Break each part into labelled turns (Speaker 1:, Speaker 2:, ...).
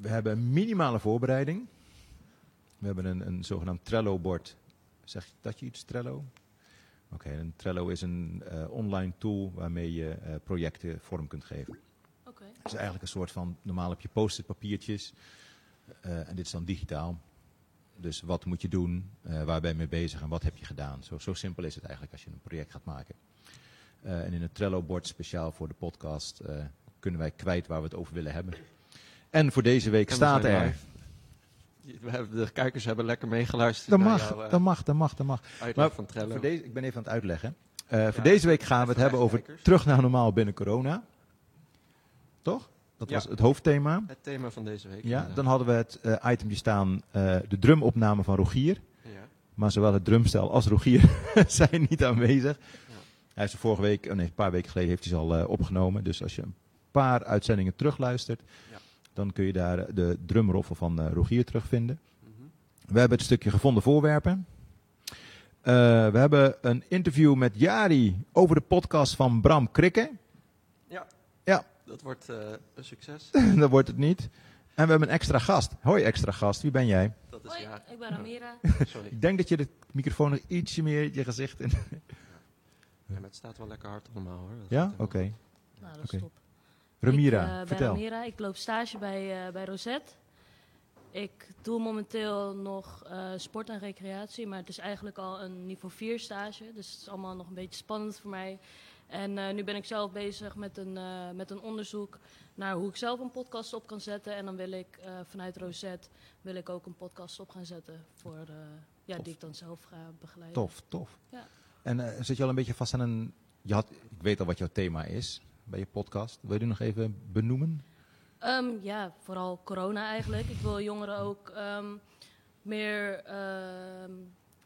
Speaker 1: we hebben een minimale voorbereiding. We hebben een, een zogenaamd Trello-bord. Zeg dat je iets, Trello? Oké, een Trello is een eh, online tool waarmee je eh, projecten vorm kunt geven.
Speaker 2: Oké.
Speaker 1: Het is eigenlijk een soort van, normaal heb je post-it papiertjes. eh, en dit is dan digitaal. Dus wat moet je doen, eh, waar ben je mee bezig en wat heb je gedaan. Zo, zo simpel is het eigenlijk als je een project gaat maken. Eh, en in het Trello-bord speciaal voor de podcast eh, kunnen wij kwijt waar we het over willen hebben. En voor deze week
Speaker 3: En we
Speaker 1: staat
Speaker 3: zijn
Speaker 1: er.
Speaker 3: live. Je- we hebben- De kijkers hebben lekker meegeluisterd
Speaker 1: Dat
Speaker 3: naar
Speaker 1: mag,
Speaker 3: jouw, eh,
Speaker 1: dat mag, dat mag, dat mag.
Speaker 3: uitleg
Speaker 1: maar
Speaker 3: van Trello.
Speaker 1: Voor deze, ik ben even aan het uitleggen. Eh, voor
Speaker 3: Ja,
Speaker 1: deze week gaan we het
Speaker 3: even
Speaker 1: hebben over
Speaker 3: kijkers.
Speaker 1: terug naar normaal binnen corona. Toch? Dat
Speaker 3: Ja.
Speaker 1: was het hoofdthema.
Speaker 3: Het thema van deze week.
Speaker 1: Ja,
Speaker 3: inderdaad.
Speaker 1: dan hadden we het eh, itemje staan, eh, de drumopname van Rogier.
Speaker 3: Ja.
Speaker 1: Maar zowel het drumstel als Rogier zijn niet aanwezig. Hij heeft ze vorige week, oh nee, een paar weken geleden heeft hij ze al eh, opgenomen. Dus als je een paar uitzendingen terugluistert,
Speaker 3: Ja.
Speaker 1: dan kun je daar eh, de drumroffel van eh, Rogier terugvinden.
Speaker 3: Mhm.
Speaker 1: We hebben het stukje gevonden voorwerpen. Eh, we hebben een interview met Jari over de podcast van Bram Krikke.
Speaker 3: Dat wordt eh, een succes.
Speaker 1: Dat wordt het niet. En we hebben een extra gast. Hoi extra gast, wie ben jij?
Speaker 3: Dat is
Speaker 2: Hoi,
Speaker 3: ja.
Speaker 2: ik ben Amira.
Speaker 3: Sorry.
Speaker 1: Ik denk dat je de microfoon nog ietsje meer je gezicht in.
Speaker 3: Ja, maar het staat wel lekker hard allemaal hoor. Dat
Speaker 1: Ja?
Speaker 3: gaat
Speaker 1: Oké.
Speaker 3: helemaal
Speaker 2: Nou, dat
Speaker 1: Oké.
Speaker 2: is top.
Speaker 1: Ramira,
Speaker 2: ik, eh, ben
Speaker 1: vertel.
Speaker 2: Ramira. Ik loop stage bij, eh, bij Rosette. Ik doe momenteel nog eh, sport en recreatie, maar het is eigenlijk al een niveau 4 stage. Dus het is allemaal nog een beetje spannend voor mij. En eh, nu ben ik zelf bezig met een, eh, met een onderzoek naar hoe ik zelf een podcast op kan zetten. En dan wil ik eh, vanuit Rosette wil ik ook een podcast op gaan zetten voor, eh, ja,
Speaker 1: Tof.
Speaker 2: die ik dan zelf ga begeleiden.
Speaker 1: Tof, tof.
Speaker 2: Ja.
Speaker 1: En eh, zit je al een beetje vast aan een... Je had, ik weet al wat jouw thema is bij je podcast. Wil je die nog even benoemen?
Speaker 2: Ehm, ja, vooral corona eigenlijk. Ik wil jongeren ook ehm, meer ehm,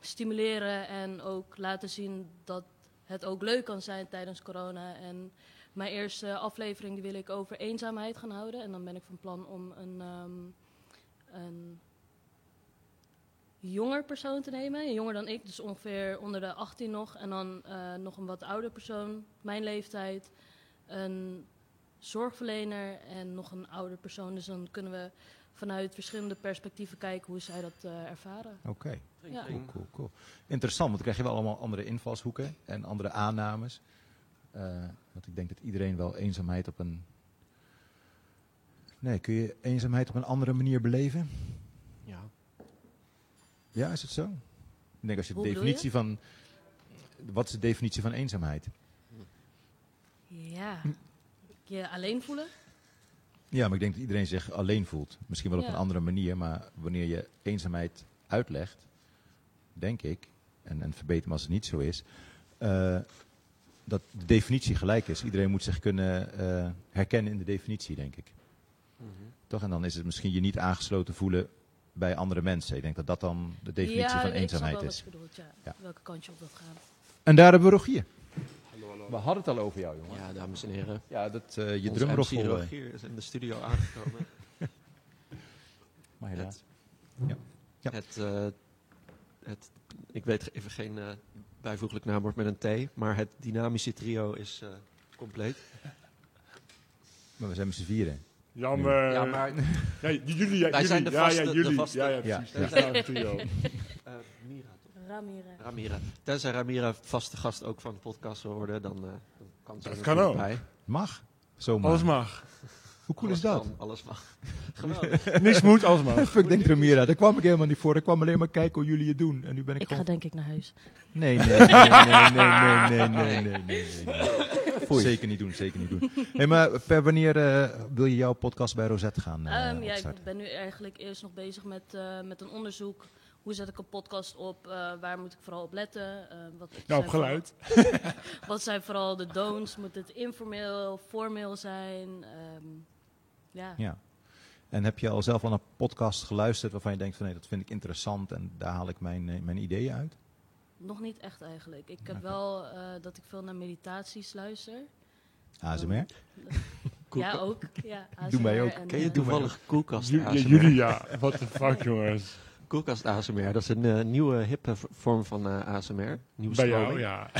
Speaker 2: stimuleren en ook laten zien dat het ook leuk kan zijn tijdens corona. En mijn eerste aflevering die wil ik over eenzaamheid gaan houden. En dan ben ik van plan om een, ehm, een jonger persoon te nemen. Jonger dan ik, dus ongeveer onder de 18 nog. En dan eh, nog een wat ouder persoon, mijn leeftijd. Een zorgverlener en nog een ouder persoon. Dus dan kunnen we vanuit verschillende perspectieven kijken hoe zij dat eh, ervaren.
Speaker 1: Oké,
Speaker 3: goed.
Speaker 2: Ja.
Speaker 1: cool, cool, cool. Interessant, want dan krijg je wel allemaal andere invalshoeken en andere aannames. Eh, want ik denk dat iedereen wel eenzaamheid op een... Nee, kun je eenzaamheid op een andere manier beleven?
Speaker 3: Ja.
Speaker 1: Ja, is het zo? Ik denk als je de
Speaker 2: Hoe bedoel
Speaker 1: definitie van... Wat is de definitie van eenzaamheid? Hm.
Speaker 2: Ja. Je alleen voelen?
Speaker 1: Ja, maar ik denk dat iedereen zich alleen voelt. Misschien wel op
Speaker 2: Ja.
Speaker 1: een andere manier, maar wanneer je eenzaamheid uitlegt, denk ik, en, en verbeter me als het niet zo is, eh, dat de definitie gelijk is. Iedereen moet zich kunnen eh, herkennen in de definitie, denk ik.
Speaker 3: Mhm.
Speaker 1: Toch? En dan is het misschien je niet aangesloten voelen bij andere mensen. Ik denk dat dat dan de definitie
Speaker 2: ja,
Speaker 1: van
Speaker 2: ik snap wel
Speaker 1: eenzaamheid
Speaker 2: wat
Speaker 1: is.
Speaker 2: je bedoelt, ja.
Speaker 1: Ja.
Speaker 2: Welke kant je op wilt gaan.
Speaker 1: En daar hebben we Rogier. We hadden het al over jou, jongen.
Speaker 3: Ja, dames en heren.
Speaker 1: Ja, dat, eh, je
Speaker 3: Onze
Speaker 1: drumroffel.
Speaker 3: MC
Speaker 1: eh,
Speaker 3: Rogier is in de studio aangekomen.
Speaker 1: maar helaas.
Speaker 3: het,
Speaker 1: Ja. Ja.
Speaker 3: Het, eh, het, ik weet even geen eh, bijvoeglijk naamwoord met een T, maar het dynamische trio is eh, compleet.
Speaker 1: Maar we zijn met z'n vieren.
Speaker 4: Jan,
Speaker 1: Nu.
Speaker 4: eh,
Speaker 3: ja, maar
Speaker 4: ja, j- jullie, ja,
Speaker 3: Wij
Speaker 4: jullie.
Speaker 3: zijn de
Speaker 4: ja,
Speaker 3: vaste-
Speaker 4: ja,
Speaker 3: de
Speaker 4: jullie.
Speaker 3: vaste-
Speaker 4: Ja, ja,
Speaker 1: Ja,
Speaker 4: precies.
Speaker 1: ja.
Speaker 4: Wij staan in het trio.
Speaker 3: eh, Mira, toch?
Speaker 2: Ramira.
Speaker 3: Ramira. Tenzij Ramira vaste gast ook van de podcast wil worden, dan, eh, dan kan ze
Speaker 4: Dat
Speaker 3: er
Speaker 4: kan
Speaker 3: natuurlijk
Speaker 4: ook.
Speaker 3: bij.
Speaker 1: Mag. Zomaar.
Speaker 4: Alles mag.
Speaker 1: Hoe cool
Speaker 3: Alles
Speaker 1: is dat?
Speaker 3: kan, alles mag. Geweldig.
Speaker 4: Niks moet, alles mag.
Speaker 1: Fuck, denk Ramira, daar kwam ik helemaal niet voor. Ik kwam alleen maar kijken hoe jullie het doen. En nu ben ik,
Speaker 2: Ik ga
Speaker 1: gewoon...
Speaker 2: denk ik naar huis.
Speaker 1: Nee, nee, nee, nee, nee, nee, nee, nee, nee, nee, nee. Zeker niet doen, zeker niet doen. Hey, maar per wanneer eh, wil je jouw podcast bij Rosette gaan eh,
Speaker 2: Ehm, ja,
Speaker 1: opstarten?
Speaker 2: ik ben nu eigenlijk eerst nog bezig met, eh, met een onderzoek. Hoe zet ik een podcast op? Eh, waar moet ik vooral op letten? Eh, wat zijn
Speaker 4: Nou, op
Speaker 2: vooral-
Speaker 4: geluid.
Speaker 2: Wat zijn vooral de don'ts? Moet het informeel, formeel zijn? Ehm, ja.
Speaker 1: Ja. En heb je al zelf al een podcast geluisterd waarvan je denkt van nee, dat vind ik interessant en daar haal ik mijn, eh, mijn ideeën uit?
Speaker 2: Nog niet echt eigenlijk. Ik heb
Speaker 1: Oké.
Speaker 2: wel eh, dat ik veel naar meditaties luister. Ehm.
Speaker 1: ASMR?
Speaker 2: Ja, ook. Ja,
Speaker 1: Doe mij
Speaker 2: ASMR
Speaker 1: ook.
Speaker 2: en,
Speaker 3: Ken je
Speaker 2: eh,
Speaker 3: toevallig koelkast
Speaker 4: Ju- ja, jullie, ja. What the fuck, jongens.
Speaker 3: Koelkast ASMR, dat is een eh, nieuwe hippe v- vorm van eh, ASMR. Nieuwe
Speaker 4: Bij jou,
Speaker 3: stroming.
Speaker 4: ja.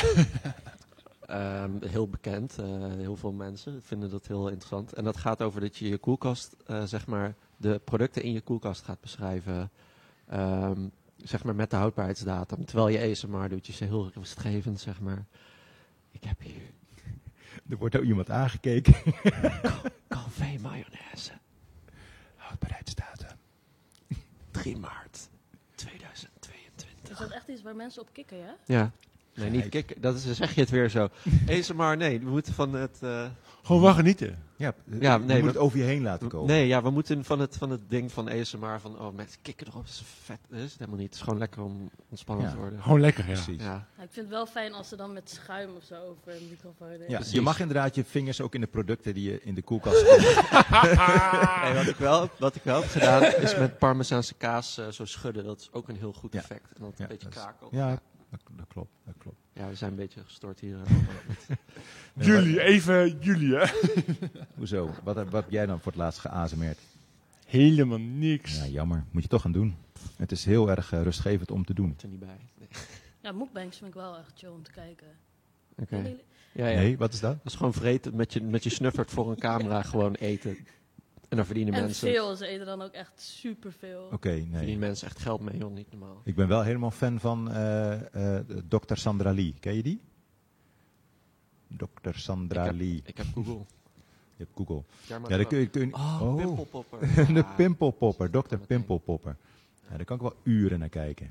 Speaker 3: Ehm, heel bekend, eh, heel veel mensen vinden dat heel interessant. En dat gaat over dat je je koelkast, eh, zeg maar, de producten in je koelkast gaat beschrijven. ehm, zeg maar met de houdbaarheidsdatum. Terwijl je ASMR doet, je is heel rustgevend, zeg maar. Ik heb hier
Speaker 1: Er wordt ook iemand aangekeken.
Speaker 3: Calvé mayonaise.
Speaker 1: Houdbaarheidsdatum.
Speaker 3: 3 maart 2022.
Speaker 2: Is dat echt iets waar mensen op kikken, ja?
Speaker 3: Ja. Nee, niet
Speaker 1: Gelijk.
Speaker 3: kikken. Dat is, dan zeg je het weer zo. ASMR, nee. We moeten van het... eh,
Speaker 4: Gewoon wel genieten.
Speaker 1: Ja,
Speaker 3: Ja,
Speaker 1: ja
Speaker 3: nee,
Speaker 1: je moet
Speaker 3: dat-
Speaker 1: het over je heen laten komen.
Speaker 3: nee, ja, we moeten van het, van het ding van ASMR van... Oh, mensen kikken erop. Dat is vet. Dat is het helemaal niet. Het is gewoon lekker om ontspannen
Speaker 1: Ja.
Speaker 3: te worden.
Speaker 4: Gewoon lekker, ja.
Speaker 1: Precies.
Speaker 3: Ja.
Speaker 2: Nou, ik vind het wel fijn als ze dan met schuim of zo over een microfoon heen.
Speaker 1: Ja,
Speaker 3: Precies.
Speaker 1: je mag inderdaad je vingers ook in de producten die je in de koelkast hebt.
Speaker 4: Ah,
Speaker 3: Nee, wat, ik wel, wat ik wel heb gedaan is met parmezaanse kaas eh, zo schudden. Dat is ook een heel goed
Speaker 1: Ja.
Speaker 3: effect. En dan
Speaker 1: Ja,
Speaker 3: een beetje
Speaker 1: dat is-
Speaker 3: kraken.
Speaker 1: Ja, dat, dat klopt. Dat klopt.
Speaker 3: Ja, we zijn een beetje gestoord hier. eh,
Speaker 4: Jullie, even jullie, hè.
Speaker 1: Hoezo? Wat, heb- wat heb jij dan voor het laatst geazemerd?
Speaker 4: Helemaal niks.
Speaker 1: Ja, jammer. Moet je toch gaan doen. Het is heel erg eh, rustgevend om te doen.
Speaker 3: er niet bij. Nee.
Speaker 2: Ja, mukbangs vind ik wel echt chill om te kijken.
Speaker 3: Oké.
Speaker 2: Vinden jullie-
Speaker 3: Ja, ja.
Speaker 1: Nee, wat is dat?
Speaker 3: Dat is gewoon vreten met je, met je snuffert voor een camera gewoon eten. En daar verdienen,
Speaker 2: En
Speaker 3: mensen,
Speaker 2: veel, ze eten dan ook echt superveel.
Speaker 1: Oké, nee.
Speaker 3: verdienen mensen echt geld mee, joh. Niet normaal.
Speaker 1: Ik ben wel helemaal fan van eh, eh, Dr. Sandra Lee. Ken je die? Dr. Sandra Lee.
Speaker 3: Ik heb Google.
Speaker 1: Je hebt Google.
Speaker 3: Ja, maar
Speaker 1: Ja, dan kun je... kun je-
Speaker 3: Oh,
Speaker 1: Oh.
Speaker 3: pimpelpopper.
Speaker 1: de
Speaker 3: Ah.
Speaker 1: pimpelpopper, Dr. Pimpelpopper. Ja, daar kan ik wel uren naar kijken.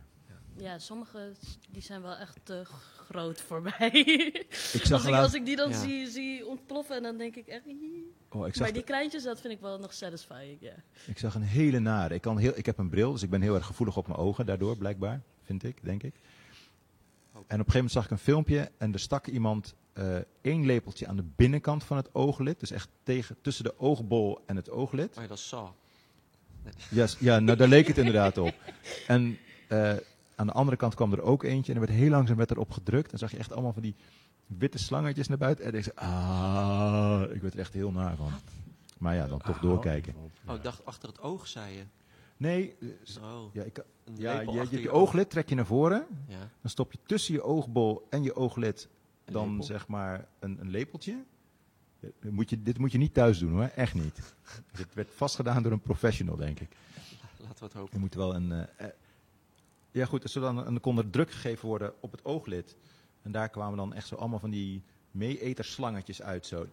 Speaker 2: Ja, sommige s- die zijn wel echt te groot voor mij.
Speaker 1: Ik
Speaker 2: als,
Speaker 1: zag,
Speaker 2: ik, als
Speaker 1: laatst,
Speaker 2: ik die dan
Speaker 3: Ja.
Speaker 2: zie, zie ontploffen en dan denk ik echt... "Hie."
Speaker 1: oh, ik, zag,
Speaker 2: Maar die kleintjes, dat vind ik wel nog satisfying, ja.
Speaker 1: ik zag een hele nare. Ik, kan heel, ik heb een bril, dus ik ben heel erg gevoelig op mijn ogen daardoor, blijkbaar. Vind ik, denk
Speaker 2: Oh.
Speaker 1: ik. En op een gegeven moment zag ik een filmpje en er stak iemand eh, één lepeltje aan de binnenkant van het ooglid. Dus echt tegen, tussen de oogbol en het ooglid.
Speaker 3: Oh, ja, dat is zo.
Speaker 1: Yes, ja, nou, daar leek het inderdaad op. En eh, aan de andere kant kwam er ook eentje en er werd heel langzaam werd erop gedrukt. En zag je echt allemaal van die witte slangetjes naar buiten. En ik zei, ah, ik werd er echt heel naar van. Maar ja, dan toch
Speaker 4: Ah,
Speaker 1: doorkijken.
Speaker 3: Oh, ik dacht achter het oog, zei je.
Speaker 1: Nee, eh, s-
Speaker 3: Oh,
Speaker 1: ja, ik, kan-
Speaker 3: een
Speaker 1: ja,
Speaker 3: lepel
Speaker 1: je, je,
Speaker 3: achter
Speaker 1: je
Speaker 3: oog.
Speaker 1: ooglid trek je naar voren.
Speaker 3: Ja,
Speaker 1: Dan stop je tussen je oogbol en je ooglid
Speaker 3: Een
Speaker 1: dan
Speaker 3: lepel.
Speaker 1: zeg maar een, een lepeltje. Eh, Moet je, dit moet je niet thuis doen hoor, echt niet. dit werd vastgedaan door een professional, denk ik.
Speaker 3: laten we het hopen.
Speaker 1: Je moet wel een. eh, eh, ja, goed, er zou dan een, kon er druk gegeven worden op het ooglid. En daar kwamen dan echt zo allemaal van die meeeterslangetjes uit. Zo.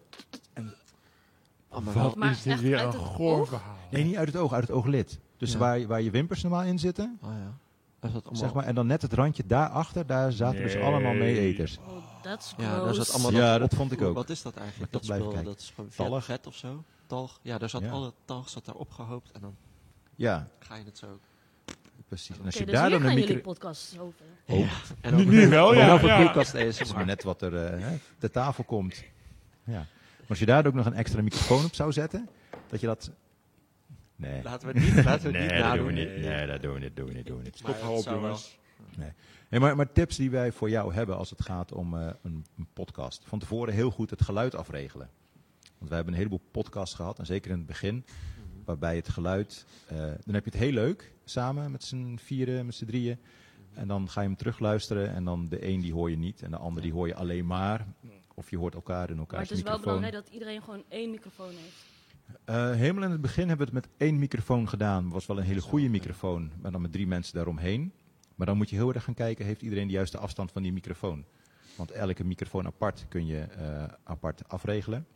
Speaker 3: Oh, maar wel-
Speaker 4: Wat
Speaker 2: Maar
Speaker 4: is dit
Speaker 2: echt
Speaker 4: weer
Speaker 2: uit
Speaker 4: een
Speaker 2: het
Speaker 4: goor
Speaker 2: oog?
Speaker 4: verhaal.
Speaker 1: Nee, niet uit het oog, uit het ooglid. Dus
Speaker 3: Ja.
Speaker 1: waar, waar je wimpers normaal in zitten.
Speaker 3: Oh, ja. Is dat allemaal...
Speaker 1: Zeg maar, en dan net het randje daarachter, daar zaten dus
Speaker 4: Nee.
Speaker 1: allemaal meeeters.
Speaker 2: Oh, that's gross.
Speaker 3: Ja, daar zat allemaal
Speaker 1: Ja,
Speaker 3: dat,
Speaker 1: dat vond ik ook.
Speaker 3: Wat is dat eigenlijk?
Speaker 1: Maar
Speaker 3: Dat
Speaker 1: toch blijven
Speaker 3: spul, dat
Speaker 1: kijken.
Speaker 3: is gewoon
Speaker 1: Talg.
Speaker 3: vet, vet of zo. Talg. Ja, daar zat
Speaker 1: Ja.
Speaker 3: alle talg zat daar opgehoopt en dan
Speaker 1: Ja,
Speaker 3: ga je het zo.
Speaker 1: precies. En
Speaker 2: Oké,
Speaker 1: als je
Speaker 2: dus
Speaker 1: daar
Speaker 2: hier
Speaker 1: dan een
Speaker 2: gaan
Speaker 1: micro...
Speaker 2: jullie podcasts over.
Speaker 1: Oh.
Speaker 3: En
Speaker 4: Nu-
Speaker 3: over-
Speaker 4: nu wel, ja,
Speaker 3: en Over
Speaker 4: ja.
Speaker 3: koelkast
Speaker 1: Het is
Speaker 3: ASMR.
Speaker 1: maar net wat er eh, hè, te tafel komt. Ja. Maar als je daar ook nog een extra microfoon op zou zetten, dat je dat... Nee,
Speaker 3: Laten we het niet, laten we het niet
Speaker 1: nee dat doen we
Speaker 3: nadoen.
Speaker 1: niet. Nee, dat doen we niet, doen we niet, doen we niet.
Speaker 4: Stop hou op,
Speaker 3: zou wel.
Speaker 4: jongens.
Speaker 1: Nee, maar, maar tips die wij voor jou hebben als het gaat om eh, een, een podcast. Van tevoren heel goed het geluid afregelen. Want wij hebben een heleboel podcasts gehad, en zeker in het begin,
Speaker 3: Mhm.
Speaker 1: waarbij het geluid... eh, dan heb je het heel leuk, samen met z'n vieren, met z'n drieën. En dan ga je hem terugluisteren en dan de een die hoor je niet en de ander die hoor je alleen maar. Of je hoort elkaar in elkaar.
Speaker 2: Maar het is wel belangrijk dat iedereen gewoon één microfoon heeft.
Speaker 1: Eh, helemaal in het begin hebben we het met één microfoon gedaan. was wel een hele goede microfoon, maar dan met drie mensen daaromheen. Maar dan moet je heel erg gaan kijken, heeft iedereen de juiste afstand van die microfoon? Want elke microfoon apart kun je eh, apart afregelen.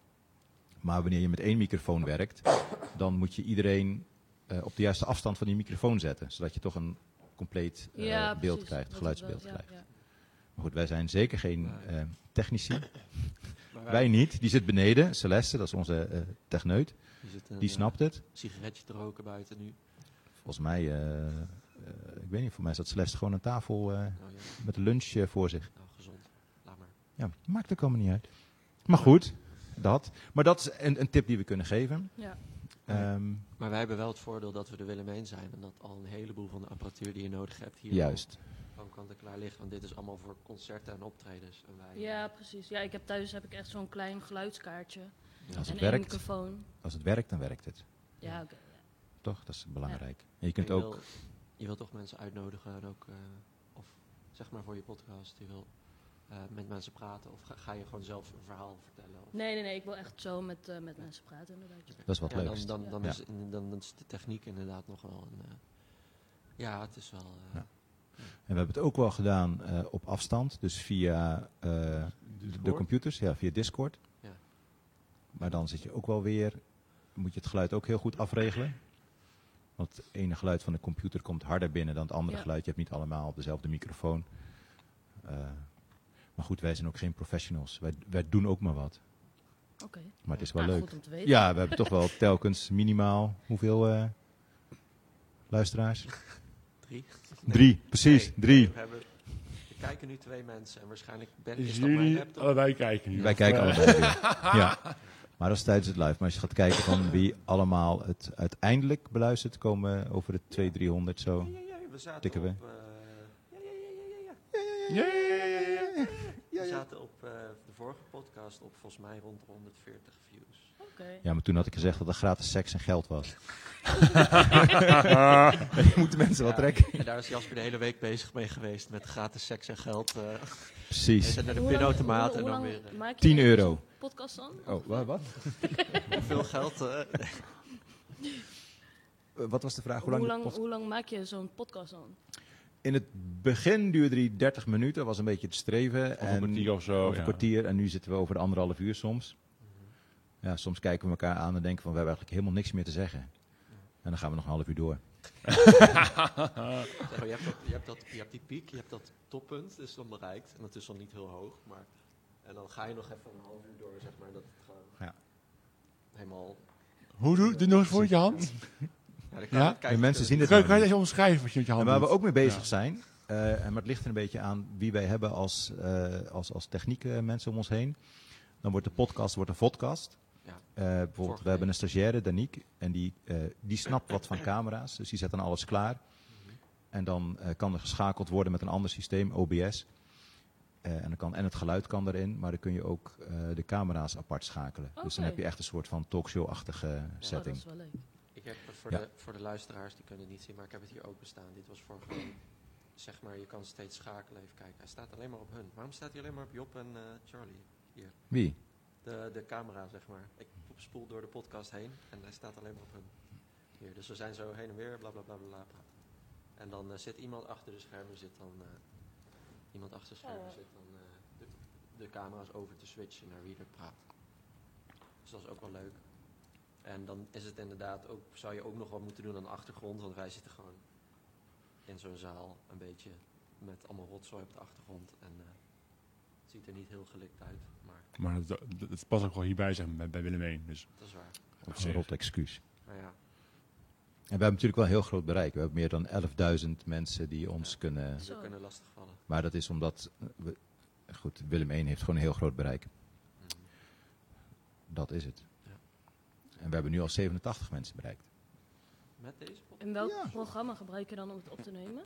Speaker 1: Maar wanneer je met één microfoon werkt, dan moet je iedereen eh, op de juiste afstand van die microfoon zetten. Zodat je toch een compleet eh,
Speaker 2: ja,
Speaker 1: beeld
Speaker 2: precies,
Speaker 1: krijgt,
Speaker 2: dat
Speaker 1: geluidsbeeld
Speaker 2: het wel- ja,
Speaker 1: krijgt.
Speaker 2: ja.
Speaker 1: Maar goed, wij zijn zeker geen eh, technici.
Speaker 3: Maar
Speaker 1: Wij niet, die zit beneden. Celeste, dat is onze eh, techneut,
Speaker 3: die zitten,
Speaker 1: die
Speaker 3: eh,
Speaker 1: snapt het.
Speaker 3: sigaretje te roken buiten nu.
Speaker 1: Volgens mij, eh, eh, ik weet niet, voor mij zat Celeste gewoon aan tafel eh,
Speaker 3: Nou ja,
Speaker 1: met een lunch eh, voor zich.
Speaker 3: nou gezond. Laat maar.
Speaker 1: Ja, maakt ook allemaal niet uit. Maar goed, dat. Maar dat is een, een tip die we kunnen geven.
Speaker 2: Ja.
Speaker 1: Ehm,
Speaker 3: Maar wij hebben wel het voordeel dat we er Willemijn zijn. En dat al een heleboel van de apparatuur die je nodig hebt hier
Speaker 1: juist.
Speaker 3: al gewoon kant-en-klaar ligt. Want dit is allemaal voor concerten en optredens. En wij, eh,
Speaker 2: ja, precies. Ja, ik heb thuis heb ik echt zo'n klein geluidskaartje.
Speaker 1: Als
Speaker 2: en
Speaker 1: het,
Speaker 2: één
Speaker 1: werkt,
Speaker 2: microfoon.
Speaker 1: als het werkt, dan werkt het.
Speaker 2: Ja, oké. ja.
Speaker 1: Toch? Dat is belangrijk. En je kunt
Speaker 3: En je
Speaker 1: ook...
Speaker 3: wil- je wilt toch mensen uitnodigen en ook, eh, of zeg maar voor je podcast, je wil eh, met mensen praten? Of ga, ga je gewoon zelf een verhaal vertellen? Of-
Speaker 2: Nee, nee, nee. Ik wil echt zo met, eh, met mensen praten, inderdaad. ja.
Speaker 1: Dat is wat
Speaker 3: Ja,
Speaker 1: leuk.
Speaker 3: dan,
Speaker 1: leukst.
Speaker 3: dan, dan,
Speaker 1: Ja.
Speaker 3: Is, in- dan, dan is de techniek inderdaad nog wel een... eh, ja, het is wel... eh,
Speaker 1: Ja. En we hebben het ook wel gedaan eh, op afstand, dus via eh, de
Speaker 4: Discord?
Speaker 1: computers, ja, via Discord.
Speaker 3: Ja.
Speaker 1: Maar dan zit je ook wel weer, moet je het geluid ook heel goed afregelen. Want het ene geluid van de computer komt harder binnen dan het andere
Speaker 2: Ja.
Speaker 1: geluid. Je hebt niet allemaal op dezelfde microfoon. Eh, maar goed, wij zijn ook geen professionals. Wij, wij doen ook maar wat.
Speaker 2: Oké.
Speaker 1: Maar het is wel
Speaker 2: Nou,
Speaker 1: leuk.
Speaker 2: Goed om te weten.
Speaker 1: Ja, we hebben toch wel telkens minimaal hoeveel eh, luisteraars?
Speaker 3: Drie?
Speaker 1: Drie, precies,
Speaker 3: Nee,
Speaker 1: drie.
Speaker 3: We, hebben, er kijken nu twee mensen en waarschijnlijk ben,
Speaker 4: Dus
Speaker 3: is dat mijn
Speaker 4: jullie
Speaker 3: laptop.
Speaker 4: allebei kijken nu.
Speaker 1: Wij kijken allemaal weer. Ja. Maar dat is tijdens het live. Maar als je gaat kijken van wie allemaal het uiteindelijk beluistert, komen over de 200, 300 zo.
Speaker 3: Ja, ja, ja, we zaten
Speaker 1: Oh. Tikken we.
Speaker 3: op... eh, ja, ja, ja, ja, ja, ja.
Speaker 4: Ja, ja, ja, ja, ja.
Speaker 3: We zaten op eh, de vorige podcast op volgens mij rond de 140 views.
Speaker 2: Oké.
Speaker 1: Ja, maar toen had ik gezegd dat er gratis seks en geld was. je moet de mensen wel
Speaker 3: Ja,
Speaker 1: trekken.
Speaker 3: En daar is Jasper de hele week bezig mee geweest met gratis seks en geld. eh
Speaker 1: Precies.
Speaker 3: en naar de
Speaker 2: Hoe lang-
Speaker 3: pinautomaat
Speaker 2: hoe-
Speaker 3: en
Speaker 2: hoe
Speaker 3: dan
Speaker 2: lang
Speaker 3: weer eh,
Speaker 2: maak je
Speaker 1: 10 euro.
Speaker 2: zo'n Podcast dan?
Speaker 1: Oh, wa- wat?
Speaker 3: veel geld. eh.
Speaker 1: Eh, Wat was de vraag?
Speaker 2: Hoe lang, hoe, lang,
Speaker 1: pot-
Speaker 2: maak je zo'n podcast dan? Oh,
Speaker 1: In het begin duurde die 30 minuten, was een beetje het streven.
Speaker 4: Of een kwartier of zo.
Speaker 1: over
Speaker 4: ja.
Speaker 1: een kwartier en nu zitten we over de anderhalf uur soms. Ja, soms kijken we elkaar aan en denken van we hebben eigenlijk helemaal niks meer te zeggen. En dan gaan we nog een half uur door.
Speaker 3: Zeg maar, je, hebt dat, je, hebt dat, je hebt die piek, je hebt dat toppunt, dus dan bereikt. En dat is dan niet heel hoog, maar... En dan ga je nog even een half uur door, zeg maar, dat het gewoon
Speaker 1: Ja.
Speaker 3: helemaal...
Speaker 4: Hoe doe doe nog eens voor met je hand? Ja?
Speaker 3: Ja, dan het kijken-
Speaker 1: En mensen zien dit
Speaker 4: Kan,
Speaker 1: nou
Speaker 4: kan je
Speaker 1: niet.
Speaker 4: even omschrijven wat je met je
Speaker 1: En
Speaker 4: hand
Speaker 1: waar we
Speaker 4: doet?
Speaker 1: ook mee bezig
Speaker 4: Ja.
Speaker 1: zijn, eh, en maar het ligt er een beetje aan wie wij hebben als, eh als, als techniek eh, mensen om ons heen. Dan wordt de podcast wordt een vodcast.
Speaker 3: Ja.
Speaker 1: Eh, bijvoorbeeld,
Speaker 3: Vorige
Speaker 1: we
Speaker 3: week.
Speaker 1: hebben een stagiaire, Danique, en die, eh, die snapt wat van camera's. Dus die zet dan alles klaar. En dan eh, kan er geschakeld worden met een ander systeem, OBS. Eh, en, dan kan, en het geluid kan erin, maar dan kun je ook eh, de camera's apart schakelen. Dus dan
Speaker 2: Oké.
Speaker 1: heb je echt een soort van talkshow-achtige
Speaker 2: Oh, dat
Speaker 1: setting.
Speaker 2: is wel leuk.
Speaker 3: Ik heb eh, voor,
Speaker 1: Ja.
Speaker 3: de, voor de luisteraars, die kunnen het niet zien, maar ik heb het hier ook bestaan. Dit was voor gewoon, zeg maar, je kan steeds schakelen, even kijken. Hij staat alleen maar op hun. Waarom staat hij alleen maar op Job en eh, Charlie?
Speaker 1: Wie?
Speaker 3: De, de camera, zeg maar. Ik spoel door de podcast heen en hij staat alleen maar op hun. Hier, dus we zijn zo heen en weer, bla bla bla bla, bla. praten. En dan eh, zit iemand achter de schermen, zit dan... eh, iemand achter de schermen
Speaker 2: Oh.
Speaker 3: zit dan eh, de, de camera's over te switchen naar wie er praat. Dus dat is ook wel leuk. En dan is het inderdaad ook, zou je ook nog wat moeten doen aan de achtergrond, want wij zitten gewoon in zo'n zaal een beetje met allemaal rotzooi op de achtergrond. En eh, het ziet er niet heel gelikt uit, maar
Speaker 4: Maar dat, dat- dat past ook wel hierbij, zeg maar, bij- bij Willem 1. Dus
Speaker 3: dat is waar.
Speaker 4: op
Speaker 1: Een
Speaker 4: zich.
Speaker 1: rot excuus.
Speaker 3: Maar Nou ja,
Speaker 1: En we hebben natuurlijk wel een heel groot bereik. We hebben meer dan 11.000 mensen die ons
Speaker 3: Ja.
Speaker 1: kunnen.
Speaker 3: ze
Speaker 2: Zo.
Speaker 3: kunnen lastigvallen.
Speaker 1: Maar dat is omdat. eh, we- goed, Willem 1 heeft gewoon een heel groot bereik.
Speaker 3: vallen.
Speaker 1: Dat is het.
Speaker 3: Ja.
Speaker 1: En we hebben nu al 87 mensen bereikt.
Speaker 3: Met deze podcast?
Speaker 2: En welk
Speaker 1: Ja.
Speaker 2: programma gebruik je dan om het op te nemen?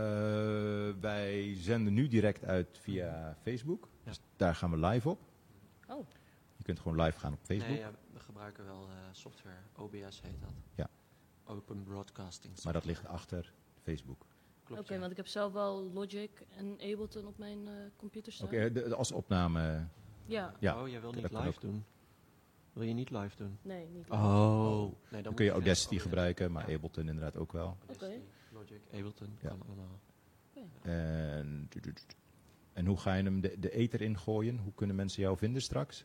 Speaker 1: Eh, wij zenden nu direct uit via Facebook.
Speaker 3: Ja.
Speaker 1: Dus daar gaan we live op.
Speaker 2: Oh.
Speaker 1: Je kunt gewoon live gaan op Facebook.
Speaker 3: Nee, ja, we gebruiken wel eh, software. OBS heet dat.
Speaker 1: Ja.
Speaker 3: Open Broadcasting
Speaker 1: Maar dat
Speaker 3: Software.
Speaker 1: ligt achter Facebook.
Speaker 2: Oké,
Speaker 3: Klopt, ja.
Speaker 2: want ik heb zelf wel Logic en Ableton op mijn eh, computer staan.
Speaker 1: Oké, de- de- als opname.
Speaker 2: Ja,
Speaker 1: Ja,
Speaker 3: Oh, jij wil
Speaker 1: dat
Speaker 3: niet
Speaker 1: kan
Speaker 3: live
Speaker 1: ook.
Speaker 3: doen? Wil je niet live doen?
Speaker 2: nee, niet.
Speaker 3: Oh. Nee,
Speaker 1: Dan
Speaker 3: moet
Speaker 1: kun je
Speaker 3: via
Speaker 1: Audacity
Speaker 3: OBS.
Speaker 1: gebruiken, maar
Speaker 3: Ja.
Speaker 1: Ableton inderdaad ook wel.
Speaker 3: Audacity, Logic, Ableton,
Speaker 1: Ja.
Speaker 3: kan allemaal.
Speaker 1: En, en hoe ga je hem de, de ether ingooien? Hoe kunnen mensen jou vinden straks?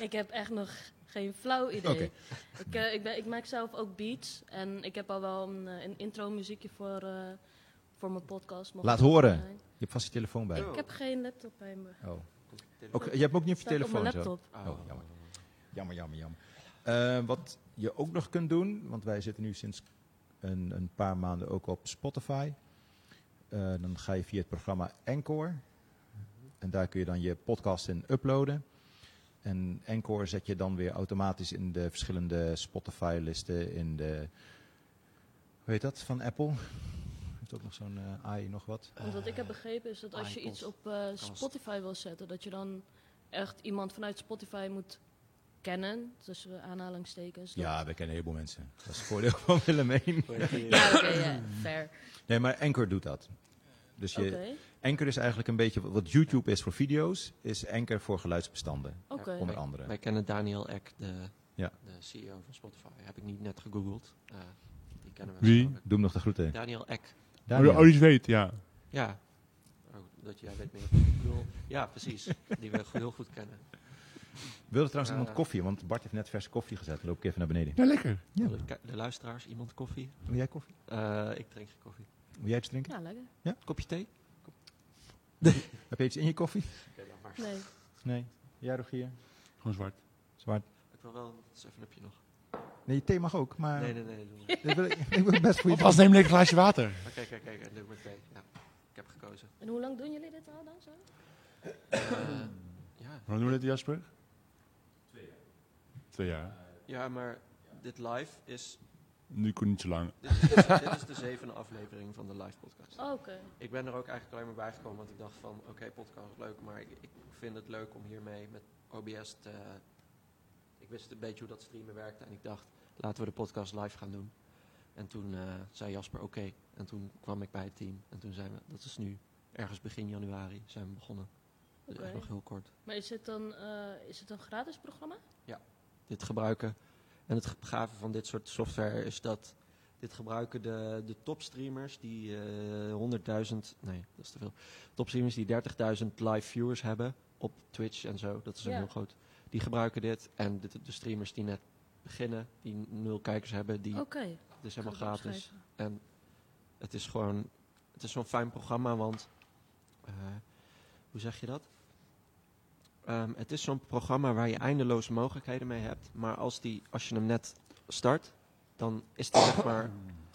Speaker 2: Ik heb echt nog geen flauw idee.
Speaker 1: Oké.
Speaker 2: Ik, eh, ik, ben, ik maak zelf ook beats en ik heb al wel een, eh, een intro muziekje voor, eh, voor mijn podcast. mocht
Speaker 1: Laat
Speaker 2: het
Speaker 1: horen.
Speaker 2: zijn.
Speaker 1: Je hebt vast je telefoon bij.
Speaker 3: Oh.
Speaker 2: Ik heb geen laptop bij me.
Speaker 1: Oh.
Speaker 3: Telefoon.
Speaker 1: Ook, je hebt hem ook niet op je
Speaker 2: Staat op mijn
Speaker 1: telefoon. Zo.
Speaker 2: laptop.
Speaker 3: Oh,
Speaker 1: Oh, jammer. Jammer, jammer, jammer. Eh, wat je ook nog kunt doen, want wij zitten nu sinds een, een paar maanden ook op Spotify. Eh, dan ga je via het programma Encore. En daar kun je dan je podcast in uploaden. En Encore zet je dan weer automatisch in de verschillende Spotify-listen. In de. Hoe heet dat? Van Apple. Heeft ook nog zo'n eh, AI, nog wat.
Speaker 3: Oh.
Speaker 2: Want wat ik
Speaker 1: Eh,
Speaker 3: Eh,
Speaker 2: heb begrepen is dat als je
Speaker 3: iPod.
Speaker 2: iets op eh, Spotify wil zetten, dat je dan echt iemand vanuit Spotify moet kennen. Tussen aanhalingstekens. Dat-
Speaker 1: Ja, we kennen een heleboel mensen. Dat is het voordeel van Willem 1.
Speaker 3: Wil je-
Speaker 2: Ja, oké, ja, fair.
Speaker 1: Nee, maar Anchor doet dat. Dus je,
Speaker 2: Oké.
Speaker 1: Anchor is eigenlijk een beetje wat YouTube is voor video's, is Anchor voor geluidsbestanden,
Speaker 2: Oké.
Speaker 1: onder andere.
Speaker 3: Wij kennen Daniel Eck, de,
Speaker 1: Ja.
Speaker 3: de CEO van Spotify. Heb ik niet net gegoogeld. Eh, die kennen we
Speaker 4: Wie?
Speaker 3: persoonlijk.
Speaker 1: Doe hem nog de groeten.
Speaker 3: Daniel Eck.
Speaker 1: Daniel.
Speaker 4: Oh, oh, die het weet, ja.
Speaker 3: Ja. Oh, dat jij weet meer. Ik bedoel, ja, precies. Die we heel goed kennen.
Speaker 1: Wilde trouwens
Speaker 3: Ja.
Speaker 1: iemand koffie, want Bart heeft net verse koffie gezet. Loop ik even naar beneden.
Speaker 4: Ja, Nou, lekker.
Speaker 1: Ja.
Speaker 3: De, ki- de luisteraars, iemand koffie?
Speaker 1: Wil jij koffie?
Speaker 3: Eh, ik drink geen koffie.
Speaker 1: Wil jij iets drinken?
Speaker 2: Ja, lekker.
Speaker 3: Kopje thee?
Speaker 1: Heb je iets in je koffie?
Speaker 3: Oké, dan maar.
Speaker 2: Nee.
Speaker 1: Nee. Jij Rogier?
Speaker 4: Gewoon zwart.
Speaker 1: Zwart?
Speaker 3: Ik wil wel een 7-upje nog.
Speaker 1: Nee, je thee mag ook, maar
Speaker 3: Nee, nee, nee. doe maar.
Speaker 1: Dat wil ik, ik wil best voor je
Speaker 4: Of als neem ik een glaasje water.
Speaker 3: Oké, kijk, kijk. En doe maar thee. Ja, ik heb gekozen.
Speaker 2: En hoe lang doen jullie dit al dan zo?
Speaker 3: Eh, ja.
Speaker 4: Hoe doen we dit, Jasper? Twee jaar. Twee jaar.
Speaker 3: ja, maar dit live is...
Speaker 4: Nu kon niet zo lang.
Speaker 3: Dit is, dit is de zevende aflevering van de live podcast.
Speaker 2: Oh, Oké.
Speaker 3: Ik ben er ook eigenlijk alleen maar bij gekomen, want ik dacht van, oké, podcast is leuk, maar ik, ik vind het leuk om hiermee met OBS te... ik wist een beetje hoe dat streamen werkte en ik dacht, laten we de podcast live gaan doen. En toen eh, zei Jasper oké, en toen kwam ik bij het team en toen zijn we, dat is nu ergens begin januari, zijn we begonnen. Dus
Speaker 2: Oké.
Speaker 3: echt nog heel kort.
Speaker 2: Maar is het dan eh, is het een gratis programma?
Speaker 3: Dit gebruiken en het gave van dit soort software is dat... Dit gebruiken de, de topstreamers die eh 100.000, nee, dat is te veel. Topstreamers die 30.000 live viewers hebben op Twitch en zo. Dat is een
Speaker 2: Ja.
Speaker 3: heel groot. Die gebruiken dit. En de, de streamers die net beginnen, die nul kijkers hebben, die
Speaker 2: Oké.
Speaker 3: het is
Speaker 2: Ga
Speaker 3: helemaal
Speaker 2: ik
Speaker 3: gratis.
Speaker 2: opschrijven.
Speaker 3: En het is gewoon, het is zo'n fijn programma, want eh, hoe zeg je dat? Ehm, het is zo'n programma waar je eindeloos mogelijkheden mee hebt, maar als, die, als je hem net start, dan is die zeg maar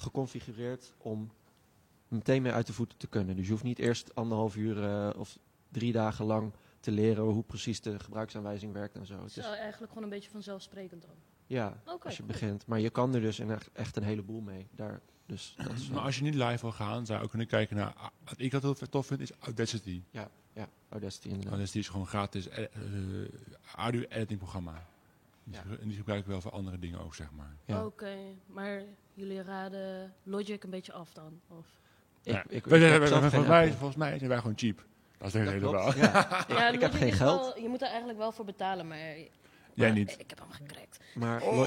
Speaker 3: geconfigureerd om meteen mee uit de voeten te kunnen. Dus je hoeft niet eerst anderhalf uur eh, of drie dagen lang te leren hoe precies de gebruiksaanwijzing werkt en zo. Het
Speaker 2: Zo
Speaker 3: is,
Speaker 2: eigenlijk gewoon een beetje vanzelfsprekend dan.
Speaker 3: ja,
Speaker 2: Oké.
Speaker 3: als je
Speaker 2: cool.
Speaker 3: begint. Maar je kan er dus in echt, echt een heleboel mee. Daar, dus dat is wel-
Speaker 4: Maar als je niet live wil gaan, zou je ook kunnen kijken naar... ah, Wat ik dat heel tof vind, is Audacity.
Speaker 3: Ja, Audacity inderdaad.
Speaker 4: Audacity is gewoon gratis eh, eh, audio-editing programma. Die
Speaker 3: Ja.
Speaker 4: gebru- En die gebruik ik wel voor andere dingen ook, zeg maar.
Speaker 3: Ja.
Speaker 2: Oké, maar jullie raden Logic een beetje af dan? Of?
Speaker 4: Ja.
Speaker 3: Ik, ik,
Speaker 4: Wij-
Speaker 3: ik
Speaker 4: wij-
Speaker 3: heb
Speaker 4: wij-
Speaker 3: zelf
Speaker 4: wij-
Speaker 3: geen
Speaker 4: volgens, mij,
Speaker 3: Apple.
Speaker 4: volgens mij zijn wij gewoon cheap. Dat is het
Speaker 3: Dat
Speaker 4: hele verhaal.
Speaker 3: klopt, ja. Ik- ik, heb
Speaker 2: Logic
Speaker 3: geen
Speaker 2: is
Speaker 3: geld,
Speaker 2: wel- je moet er eigenlijk wel voor betalen, maar...
Speaker 4: Jij
Speaker 2: maar
Speaker 4: niet.
Speaker 2: Ik heb hem gekrekt.
Speaker 3: maar, Lo-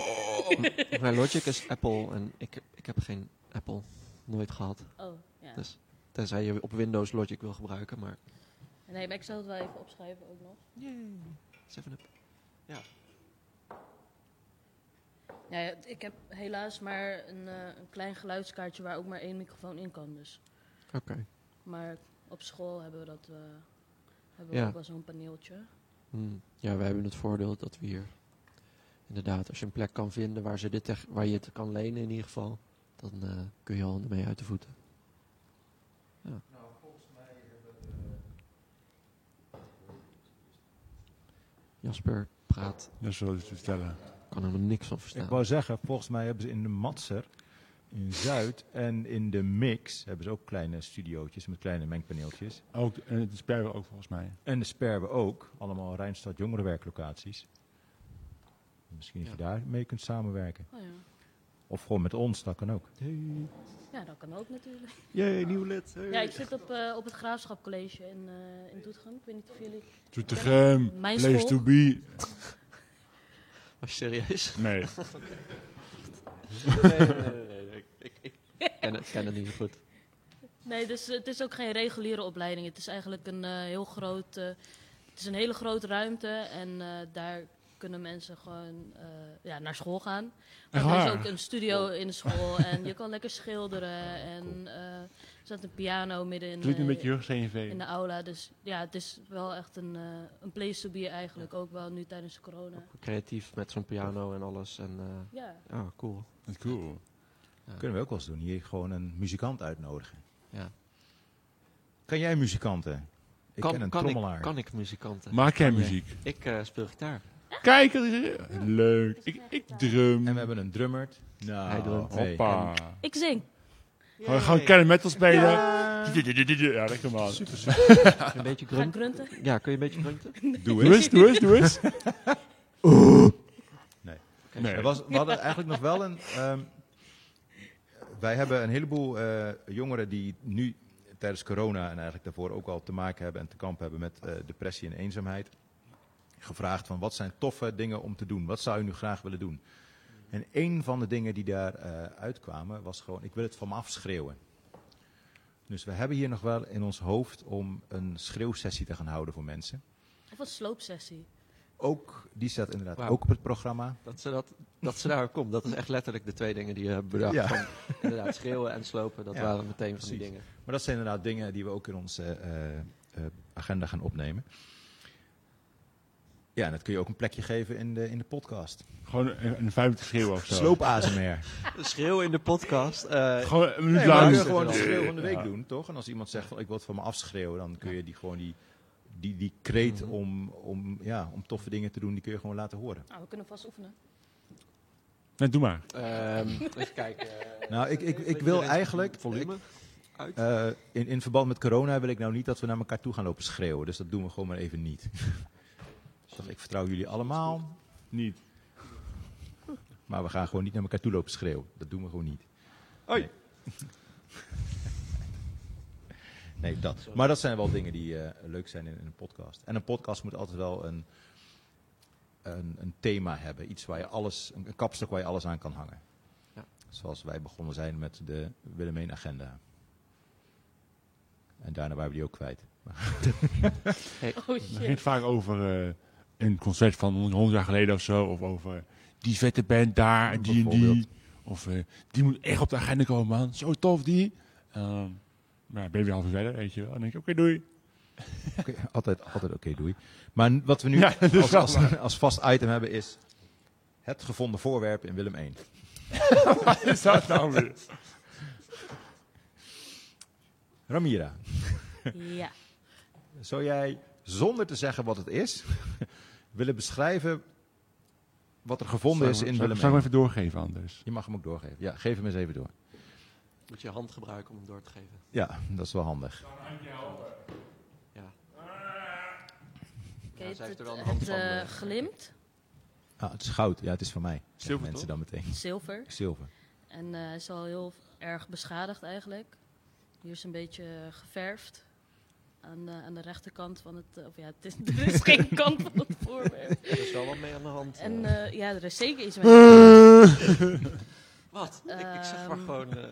Speaker 3: M- maar Logic is Apple en ik, heb- ik heb geen Apple nooit gehad.
Speaker 2: Oh, ja.
Speaker 3: Dus- Tenzij je op Windows Logic wil gebruiken, maar...
Speaker 2: Nee, maar ik zal het wel even opschrijven ook nog.
Speaker 3: Seven up.
Speaker 2: Ja, ja, ik heb helaas maar een, eh, een klein geluidskaartje waar ook maar één microfoon in kan. Dus.
Speaker 3: Oké.
Speaker 2: Maar op school hebben we dat eh, hebben we
Speaker 3: Ja.
Speaker 2: ook wel zo'n paneeltje.
Speaker 3: Hmm. Ja, wij hebben het voordeel dat we hier... Inderdaad, als je een plek kan vinden waar, ze dit tech- waar je het kan lenen in ieder geval... dan eh, kun je al ermee uit de voeten.
Speaker 1: Nou,
Speaker 3: Jasper praat,
Speaker 4: Dat is wel iets te vertellen.
Speaker 3: kan er nog niks van verstaan.
Speaker 1: Ik wou zeggen, volgens mij hebben ze in de Matser, in Zuid en in de Mix hebben ze ook kleine studiootjes met kleine mengpaneeltjes.
Speaker 4: Ook, en het is bij jou ook volgens mij.
Speaker 1: En de Sperwe ook, allemaal Rijnstad jongerenwerklocaties. Misschien dat je daar mee kunt samenwerken.
Speaker 2: Oh, ja.
Speaker 1: Of gewoon met ons, dat kan ook.
Speaker 2: ja, dat kan ook natuurlijk.
Speaker 3: Jee, nieuw lid.
Speaker 2: Ja, ik zit op, eh, op het Graafschap College in, eh, in Doetinchem. Ik weet niet of jullie...
Speaker 4: Doetinchem,
Speaker 2: Mijn
Speaker 4: place
Speaker 2: school.
Speaker 4: to be.
Speaker 3: serieus?
Speaker 4: Nee,
Speaker 3: nee, nee, nee, nee, nee. Ik, ik, ik ken, het, ken het niet zo goed.
Speaker 2: Nee, dus het is ook geen reguliere opleiding. Het is eigenlijk een eh, heel groot. eh, het is een hele grote ruimte en eh, daar kunnen mensen gewoon eh, ja, naar school gaan. Maar
Speaker 4: Echt
Speaker 2: er is
Speaker 4: waar?
Speaker 2: ook een studio in de school en je kan lekker schilderen en eh, er staat een piano midden in,
Speaker 4: doe het een
Speaker 2: eh,
Speaker 4: beetje jeugd CNV.
Speaker 2: in de aula. Dus ja, het is wel echt een, eh, een place to be eigenlijk, ook wel nu tijdens de corona.
Speaker 3: Creatief met zo'n piano en alles. En, eh,
Speaker 2: Ja,
Speaker 1: Ah,
Speaker 3: ja, cool.
Speaker 4: Dat is cool.
Speaker 1: Kunnen we ook wel eens doen, hier gewoon een muzikant uitnodigen.
Speaker 3: Ja.
Speaker 1: Kan jij muzikanten? Ik ken een trommelaar.
Speaker 3: Ik, kan ik muzikanten?
Speaker 4: Maak jij
Speaker 3: Kan jij-
Speaker 4: muziek?
Speaker 3: Ik eh, speel gitaar.
Speaker 4: Kijk, dat is leuk. Ik, ik drum.
Speaker 1: En we hebben een drummert.
Speaker 3: Hij
Speaker 1: Nou,
Speaker 3: drumt.
Speaker 1: hey.
Speaker 4: Hoppa.
Speaker 2: ik zing.
Speaker 4: Gaan we gewoon Kenny Metal spelen? Ja, lekker man.
Speaker 3: Kun je een beetje
Speaker 2: Ga ik
Speaker 3: grunten?
Speaker 2: grunten?
Speaker 3: Ja, kun je een beetje grunten?
Speaker 1: Doe
Speaker 4: Doe
Speaker 1: het.
Speaker 4: eens, doe eens, doe eens.
Speaker 1: Nee.
Speaker 4: Nee.
Speaker 1: Er was, we hadden eigenlijk nog wel een. ehm, wij hebben een heleboel eh, jongeren die nu tijdens corona en eigenlijk daarvoor ook al te maken hebben en te kampen hebben met eh, depressie en eenzaamheid, gevraagd van wat zijn toffe dingen om te doen? Wat zou je nu graag willen doen? En een van de dingen die daar eh, uitkwamen was gewoon, ik wil het van me afschreeuwen. Dus we hebben hier nog wel in ons hoofd om een schreeuwsessie te gaan houden voor mensen.
Speaker 2: Of een sloopsessie.
Speaker 1: Ook, die staat inderdaad
Speaker 3: Wauw.
Speaker 1: ook op het programma.
Speaker 3: Dat ze, dat, dat ze daar komt, dat is echt letterlijk de twee dingen die je hebt bedacht.
Speaker 1: Ja.
Speaker 3: Van, inderdaad, schreeuwen en slopen, dat
Speaker 1: Ja,
Speaker 3: waren meteen van
Speaker 1: precies.
Speaker 3: die dingen.
Speaker 1: Maar dat zijn inderdaad dingen die we ook in onze eh, eh, agenda gaan opnemen. Ja, en dat kun je ook een plekje geven in de, in de podcast.
Speaker 4: Gewoon een, een vijf minuten schreeuwen of zo.
Speaker 1: Sloop ASMR.
Speaker 3: Schreeuwen in de podcast. eh,
Speaker 4: Gewoon een minuut
Speaker 1: Nee, maar
Speaker 4: lang.
Speaker 1: dan kun je
Speaker 3: is het
Speaker 1: gewoon de
Speaker 3: wel.
Speaker 1: schreeuw van de week
Speaker 4: Ja.
Speaker 1: doen, toch? En als iemand zegt van ik wil het van me afschreeuwen, dan kun je die gewoon die, die, die kreet
Speaker 3: Mhm.
Speaker 1: om, om, ja, om toffe dingen te doen, die kun je gewoon laten horen.
Speaker 2: Nou, we kunnen vast oefenen.
Speaker 4: Nee, doe maar.
Speaker 3: ehm, even kijken. eh,
Speaker 1: Nou, ik, ik, ik
Speaker 3: beetje
Speaker 1: wil
Speaker 3: erin
Speaker 1: eigenlijk.
Speaker 3: Volume? uit?
Speaker 1: eh, in, in verband met corona wil ik nou niet dat we naar elkaar toe gaan lopen schreeuwen. Dus dat doen we gewoon maar even niet. Dus ik vertrouw jullie allemaal.
Speaker 4: Niet.
Speaker 1: Maar we gaan gewoon niet naar elkaar toe lopen schreeuwen. Dat doen we gewoon niet.
Speaker 3: Hoi.
Speaker 1: Nee. Nee, dat. Maar dat zijn wel dingen die eh, leuk zijn in, in een podcast. En een podcast moet altijd wel een, een, een thema hebben. Iets waar je alles, een, een kapstok waar je alles aan kan hangen.
Speaker 3: Ja.
Speaker 1: Zoals wij begonnen zijn met de Willemijn Agenda. En daarna waren we die ook kwijt.
Speaker 2: Oh
Speaker 4: Het ging
Speaker 2: shit.
Speaker 4: vaak over eh, een concert van 100 jaar geleden of zo. Of over die vette band daar, en die en
Speaker 1: Bijvoorbeeld.
Speaker 4: die. Of eh, die moet echt op de agenda komen, man. Zo tof, die. Ehm, maar ben je weer half uur verder, weet je wel. En dan denk je, oké, doei.
Speaker 1: Oké, altijd altijd oké, doei. Maar n- wat we nu
Speaker 4: Ja, dat is
Speaker 1: als,
Speaker 4: wel
Speaker 1: als, als vast item hebben is... Het gevonden voorwerp in Willem 1.
Speaker 4: Wat is dat nou weer?
Speaker 1: Ramira,
Speaker 2: Ja.
Speaker 1: zou jij zonder te zeggen wat het is... willen beschrijven wat er gevonden is
Speaker 4: Zou ik-
Speaker 1: in
Speaker 4: zou ik-
Speaker 1: Willem
Speaker 4: Zou ik hem
Speaker 1: 1?
Speaker 4: even doorgeven anders?
Speaker 1: Je mag hem ook doorgeven. Ja, geef hem eens even door.
Speaker 3: Moet je je hand gebruiken om hem door te geven.
Speaker 1: Ja, dat is wel handig.
Speaker 3: Ja.
Speaker 2: Oké,
Speaker 3: Ja,
Speaker 2: het
Speaker 3: zij heeft er
Speaker 2: het,
Speaker 3: wel een hand
Speaker 2: het,
Speaker 3: van,
Speaker 2: eh,
Speaker 3: eh,
Speaker 2: glimt,
Speaker 1: Ah, het is goud. Ja, het is van mij. Zeggen
Speaker 4: Zilver,
Speaker 1: mensen
Speaker 4: toch?
Speaker 1: dan meteen.
Speaker 2: zilver.
Speaker 1: Zilver.
Speaker 2: En eh, hij is al heel erg beschadigd eigenlijk. Hier is een beetje geverfd. Aan de, aan de rechterkant van het... eh, Of ja, het is, er is geen kant van het voorwerp.
Speaker 3: Er is wel wat mee aan de hand.
Speaker 2: En
Speaker 3: eh.
Speaker 2: eh, ja, er is zeker iets mee.
Speaker 3: wat? ik, ik zeg maar
Speaker 2: ehm,
Speaker 3: gewoon... eh,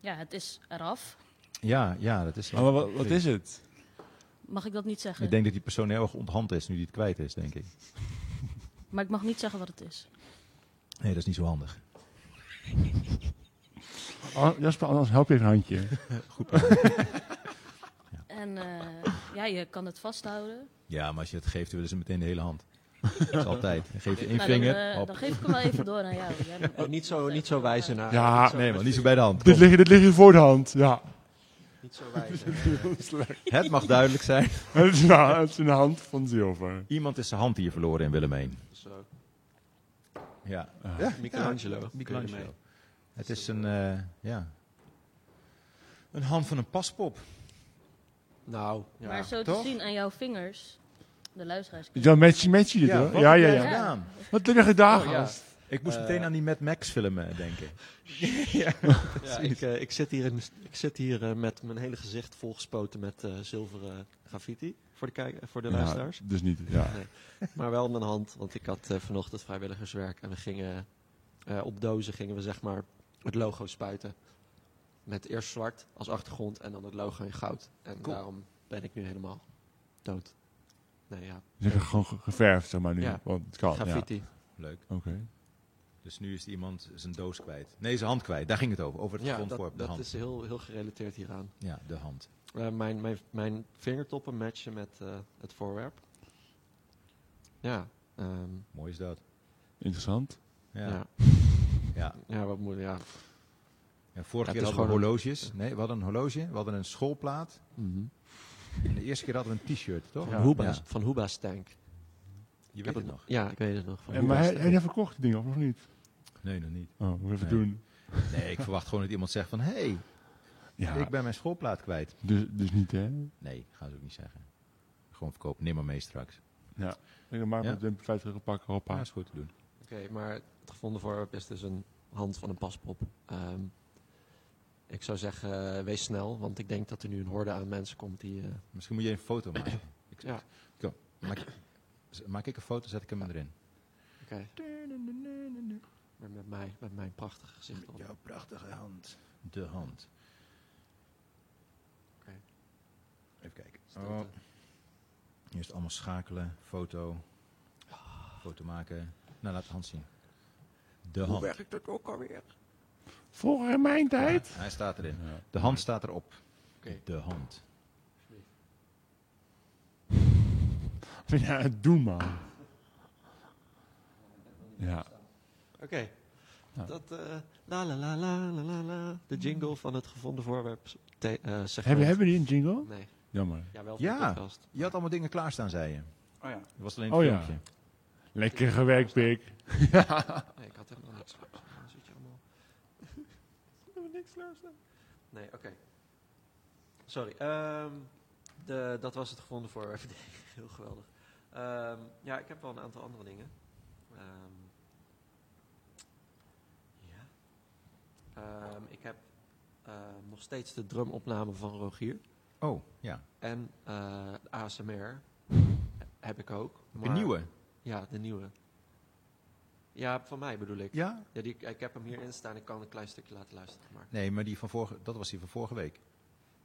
Speaker 2: Ja, het is eraf.
Speaker 1: Ja, ja, dat is
Speaker 4: Maar wat, wat is het?
Speaker 2: Mag ik dat niet zeggen?
Speaker 1: Ik denk dat die persoon heel erg onthand is nu die het kwijt is, denk ik.
Speaker 2: Maar ik mag niet zeggen wat het is.
Speaker 1: Nee, dat is niet zo handig.
Speaker 4: Oh, Jasper, anders help je even een handje.
Speaker 2: En eh, ja, je kan het vasthouden.
Speaker 1: Ja, maar als je het geeft, willen ze meteen de hele hand. Dat is altijd. Dan geef je één
Speaker 2: Nou, dan,
Speaker 1: vinger.
Speaker 2: eh,
Speaker 1: hop.
Speaker 2: dan geef ik hem wel even door aan jou. Jij moet-
Speaker 3: oh, niet zo, niet zo wijzen naar...
Speaker 4: Ja,
Speaker 3: niet zo-
Speaker 1: Nee, man, niet zo bij de hand.
Speaker 4: Dit
Speaker 1: Kom.
Speaker 4: ligt, dit ligt hier voor de hand. Ja.
Speaker 3: Niet zo wijzen.
Speaker 1: Het mag duidelijk zijn.
Speaker 4: Het is, een, het is een hand van zilver.
Speaker 1: Iemand is zijn hand hier verloren in Willemijn.
Speaker 3: Zo.
Speaker 1: Ja.
Speaker 4: Ah.
Speaker 1: ja.
Speaker 3: Michelangelo.
Speaker 1: Ja,
Speaker 3: Kun je ermee.
Speaker 1: Michelangelo. Het is een, eh, ja. Een hand van een paspop.
Speaker 3: Nou, ja.
Speaker 2: maar zo
Speaker 1: toch?
Speaker 2: te zien aan jouw vingers, de luisteraars.
Speaker 4: Dan match je dit hoor.
Speaker 1: wat
Speaker 4: Ja,
Speaker 1: heb
Speaker 4: ja,
Speaker 1: jij
Speaker 4: ja.
Speaker 1: gedaan?
Speaker 4: Wat heb je
Speaker 5: Ah,
Speaker 4: gedaan,
Speaker 3: Oh, ja.
Speaker 4: gast?
Speaker 1: Ik moest
Speaker 3: Eh,
Speaker 1: meteen aan die Mad Max film eh, denken.
Speaker 3: Ja, ik, eh, ik zit hier, in, ik zit hier eh, met mijn hele gezicht volgespoten met eh, zilveren graffiti voor de, kijk, voor de
Speaker 4: Ja,
Speaker 3: luisteraars.
Speaker 4: dus niet. Ja.
Speaker 3: Maar wel mijn hand, want ik had eh, vanochtend vrijwilligerswerk en we gingen eh, op dozen gingen we zeg maar het logo spuiten. Met eerst zwart als achtergrond en dan het logo in goud. En
Speaker 1: Cool.
Speaker 3: daarom ben ik nu helemaal dood. Nee, ja,
Speaker 4: Zeg gewoon ge- geverfd, zeg maar nu.
Speaker 3: Ja.
Speaker 4: Want het
Speaker 5: Oh,
Speaker 4: kan. Ja. Oké.
Speaker 3: graffiti.
Speaker 1: Leuk. Dus nu is iemand zijn doos kwijt. Nee, zijn hand kwijt. Daar ging het over. Over het
Speaker 3: Ja,
Speaker 1: grondworp.
Speaker 3: dat,
Speaker 1: De
Speaker 3: dat
Speaker 1: hand.
Speaker 3: is heel, heel gerelateerd hieraan.
Speaker 1: Ja, de hand.
Speaker 3: Eh, mijn, mijn, mijn vingertoppen matchen met eh, het voorwerp. Ja, ehm,
Speaker 1: Mooi is dat.
Speaker 4: Interessant.
Speaker 1: Ja.
Speaker 3: ja.
Speaker 1: ja. ja.
Speaker 3: ja, wat moet ja.
Speaker 1: vorige
Speaker 3: Ja,
Speaker 1: keer
Speaker 3: het is
Speaker 1: hadden we
Speaker 3: gewoon een-
Speaker 1: horloges. Nee, we hadden een horloge. We hadden een schoolplaat.
Speaker 3: Mhm.
Speaker 1: En de eerste keer hadden we een t-shirt, toch?
Speaker 3: Van, Hoeba's,
Speaker 1: Ja,
Speaker 3: van Hoeba's tank.
Speaker 1: je
Speaker 3: heb
Speaker 1: weet het nog.
Speaker 3: Ja, ik weet het nog. Van
Speaker 4: En, maar
Speaker 3: Hoeba's
Speaker 4: hij,
Speaker 3: tank.
Speaker 4: hij heeft verkocht die dingen, of nog niet?
Speaker 1: Nee, nog niet.
Speaker 4: Oh, moet even
Speaker 1: Nee.
Speaker 4: doen.
Speaker 1: Nee, ik verwacht gewoon dat iemand zegt van... Hé, hey,
Speaker 4: Ja,
Speaker 1: ik ben mijn schoolplaat kwijt.
Speaker 4: dus, dus niet hè.
Speaker 1: Nee, gaan ze ook niet zeggen. Gewoon verkoop, nimmer mee straks.
Speaker 4: Ik denk, maar
Speaker 1: Ja.
Speaker 4: met de 50 euro pakken, hoppa.
Speaker 1: Ja, is goed te doen.
Speaker 3: Oké, maar het gevonden voorwerp is dus een hand van een paspop. Ehm, Ik zou zeggen, eh, wees snel, want ik denk dat er nu een horde aan mensen komt die... eh,
Speaker 1: Misschien moet je een foto maken. Ik,
Speaker 3: Ja.
Speaker 1: Kom, maak, z- maak ik een foto, zet ik hem erin.
Speaker 3: Oké. Maar met mij, met mijn prachtige gezicht op.
Speaker 1: jouw prachtige hand. De hand.
Speaker 3: Oké.
Speaker 1: Even kijken.
Speaker 3: Stilte.
Speaker 1: Oh. Eerst allemaal schakelen, foto. Foto maken. Nou, laat de hand zien. De hand.
Speaker 3: werkt dat ook alweer?
Speaker 5: Voor in mijn tijd.
Speaker 1: Ja, hij staat erin.
Speaker 5: Ja.
Speaker 1: De hand staat erop.
Speaker 3: Oké.
Speaker 1: De hand.
Speaker 5: Ja, het doen man. Ja.
Speaker 3: Oké.
Speaker 5: Ja.
Speaker 3: Dat, eh, la la la la la la la. De jingle van het gevonden voorwerp. Te, eh, segment.
Speaker 5: Hebben, hebben we die een jingle?
Speaker 3: Nee,
Speaker 5: Jammer.
Speaker 3: ja, wel voor
Speaker 1: Ja.
Speaker 3: de podcast.
Speaker 1: Je had allemaal dingen klaarstaan, zei je. Het
Speaker 6: Oh ja.
Speaker 1: was alleen een
Speaker 5: Oh ja.
Speaker 1: filmpje.
Speaker 5: Lekker gewerkt, Pik.
Speaker 3: Nee, ik had helemaal niks klaarstaan. Dan zit je allemaal... ik heb niks klaarstaan. Nee, oké. Sorry. ehm, de, dat was het gevonden voorwerp. Heel geweldig. Ehm, ja, ik heb wel een aantal andere dingen. Ehm, ja. Ehm, ik heb eh, nog steeds de drumopname van Rogier.
Speaker 1: Oh, ja.
Speaker 3: En eh, de ASMR heb ik ook.
Speaker 1: De
Speaker 3: maar-
Speaker 1: nieuwe.
Speaker 3: Ja, de nieuwe. Ja, van mij bedoel ik.
Speaker 1: Ja?
Speaker 3: Ja, die, ik heb hem hierin staan. Ik kan een klein stukje laten luisteren. Maar,
Speaker 1: Nee, maar die van vorige, dat was die van vorige week.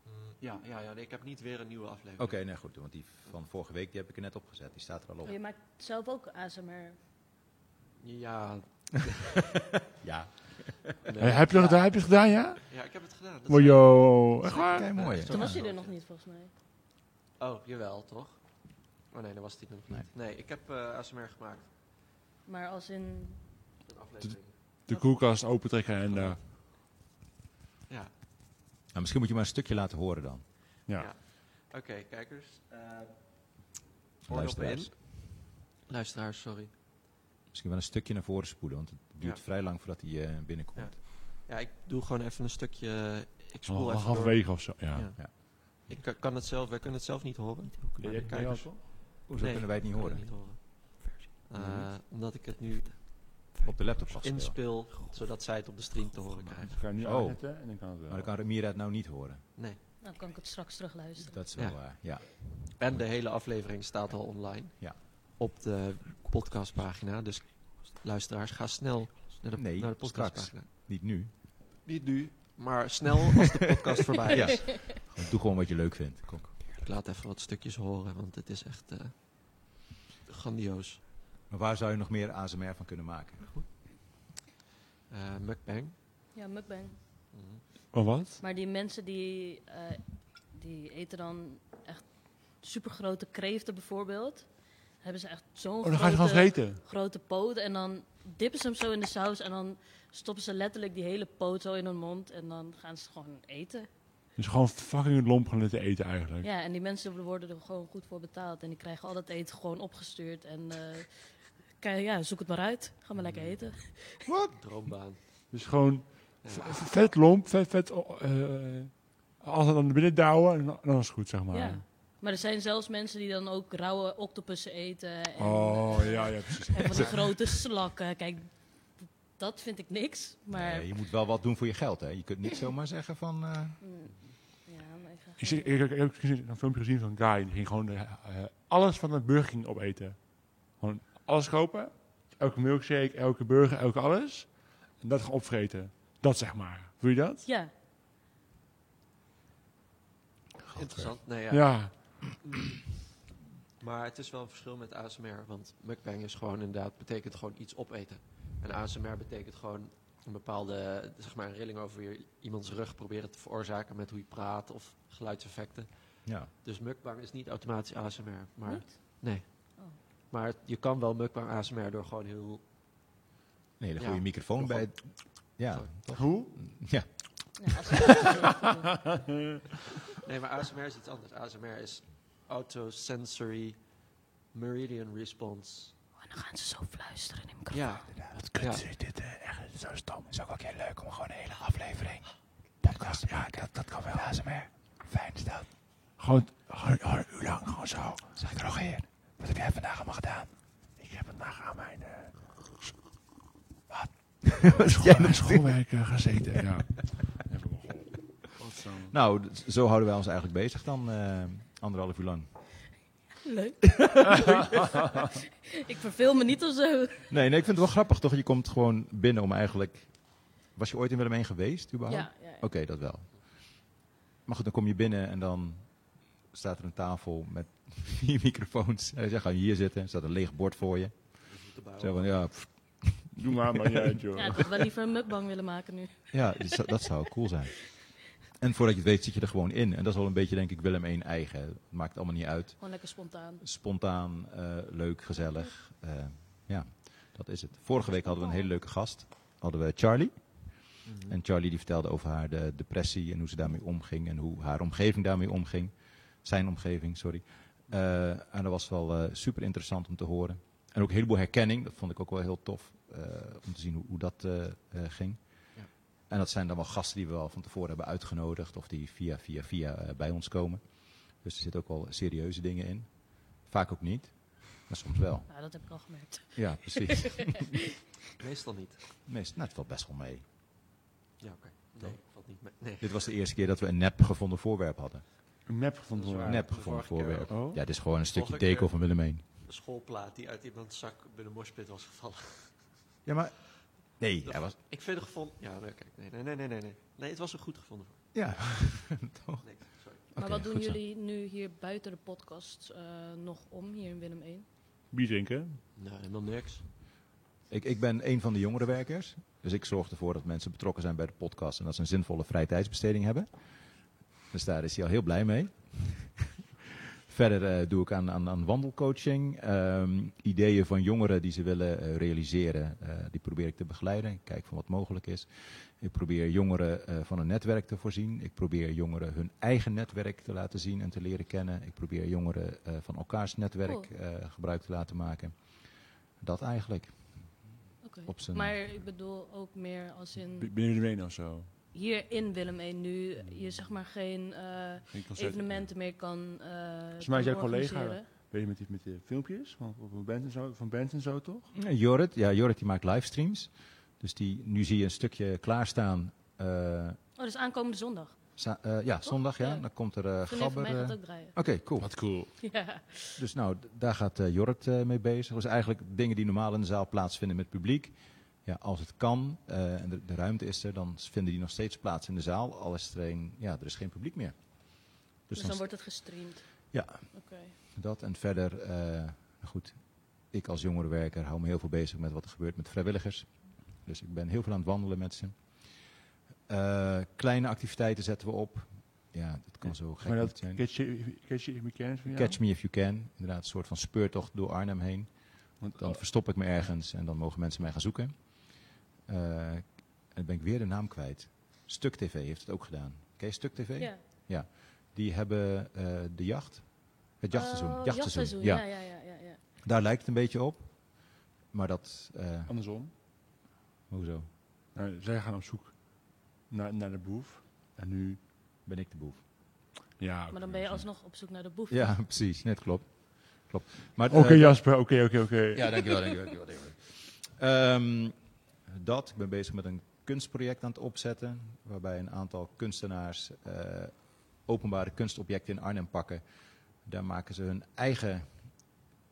Speaker 3: Mm, ja, ja, ja nee, ik heb niet weer een nieuwe aflevering.
Speaker 1: Oké, nee goed. Want die van vorige week die heb ik er net opgezet. Die staat er al op.
Speaker 2: Je maakt zelf ook ASMR.
Speaker 3: Ja,
Speaker 1: Ja.
Speaker 3: nee.
Speaker 5: Hey, heb, je gedaan, heb je het gedaan, ja?
Speaker 3: ja, ik heb het gedaan. Dat
Speaker 5: Maar yo, echt waar?
Speaker 1: Kijk, mooi.
Speaker 2: Toen
Speaker 1: Ja.
Speaker 2: was hij er nog niet, volgens mij.
Speaker 3: Oh, jawel, toch? Oh nee, dat was die nog niet.
Speaker 1: Nee.
Speaker 3: Nee, ik heb eh, ASMR gemaakt.
Speaker 2: Maar als in...
Speaker 3: Een aflevering.
Speaker 5: De koelkast opentrekken en daar.
Speaker 4: eh,
Speaker 3: Ja,
Speaker 1: Nou, misschien moet je maar een stukje laten horen dan.
Speaker 5: ja.
Speaker 3: oké, kijkers. Eh
Speaker 1: Luisteraars.
Speaker 3: in. Luisteraars, sorry.
Speaker 1: Misschien wel een stukje naar voren spoelen. Want het duurt
Speaker 3: Ja.
Speaker 1: vrij lang voordat hij eh, binnenkomt.
Speaker 3: Ja, ik doe gewoon even een stukje... eh, Ik spoel
Speaker 5: Oh,
Speaker 3: even door.
Speaker 5: halverwege of zo. Ja.
Speaker 3: Ja.
Speaker 1: Ja.
Speaker 3: Ik ka- kan het zelf, wij kunnen het zelf niet horen. Maar de kijkers
Speaker 1: Hoezo
Speaker 3: Nee,
Speaker 1: kunnen wij het niet
Speaker 3: kunnen
Speaker 1: horen?
Speaker 3: het niet horen. Eh, Omdat ik het nu
Speaker 1: Op de laptop vastspelen.
Speaker 3: inspeel, zodat zij het op de stream te horen krijgen.
Speaker 5: kan nu
Speaker 1: Oh.
Speaker 5: aanzetten en dan kan het wel.
Speaker 1: Maar dan kan Mira het nou niet horen.
Speaker 3: Nee.
Speaker 2: Nou, kan ik het straks terugluisteren.
Speaker 1: Dus Dat is wel
Speaker 3: Ja.
Speaker 1: waar. Ja.
Speaker 3: En de hele aflevering staat al online.
Speaker 1: Ja.
Speaker 3: Op de podcastpagina. Dus luisteraars, ga snel naar de,
Speaker 1: Nee,
Speaker 3: naar de podcastpagina.
Speaker 1: Niet nu.
Speaker 3: Niet nu, maar snel als de podcast voorbij
Speaker 1: Ja.
Speaker 3: is.
Speaker 1: Doe gewoon wat je leuk vindt. Kom.
Speaker 3: Ik laat even wat stukjes horen, want het is echt eh, grandioos.
Speaker 1: Maar waar zou je nog meer ASMR van kunnen maken?
Speaker 3: Eh mukbang.
Speaker 2: Ja, mukbang.
Speaker 3: Mhm.
Speaker 5: Oh, wat?
Speaker 2: Maar die mensen die, eh, die eten dan echt supergrote kreeften bijvoorbeeld. Hebben ze echt zo'n
Speaker 5: Oh, dan ga je gewoon
Speaker 2: grote,
Speaker 5: vreten.
Speaker 2: grote poot. En dan dippen ze hem zo in de saus. En dan stoppen ze letterlijk die hele poot zo in hun mond. En dan gaan ze gewoon eten.
Speaker 5: Dus gewoon fucking lomp gaan te eten eigenlijk.
Speaker 2: Ja, en die mensen worden er gewoon goed voor betaald. En die krijgen al dat eten gewoon opgestuurd. En eh, kijk, ja, zoek het maar uit. Ga maar lekker eten.
Speaker 3: Droombaan.
Speaker 5: Dus gewoon
Speaker 3: Ja.
Speaker 5: v- v- vet lomp, vet, vet, oh, eh, altijd aan de binnen douwen en dan- dan is het goed, zeg maar.
Speaker 2: Ja. Maar er zijn zelfs mensen die dan ook rauwe octopussen eten. En,
Speaker 5: Oh, ja, ja, precies.
Speaker 2: En van die grote slakken. Kijk, d- dat vind ik niks. Maar
Speaker 1: Nee, je moet wel wat doen voor je geld. Hè? Je kunt niet zomaar zeggen van... eh,
Speaker 2: Mm, ja, maar ik ga
Speaker 5: Ik,
Speaker 2: gewoon-
Speaker 5: zie- ik, ik, ik heb gezien- een filmpje gezien van een guy, die ging gewoon eh, eh, alles van de burger ging opeten. Gewoon alles kopen, elke milkshake, elke burger, elke alles. En dat gaan opvreten. Dat zeg maar. Voel je dat?
Speaker 2: Ja,
Speaker 3: Interessant. Nee,
Speaker 5: Ja.
Speaker 3: ja. Maar het is wel een verschil met ASMR, want mukbang is gewoon inderdaad, betekent gewoon iets opeten. En ASMR betekent gewoon een bepaalde, zeg maar, een rilling over je, iemands rug proberen te veroorzaken met hoe je praat of geluidseffecten.
Speaker 1: ja.
Speaker 3: Dus mukbang is niet automatisch ASMR, maar,
Speaker 2: niet?
Speaker 3: maar je kan wel mukbang ASMR door gewoon heel...
Speaker 1: Nee, dan
Speaker 3: Ja.
Speaker 1: gooi je microfoon
Speaker 3: Nog
Speaker 1: bij. Ja.
Speaker 3: Sorry.
Speaker 5: Hoe?
Speaker 1: ja.
Speaker 2: Nou, als ik dat zo doe.
Speaker 3: Nee, maar ASMR is iets anders. ASMR is autosensory meridian response.
Speaker 2: En Oh, dan gaan ze zo fluisteren in de microfoon.
Speaker 3: Ja,
Speaker 5: Wat
Speaker 3: Ja.
Speaker 5: kut is dit eh, echt zo stom. is ook wel heel leuk om gewoon een hele aflevering. Podcast, ja, dat, dat kan wel. ASMR. Fijn is dat. Gewoon, gewoon, gewoon een uur lang, gewoon zo. Zeg ik Rogier, wat heb jij vandaag allemaal gedaan? Ik heb vandaag aan mijn... eh, Wat? school, mijn schoolwerk eh, gezeten, ja. Even begonnen. zo'n...
Speaker 1: Nou, d- zo houden wij ons eigenlijk bezig dan eh, anderhalf uur lang.
Speaker 2: Leuk. ik verveel me niet of zo.
Speaker 1: Nee, nee, ik vind het wel grappig toch? Je komt gewoon binnen om eigenlijk... Was je ooit in Willem 1 geweest
Speaker 2: Ja,
Speaker 1: überhaupt?
Speaker 2: ja, ja.
Speaker 1: Oké, dat wel. Maar goed, dan kom je binnen en dan staat er een tafel met vier microfoons. En dan zeg je, ga hier zitten. Er staat een leeg bord voor je.
Speaker 3: Dus te bouwen.
Speaker 1: Zo van, ja, pff,
Speaker 5: Doe maar maar uit, joh.
Speaker 2: Ja, ik had wel liever een mukbang willen maken nu.
Speaker 1: ja dus dat zou- dat zou cool zijn. En voordat je het weet zit je er gewoon in. En dat is wel een beetje, denk ik, Willem 1 eigen. Het maakt allemaal niet uit.
Speaker 2: Gewoon lekker spontaan.
Speaker 1: Spontaan, eh, leuk, gezellig. Eh, ja, dat is het. Vorige week hadden we een hele leuke gast. Hadden we Charlie.
Speaker 3: Mhm.
Speaker 1: En Charlie die vertelde over haar de depressie en hoe ze daarmee omging en hoe haar omgeving daarmee omging. Zijn omgeving, sorry. Eh, en dat was wel eh, super interessant om te horen. En ook een heleboel herkenning, dat vond ik ook wel heel tof eh, om te zien hoe, hoe dat eh, eh, ging.
Speaker 3: Ja.
Speaker 1: En dat zijn dan wel gasten die we al van tevoren hebben uitgenodigd of die via, via, via eh, bij ons komen. Dus er zitten ook wel serieuze dingen in. Vaak ook niet, maar soms wel.
Speaker 2: Nou, dat heb ik al gemerkt.
Speaker 1: Ja, precies.
Speaker 3: Meestal niet.
Speaker 1: Meest, nou, het valt best wel mee.
Speaker 3: Ja, oké. Nee, valt niet mee. Nee.
Speaker 1: Dit was de eerste keer dat we een nep gevonden voorwerp hadden.
Speaker 5: Een map gevonden
Speaker 3: Dat is
Speaker 5: worden.
Speaker 3: waar.
Speaker 1: Nep
Speaker 3: de
Speaker 1: gevonden
Speaker 3: vorige keer
Speaker 1: voorwerp.
Speaker 5: Oh?
Speaker 1: Ja, dit is gewoon een stukje
Speaker 3: Volgende
Speaker 1: teko
Speaker 3: keer.
Speaker 1: van Willem heen.
Speaker 3: Een schoolplaat die uit iemands zak binnen morspit was gevallen.
Speaker 1: Ja, maar... Nee, hij was...
Speaker 3: Ik vind het gevonden... Ja, nee, kijk. Nee, nee, nee, nee, nee. Nee, nee het was een goed gevonden.
Speaker 1: Ja.
Speaker 3: Nee, sorry.
Speaker 2: Maar
Speaker 1: Oké,
Speaker 2: wat doen
Speaker 1: goed zo.
Speaker 2: jullie nu hier buiten de podcast eh, nog om, hier in Willem 1?
Speaker 5: Bier
Speaker 2: Mm.
Speaker 5: drinken.
Speaker 3: Nou, helemaal niks.
Speaker 1: Ik, ik ben een van de jongere werkers. Dus ik zorg ervoor dat mensen betrokken zijn bij de podcast. En dat ze een zinvolle vrije tijdsbesteding hebben. Dus daar is hij al heel blij mee. Verder eh, doe ik aan, aan, aan wandelcoaching. Ehm, ideeën van jongeren die ze willen eh, realiseren, eh, die probeer ik te begeleiden. Ik kijk van wat mogelijk is. Ik probeer jongeren eh, van een netwerk te voorzien. Ik probeer jongeren hun eigen netwerk te laten zien en te leren kennen. Ik probeer jongeren eh, van elkaars netwerk eh, gebruik te laten maken. Dat eigenlijk.
Speaker 2: Oké.
Speaker 1: Op zijn-
Speaker 2: Maar ik bedoel ook meer als in
Speaker 5: Binnen de benen of zo.
Speaker 2: hier in Willem 1 nu je zeg maar geen eh,
Speaker 5: Geen concert.
Speaker 2: evenementen meer kan. eh
Speaker 5: Volgens mij is
Speaker 2: kan
Speaker 5: jouw collega-
Speaker 2: organiseren.
Speaker 5: Weet je met die, met die filmpjes van, van, bands en zo, van bands en zo, toch?
Speaker 1: Ja, Jorrit, ja, Jorrit die maakt livestreams. Dus die, nu zie je een stukje klaarstaan. eh,
Speaker 2: Oh, dus aankomende zondag.
Speaker 1: za- eh, ja, zondag, ja.
Speaker 2: Ja.
Speaker 1: Dan komt er eh,
Speaker 2: Vriendin van
Speaker 1: Gabber.
Speaker 2: Oh, mij
Speaker 1: eh.
Speaker 2: gaat
Speaker 1: Oké,
Speaker 2: ook draaien.
Speaker 1: cool.
Speaker 5: Wat cool.
Speaker 2: Ja.
Speaker 1: Dus nou, d- daar gaat eh, Jorrit eh, mee bezig. Dus eigenlijk dingen die normaal in de zaal plaatsvinden met publiek. Ja, als het kan eh, en de, de ruimte is er, dan vinden die nog steeds plaats in de zaal. Al is er, een, ja, er is geen publiek meer.
Speaker 2: Dus dan wordt het gestreamd.
Speaker 1: Ja.
Speaker 2: Oké.
Speaker 1: Dat en verder, eh, nou goed, ik als jongerenwerker hou me heel veel bezig met wat er gebeurt met vrijwilligers. Dus ik ben heel veel aan het wandelen met ze. Eh, kleine activiteiten zetten we op. Ja, dat kan zo gek
Speaker 5: Maar
Speaker 1: niet
Speaker 5: dat
Speaker 1: zijn.
Speaker 5: Catch You- Catch You If You Can is van jou?
Speaker 1: Catch me if you can. Inderdaad, een soort van speurtocht door Arnhem heen.
Speaker 5: Want, eh,
Speaker 1: Dan verstop ik me ergens en dan mogen mensen mij gaan zoeken. Eh, en dan ben ik weer de naam kwijt. Stuk TV heeft het ook gedaan. Ken je Stuk TV?
Speaker 2: Ja.
Speaker 1: Die hebben eh, de jacht. Het jachtseizoen.
Speaker 2: Oh,
Speaker 1: jachtseizoen.
Speaker 2: Ja, ja, ja, ja, ja.
Speaker 1: Daar lijkt het een beetje op. Maar dat. eh,
Speaker 5: Andersom.
Speaker 1: hoezo?
Speaker 5: Nou, zij gaan op zoek naar, naar de boef. En nu...
Speaker 1: Ben ik de boef?
Speaker 5: Ja,
Speaker 2: Maar dan ben je alsnog op zoek naar de boef.
Speaker 1: Ja, precies. Net klopt. klopt. Maar,
Speaker 5: Oké
Speaker 1: eh,
Speaker 5: Jasper, oké, oké, oké.
Speaker 1: Ja, dankjewel. dankjewel, dankjewel, dankjewel. Ehm, dat. Ik ben bezig met een kunstproject aan het opzetten. Waarbij een aantal kunstenaars eh, openbare kunstobjecten in Arnhem pakken. Daar maken ze hun eigen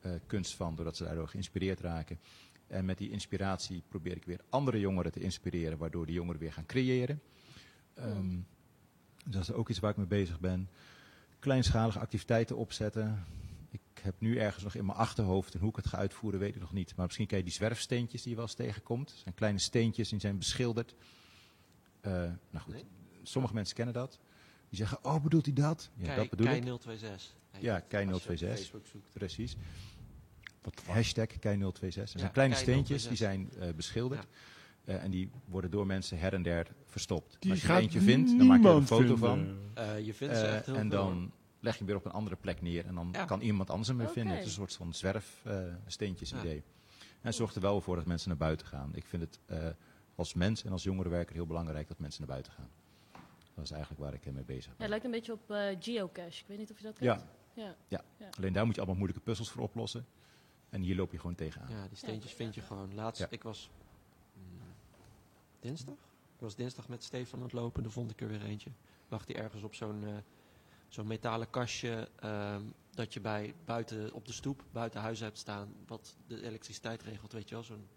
Speaker 1: eh, kunst van, doordat ze daardoor geïnspireerd raken. En met die inspiratie probeer ik weer andere jongeren te inspireren, waardoor die jongeren weer gaan creëren. Ehm, dus dat is ook iets waar ik mee bezig ben. Kleinschalige activiteiten opzetten. Ik heb nu ergens nog in mijn achterhoofd en hoe ik het ga uitvoeren, weet ik nog niet. Maar misschien ken je die zwerfsteentjes die je wel eens tegenkomt. Dat zijn kleine steentjes die zijn beschilderd. Eh, nou goed,
Speaker 3: Nee?
Speaker 1: sommige mensen kennen dat. Die zeggen, oh bedoelt hij dat? Ja,
Speaker 3: Kei-
Speaker 1: dat bedoel
Speaker 3: Kei
Speaker 1: ik.
Speaker 3: 026. heet
Speaker 1: Ja,
Speaker 3: het,
Speaker 1: Kei
Speaker 3: als je op
Speaker 1: 026.
Speaker 3: Facebook zoekt.
Speaker 1: Precies.
Speaker 5: Wat de fuck?
Speaker 1: Hashtag Kei026. Er zijn
Speaker 3: Ja,
Speaker 1: kleine
Speaker 3: Kei026.
Speaker 1: steentjes, die zijn eh, beschilderd. Eh, en die worden door mensen her en der verstopt.
Speaker 5: Die
Speaker 1: Als je
Speaker 5: gaat
Speaker 1: er eentje vindt, dan maak je er een
Speaker 5: niemand
Speaker 1: foto van.
Speaker 5: vinden.
Speaker 3: Eh, je vindt ze
Speaker 1: Eh,
Speaker 3: echt heel
Speaker 1: en
Speaker 3: veel,
Speaker 1: dan
Speaker 3: hoor.
Speaker 1: leg je hem weer op een andere plek neer. En dan
Speaker 3: Ja.
Speaker 1: kan iemand anders hem weer
Speaker 2: Oké.
Speaker 1: vinden. Het is een soort van zwerfsteentjes
Speaker 3: Ja.
Speaker 1: idee. En het zorgt er wel voor dat mensen naar buiten gaan. Ik vind het eh, als mens en als jongerenwerker heel belangrijk dat mensen naar buiten gaan. Dat is eigenlijk waar ik eh, mee bezig
Speaker 2: Ja, het
Speaker 1: ben.
Speaker 2: lijkt een beetje op eh, geocache. Ik weet niet of je dat
Speaker 1: Ja.
Speaker 2: kent. Ja.
Speaker 1: Alleen daar moet je allemaal moeilijke puzzels voor oplossen. En hier loop je gewoon tegenaan.
Speaker 3: Ja, die steentjes vind je gewoon. Laatst,
Speaker 1: Ja.
Speaker 3: ik was mm, dinsdag? Ik was dinsdag met Stefan aan het lopen, dan vond ik er weer eentje. lag die ergens op zo'n eh, zo'n metalen kastje ehm, dat je bij buiten op de stoep buiten huis hebt staan wat de elektriciteit regelt, weet je wel, zo'n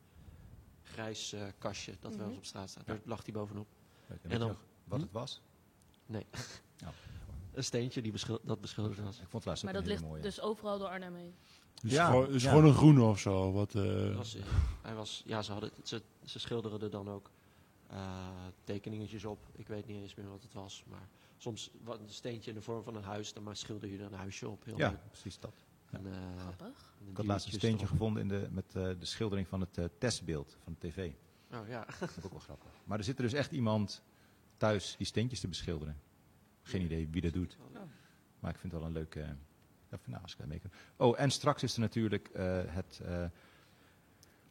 Speaker 3: grijs eh, kastje dat wel eens
Speaker 2: Mhm.
Speaker 3: op straat staat.
Speaker 1: Ja.
Speaker 3: Daar lag die bovenop.
Speaker 1: Weet
Speaker 3: En
Speaker 1: je
Speaker 3: dan-
Speaker 1: nog wat het was?
Speaker 3: Een steentje die beschil- dat beschilderd was.
Speaker 1: Ik vond het laatst ook
Speaker 2: Maar
Speaker 1: een
Speaker 2: dat
Speaker 1: hele
Speaker 2: ligt
Speaker 1: mooie.
Speaker 2: dus overal door Arnhem heen.
Speaker 5: Dus
Speaker 1: Ja,
Speaker 5: gewoon, dus
Speaker 1: ja.
Speaker 5: gewoon een groene of zo. Wat, eh,
Speaker 3: Het Was, eh, hij was, ja, ze, hadden, ze, ze schilderden er dan ook eh, tekeningetjes op. Ik weet niet eens meer wat het was. Maar soms wat, een steentje in de vorm van een huis, dan maar schilder je er een huisje op. Heel leuk.
Speaker 1: Ja, precies dat.
Speaker 3: En, eh, en
Speaker 2: Grappig.
Speaker 3: de
Speaker 1: Ik had laatst een
Speaker 3: diertjes
Speaker 1: steentje
Speaker 3: erop.
Speaker 1: gevonden in de, met eh, de schildering van het eh, testbeeld van de tv.
Speaker 3: Oh ja,
Speaker 1: Dat vond ik ook wel grappig. Maar er zit er dus echt iemand thuis die steentjes te beschilderen. Geen idee wie dat doet. Maar ik vind het wel een leuke... eh, ja, van, nou, als ik daarmee kan. Oh, en straks is er natuurlijk eh, het... eh,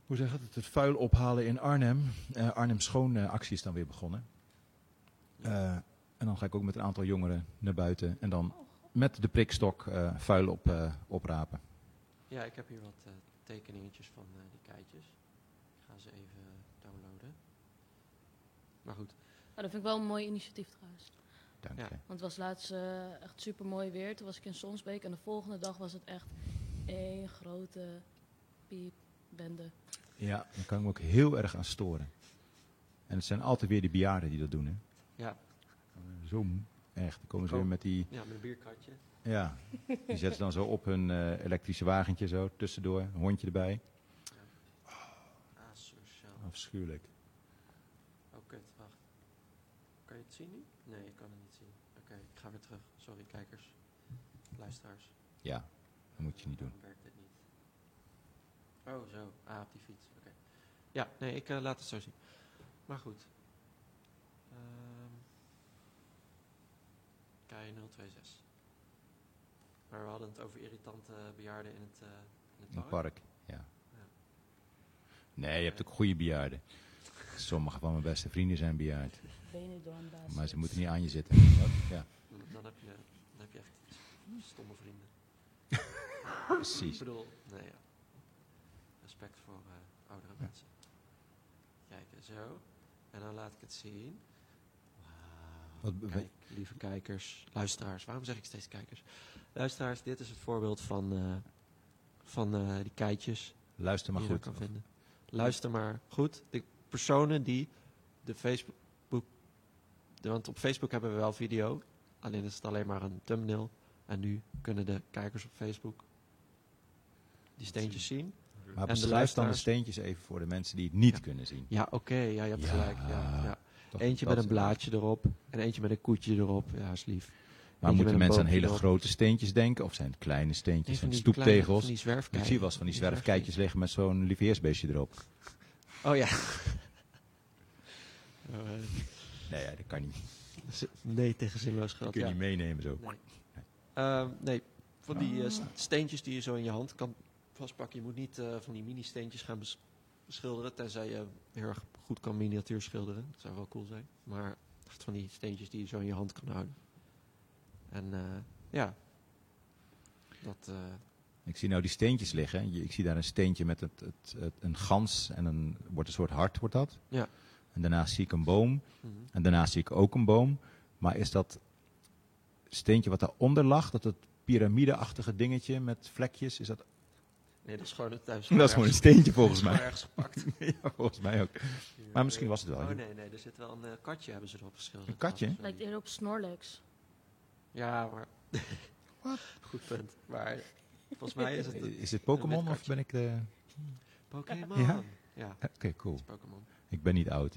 Speaker 1: hoe zeg het? Het vuil ophalen in Arnhem. Eh, Arnhem Schoon eh, actie is dan weer begonnen. Eh, en dan ga ik ook met een aantal jongeren naar buiten. En dan met de prikstok eh, vuil op, eh, oprapen.
Speaker 3: ja, ik heb hier wat eh, tekeningetjes van eh, die keitjes. Ik ga ze even downloaden. Maar goed,
Speaker 2: Maar Oh, dat vind ik wel een mooi initiatief trouwens.
Speaker 1: Dank
Speaker 3: Ja.
Speaker 1: je.
Speaker 2: Want het was laatst eh, echt super mooi weer. Toen was ik in Sonsbeek en de volgende dag was het echt één grote piepbende.
Speaker 1: Ja, daar kan ik me ook heel erg aan storen. En het zijn altijd weer die bejaarden die dat doen, hè?
Speaker 3: ja,
Speaker 1: Zo moe. Echt, dan komen ze
Speaker 3: Oh.
Speaker 1: weer met die...
Speaker 3: ja met een bierkratje.
Speaker 1: Ja, die zetten ze dan zo op hun eh, elektrische wagentje zo, tussendoor, een hondje erbij.
Speaker 3: Ah, Asociaal.
Speaker 1: Afschuwelijk.
Speaker 3: Oh, kut, wacht. Kan je het zien nu? Nee, ik kan het niet zien. Oké, ik ga weer terug. Sorry, kijkers. Luisteraars.
Speaker 1: Ja, dat moet je niet doen.
Speaker 3: Waarom werkt dit niet? Oh, zo. Ah, op die fiets. Oké. Ja, nee, ik eh, laat het zo zien. Maar goed. Ehm K026. Maar we hadden het over irritante bejaarden in het, eh in het
Speaker 1: In het
Speaker 3: park.
Speaker 1: park, ja. Nee, je hebt ook goede bejaarden. Sommige van mijn beste vrienden zijn bejaard,
Speaker 2: Benidorm basis.
Speaker 1: maar ze moeten niet aan je zitten. Wat? Ja,
Speaker 3: Dan- Dan heb je, dan heb je echt stomme vrienden. Ik
Speaker 1: precies.
Speaker 3: bedoel, nee, ja. respect voor eh, oudere mensen. Kijken, zo. En dan laat ik het zien. Wauw.
Speaker 1: Wat be-
Speaker 3: Kijk, lieve kijkers, luisteraars. Waarom zeg ik steeds kijkers? Luisteraars, dit is het voorbeeld van, eh, van eh, die keitjes
Speaker 1: Luister maar
Speaker 3: die je daar
Speaker 1: goed.
Speaker 3: kan vinden. Luister maar goed. De personen die de Facebook... de- want op Facebook hebben we wel video. Alleen is het alleen maar een thumbnail. En nu kunnen de kijkers op Facebook die steentjes zien.
Speaker 1: Maar
Speaker 3: de
Speaker 1: beschrijf dan de
Speaker 3: luisteraars-
Speaker 1: steentjes even voor de mensen die het niet
Speaker 3: Ja.
Speaker 1: kunnen zien.
Speaker 3: Ja, oké. ja, je hebt
Speaker 1: Ja.
Speaker 3: gelijk. Ja, ja.
Speaker 1: Toch,
Speaker 3: Eentje
Speaker 1: dat
Speaker 3: met een
Speaker 1: is-
Speaker 3: blaadje erop. En eentje met een koetje erop. Ja, is lief.
Speaker 1: Maar
Speaker 3: Eentje met
Speaker 1: moeten
Speaker 3: een
Speaker 1: mensen aan
Speaker 3: boompje
Speaker 1: hele
Speaker 3: erop.
Speaker 1: grote steentjes denken? Of zijn het kleine steentjes van
Speaker 3: Even
Speaker 1: de
Speaker 3: die
Speaker 1: stoeptegels?
Speaker 3: kleine- van die
Speaker 1: Ik zie
Speaker 3: zwerfkijkers.
Speaker 1: wel eens van die
Speaker 3: Die
Speaker 1: zwerfkijtjes liggen met zo'n lieveheersbeestje erop.
Speaker 3: Oh ja. Oh, eh,
Speaker 1: Nee, ja, dat kan niet. Dat
Speaker 3: z- nee, tegen zinloos geld.
Speaker 1: kun je
Speaker 3: ja.
Speaker 1: niet meenemen zo.
Speaker 3: Nee. Ehm, nee, van die eh, st- steentjes die je zo in je hand kan vastpakken. Je moet niet eh, van die mini-steentjes gaan bes- beschilderen. Tenzij je heel erg goed kan miniatuur schilderen. Dat zou wel cool zijn. Maar echt van die steentjes die je zo in je hand kan houden. En eh, ja, dat, eh,
Speaker 1: Ik zie nou die steentjes liggen. Je- Ik zie daar een steentje met het, het, het- een gans en een, wordt een soort hart, wordt dat.
Speaker 3: Ja.
Speaker 1: En daarnaast zie ik een boom.
Speaker 3: mhm.
Speaker 1: En daarnaast zie ik ook een boom. Maar is dat steentje wat daaronder lag, dat het piramideachtige dingetje met vlekjes, is dat,
Speaker 3: nee, dat is gewoon het thuis.
Speaker 1: dat is gewoon een steentje volgens
Speaker 3: Gewoon
Speaker 1: mij.
Speaker 3: ergens gepakt.
Speaker 1: Ja, volgens mij ook. Maar misschien was het wel.
Speaker 3: Oh nee, nee, er zit wel een eh, katje hebben ze erop geschilderd.
Speaker 1: Een katje?
Speaker 3: Sorry.
Speaker 2: Lijkt eerder op Snorlax.
Speaker 3: Ja, maar. Goed punt. Maar volgens mij is het een
Speaker 1: Is dit Pokémon
Speaker 3: Met
Speaker 1: of
Speaker 3: katje.
Speaker 1: ben ik de...
Speaker 3: Pokémon.
Speaker 1: Ja?
Speaker 3: Ja,
Speaker 1: Oké, cool.
Speaker 3: het is Pokémon.
Speaker 1: Ik ben niet oud.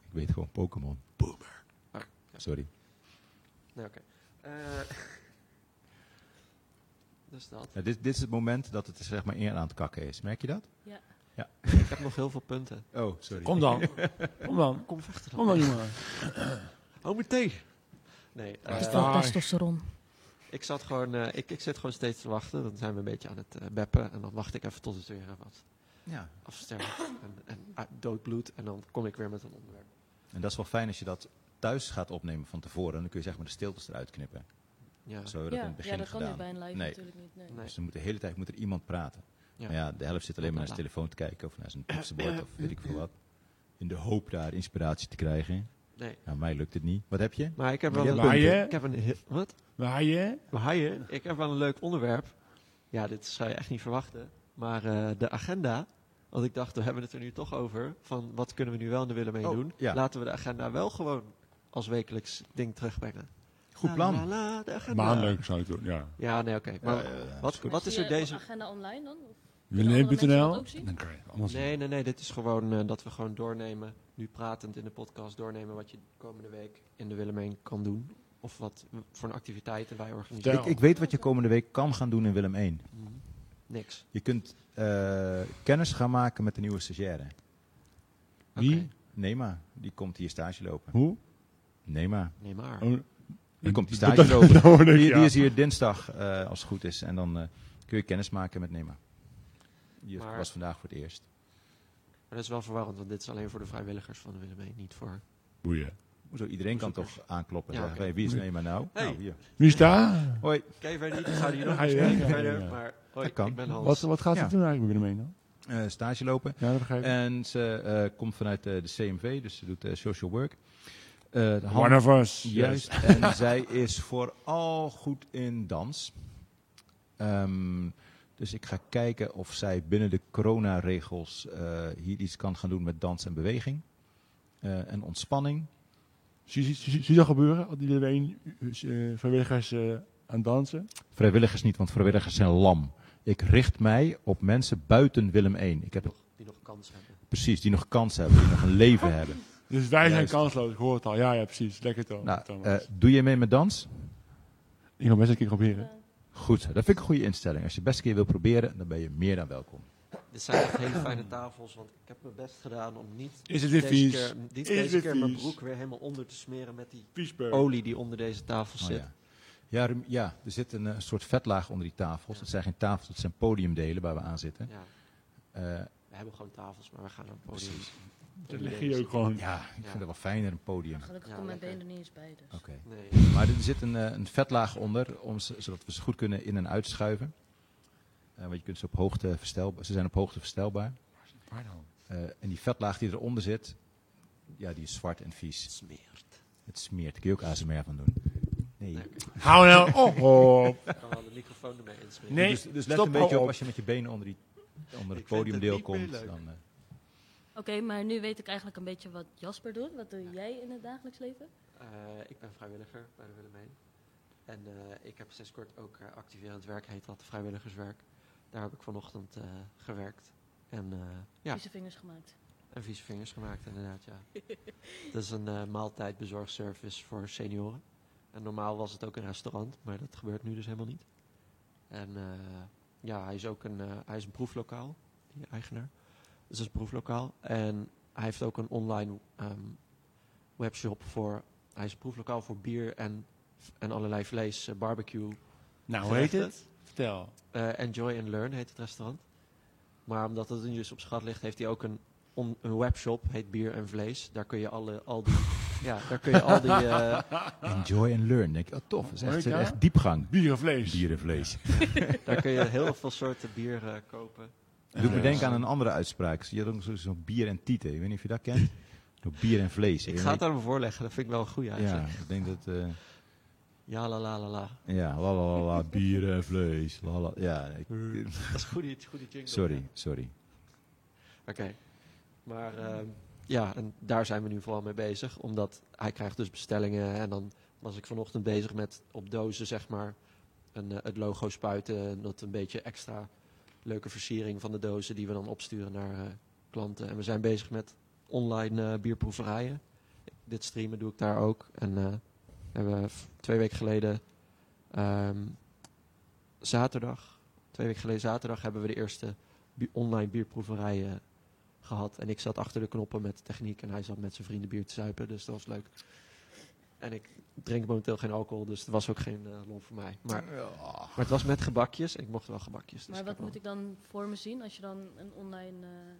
Speaker 1: Ik weet gewoon Pokémon.
Speaker 3: Oh,
Speaker 1: Boomer.
Speaker 3: ja.
Speaker 1: Sorry.
Speaker 3: Nee, oké. Eh, dus dat.
Speaker 1: Nou, dit, dit is het moment dat het er zeg maar eer aan het kakken is. Merk je dat?
Speaker 3: Ik heb nog heel veel punten.
Speaker 1: Oh, sorry.
Speaker 4: Kom dan. Kom dan.
Speaker 3: Kom vechten
Speaker 4: Kom dan, jongen.
Speaker 3: Hou me tegen. Nee, eh,
Speaker 4: is
Speaker 1: Oh,
Speaker 4: dat? Dag.
Speaker 2: testosteron.
Speaker 3: ik, zat gewoon, eh, ik, ik zit gewoon steeds te wachten. Dan zijn we een beetje aan het eh, beppen. En dan wacht ik even tot het weer eh, wat
Speaker 1: Ja.
Speaker 3: afsterft. en en ah, doodbloedt. En dan kom ik weer met een onderwerp.
Speaker 1: En dat is wel fijn als je dat thuis gaat opnemen van tevoren. Dan kun je zeg maar de stiltes eruit knippen.
Speaker 3: Ja.
Speaker 1: Zo hebben we dat in
Speaker 2: Ja,
Speaker 1: het begin
Speaker 2: ja, dat kan
Speaker 1: gedaan.
Speaker 2: nu bij een live
Speaker 1: Nee.
Speaker 2: natuurlijk niet. Nee.
Speaker 3: Nee.
Speaker 1: Dus dan moet de hele tijd moet er iemand praten.
Speaker 3: Ja.
Speaker 1: Maar ja, de helft zit alleen maar naar zijn telefoon te kijken of naar zijn toetsenbord of weet ik veel wat. In de hoop daar inspiratie te krijgen.
Speaker 3: Nee.
Speaker 1: Nou, mij lukt het niet. Wat heb je?
Speaker 3: Maar ik heb
Speaker 1: Maar
Speaker 3: wel
Speaker 1: je
Speaker 3: een
Speaker 1: hebt
Speaker 5: punten.
Speaker 3: Ik heb een he- wat?
Speaker 5: Waar je?
Speaker 3: Haaien? Ik heb wel een leuk onderwerp. Ja, dit zou je echt niet verwachten. Maar eh, de agenda. Want ik dacht, we hebben het er nu toch over. Van wat kunnen we nu wel en willen mee
Speaker 1: Oh,
Speaker 3: doen.
Speaker 1: ja.
Speaker 3: Laten we de agenda wel gewoon als wekelijks ding terugbrengen.
Speaker 1: Goed
Speaker 3: La,
Speaker 1: plan.
Speaker 3: la, la, de agenda.
Speaker 5: Maandelijk zou ik doen, ja.
Speaker 3: Ja, nee, oké.
Speaker 1: Ja,
Speaker 3: Maar
Speaker 1: ja, ja.
Speaker 3: wat, wat is er deze...
Speaker 2: agenda online dan? Of kunnen andere mensen dat
Speaker 5: Willem.nl.
Speaker 2: ook zien?
Speaker 5: Dan kan je het allemaal zien.
Speaker 3: Nee, nee, nee. Dit is gewoon eh, dat we gewoon doornemen. Nu pratend in de podcast doornemen wat je komende week in de Willemijn kan doen. Of wat w- voor een activiteiten wij organiseren.
Speaker 1: Ik, ik weet wat je komende week kan gaan doen in Willem 1.
Speaker 3: Mhm. Niks.
Speaker 1: Je kunt eh, kennis gaan maken met de nieuwe stagiaire.
Speaker 5: Wie?
Speaker 3: Oké,
Speaker 1: Nema, die komt hier stage lopen.
Speaker 5: Hoe?
Speaker 1: Nema,
Speaker 3: Nee maar.
Speaker 5: Oh,
Speaker 1: die komt hier
Speaker 5: die
Speaker 1: stage lopen.
Speaker 5: hoorde ik,
Speaker 1: Die, die
Speaker 5: ja.
Speaker 1: is hier dinsdag, eh, als het goed is. En dan eh, kun je kennis maken met Nema. Die
Speaker 3: Maar-
Speaker 1: was vandaag voor het eerst.
Speaker 3: Maar dat is wel verwarrend, want dit is alleen voor de vrijwilligers van de Willemijn, niet voor...
Speaker 5: Boeien.
Speaker 1: Hoezo, iedereen kan toch aankloppen en
Speaker 3: Ja,
Speaker 1: zeggen,
Speaker 3: oké.
Speaker 1: hey, wie is Nema nou?
Speaker 3: Hey.
Speaker 1: Nou, hier.
Speaker 5: Wie is daar?
Speaker 1: Hoi,
Speaker 3: Oké, verder niet. We zouden hier nog
Speaker 5: Ga je
Speaker 3: bespreken
Speaker 5: weg?
Speaker 3: verder,
Speaker 5: Ja.
Speaker 3: maar... Hoi,
Speaker 1: Dat kan.
Speaker 3: ik ben Hans.
Speaker 5: Wat, wat gaat ze
Speaker 1: Ja.
Speaker 5: doen eigenlijk weer mee dan?
Speaker 1: eh, stage lopen.
Speaker 5: Ja, dat begrijp ik.
Speaker 1: En ze eh, komt vanuit eh, de CMV, dus ze doet eh, social work. Eh, de hand-
Speaker 5: One of us.
Speaker 1: Juist. En zij is vooral goed in dans. Ehm, dus ik ga kijken of zij binnen de coronaregels eh, hier iets kan gaan doen met dans en beweging. Eh, en ontspanning.
Speaker 5: Zie zie- zie- zie je dat gebeuren? Al die iedereen, eh, vrijwilligers eh, aan het dansen?
Speaker 1: Vrijwilligers niet, want vrijwilligers zijn lam. Ik richt mij op mensen buiten Willem 1. Ik heb
Speaker 3: Die
Speaker 1: het
Speaker 3: nog, die nog kans hebben.
Speaker 1: precies, die nog kans hebben, die nog een leven hebben.
Speaker 5: Dus wij zijn
Speaker 1: Juist.
Speaker 5: kansloos, ik hoor het al. Ja, ja, precies. Lekker toch.
Speaker 1: Nou,
Speaker 5: Oh, Thomas.
Speaker 1: eh, doe je mee met dans?
Speaker 5: ik ga best een keer proberen.
Speaker 1: Goed, zo. dat vind ik een goede instelling. Als je het best een keer wil proberen, dan ben je meer dan welkom.
Speaker 3: Dit zijn echt hele fijne tafels, want ik heb mijn best gedaan om niet
Speaker 5: Is het weer
Speaker 3: deze
Speaker 5: vies?
Speaker 3: keer, niet
Speaker 5: Is
Speaker 3: deze
Speaker 5: dit
Speaker 3: keer mijn
Speaker 5: vies?
Speaker 3: broek weer helemaal onder te smeren met die
Speaker 5: Viesburg.
Speaker 3: olie die onder deze tafel
Speaker 1: Oh,
Speaker 3: zit.
Speaker 1: ja. Ja, Rum- ja, er zit een eh, soort vetlaag onder die tafels.
Speaker 3: Ja.
Speaker 1: Dat zijn geen tafels, dat zijn podiumdelen waar we aan zitten.
Speaker 3: Ja,
Speaker 1: Eh,
Speaker 3: we hebben gewoon tafels, maar we gaan naar het podium.
Speaker 1: Precies.
Speaker 5: Daar lig je ook gewoon.
Speaker 1: ja, ik vind dat wel fijner, een podium. Oké.
Speaker 2: Gelukkig
Speaker 3: Ja,
Speaker 2: komt mijn
Speaker 3: lekker.
Speaker 2: been er niet eens bij. Dus.
Speaker 3: Nee.
Speaker 1: Maar er zit een, eh, een vetlaag onder, om, ze- zodat we ze goed kunnen in- en uitschuiven. Eh, want je kunt ze op hoogte verstelbaar, ze zijn op hoogte verstelbaar. Eh, en die vetlaag die eronder zit, ja, die is zwart en vies.
Speaker 3: Smeert.
Speaker 1: Het smeert, daar kun je ook ASMR van doen. Nee.
Speaker 3: Nee.
Speaker 5: Hou nou op.
Speaker 3: Ik kan wel de microfoon ermee insmeren.
Speaker 5: Nee.
Speaker 1: Dus, dus let
Speaker 5: stop,
Speaker 1: een beetje
Speaker 5: hou
Speaker 1: op
Speaker 5: op.
Speaker 1: als je met je benen onder, die, onder het
Speaker 3: Ik vind het
Speaker 1: podiumdeel
Speaker 3: niet meer
Speaker 1: komt.
Speaker 3: leuk.
Speaker 1: Dan, eh,
Speaker 2: Oké, maar nu weet ik eigenlijk een beetje wat Jasper doet. Wat doe jij in het dagelijks leven?
Speaker 3: Eh, ik ben vrijwilliger bij de Willemijn. En eh, ik heb sinds kort ook eh, activerend werk, heet dat, vrijwilligerswerk. Daar heb ik vanochtend eh, gewerkt. En, eh, ja,
Speaker 2: Vieze vingers gemaakt.
Speaker 3: en vieze vingers gemaakt, inderdaad, ja. dat is een eh maaltijdbezorgservice voor senioren. En normaal was het ook een restaurant, maar dat gebeurt nu dus helemaal niet. En eh, ja, hij is ook een, eh, hij is een proeflokaal, die eigenaar. Dus dat is een proeflokaal. En hij heeft ook een online ehm, webshop voor, hij is een proeflokaal voor bier en, en allerlei vlees, eh, barbecue.
Speaker 5: Nou, hoe heet
Speaker 3: gerechten.
Speaker 5: het? Vertel.
Speaker 3: Eh, Enjoy and Learn heet het restaurant. Maar omdat het nu dus op schat ligt, heeft hij ook een, on- een webshop, heet Bier en Vlees. Daar kun je alle, al die... ja, daar kun je al die... eh,
Speaker 1: Enjoy and learn. Denk ik, oh tof, dat is echt,
Speaker 5: Hoor je dat?
Speaker 1: echt diepgang.
Speaker 5: Bier en vlees.
Speaker 1: Dierenvlees.
Speaker 3: daar kun je heel veel soorten bier eh, kopen.
Speaker 1: Doe me
Speaker 5: Ja.
Speaker 1: denken aan een andere uitspraak. Je had ook zo- zo'n bier en tieten. Ik weet niet of je dat kent. Zo bier en vlees.
Speaker 3: Ik ga het aan hem voorleggen, dat vind ik wel een goeie
Speaker 1: ja,
Speaker 3: eigenlijk.
Speaker 1: ik denk dat... eh,
Speaker 3: Ja, la la la la.
Speaker 1: ja, la la la la, bier en vlees. La, la, ja, ik-
Speaker 5: Eh,
Speaker 3: Dat is een goede, goede jingle.
Speaker 1: sorry, sorry.
Speaker 3: Oké. Maar ehm, ja, en daar zijn we nu vooral mee bezig. Omdat hij krijgt dus bestellingen. En dan was ik vanochtend bezig met op dozen, zeg maar, een, eh, het logo spuiten. En dat een beetje extra leuke versiering van de dozen die we dan opsturen naar eh, klanten. En we zijn bezig met online eh, bierproeverijen. Dit streamen doe ik daar ook. En eh, hebben we v- twee weken geleden, ehm, zaterdag, twee weken geleden zaterdag, hebben we de eerste bi- online bierproeverijen gehad. En ik zat achter de knoppen met de techniek en hij zat met zijn vrienden bier te zuipen. Dus dat was leuk. En ik drink momenteel geen alcohol, dus het was ook geen eh, lol voor mij. Maar, maar het was met gebakjes en ik mocht wel gebakjes. Dus
Speaker 2: Maar wat
Speaker 3: heb wel-
Speaker 2: moet ik dan voor me zien als je dan een online, eh,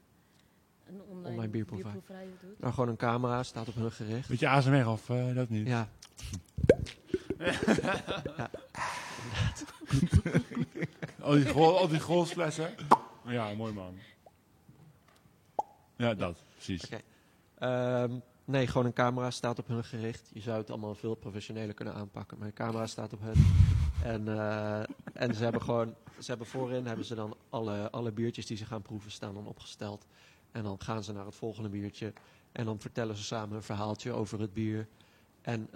Speaker 2: een online,
Speaker 3: Online bierproeverij.
Speaker 2: bierproeverij doet?
Speaker 3: Nou, gewoon een camera, staat op hun gericht.
Speaker 5: Beetje ASMR of eh, dat niet?
Speaker 3: Ja.
Speaker 5: Al die, gro- al die golfsflessen. Ja, mooi man. Ja, dat. Precies.
Speaker 3: Oké. Ehm, Nee, gewoon een camera staat op hun gericht. Je zou het allemaal veel professioneler kunnen aanpakken. Maar een camera staat op hun. En, eh, en ze hebben gewoon, ze hebben voorin hebben ze dan alle, alle biertjes die ze gaan proeven staan dan opgesteld. En dan gaan ze naar het volgende biertje. En dan vertellen ze samen een verhaaltje over het bier. En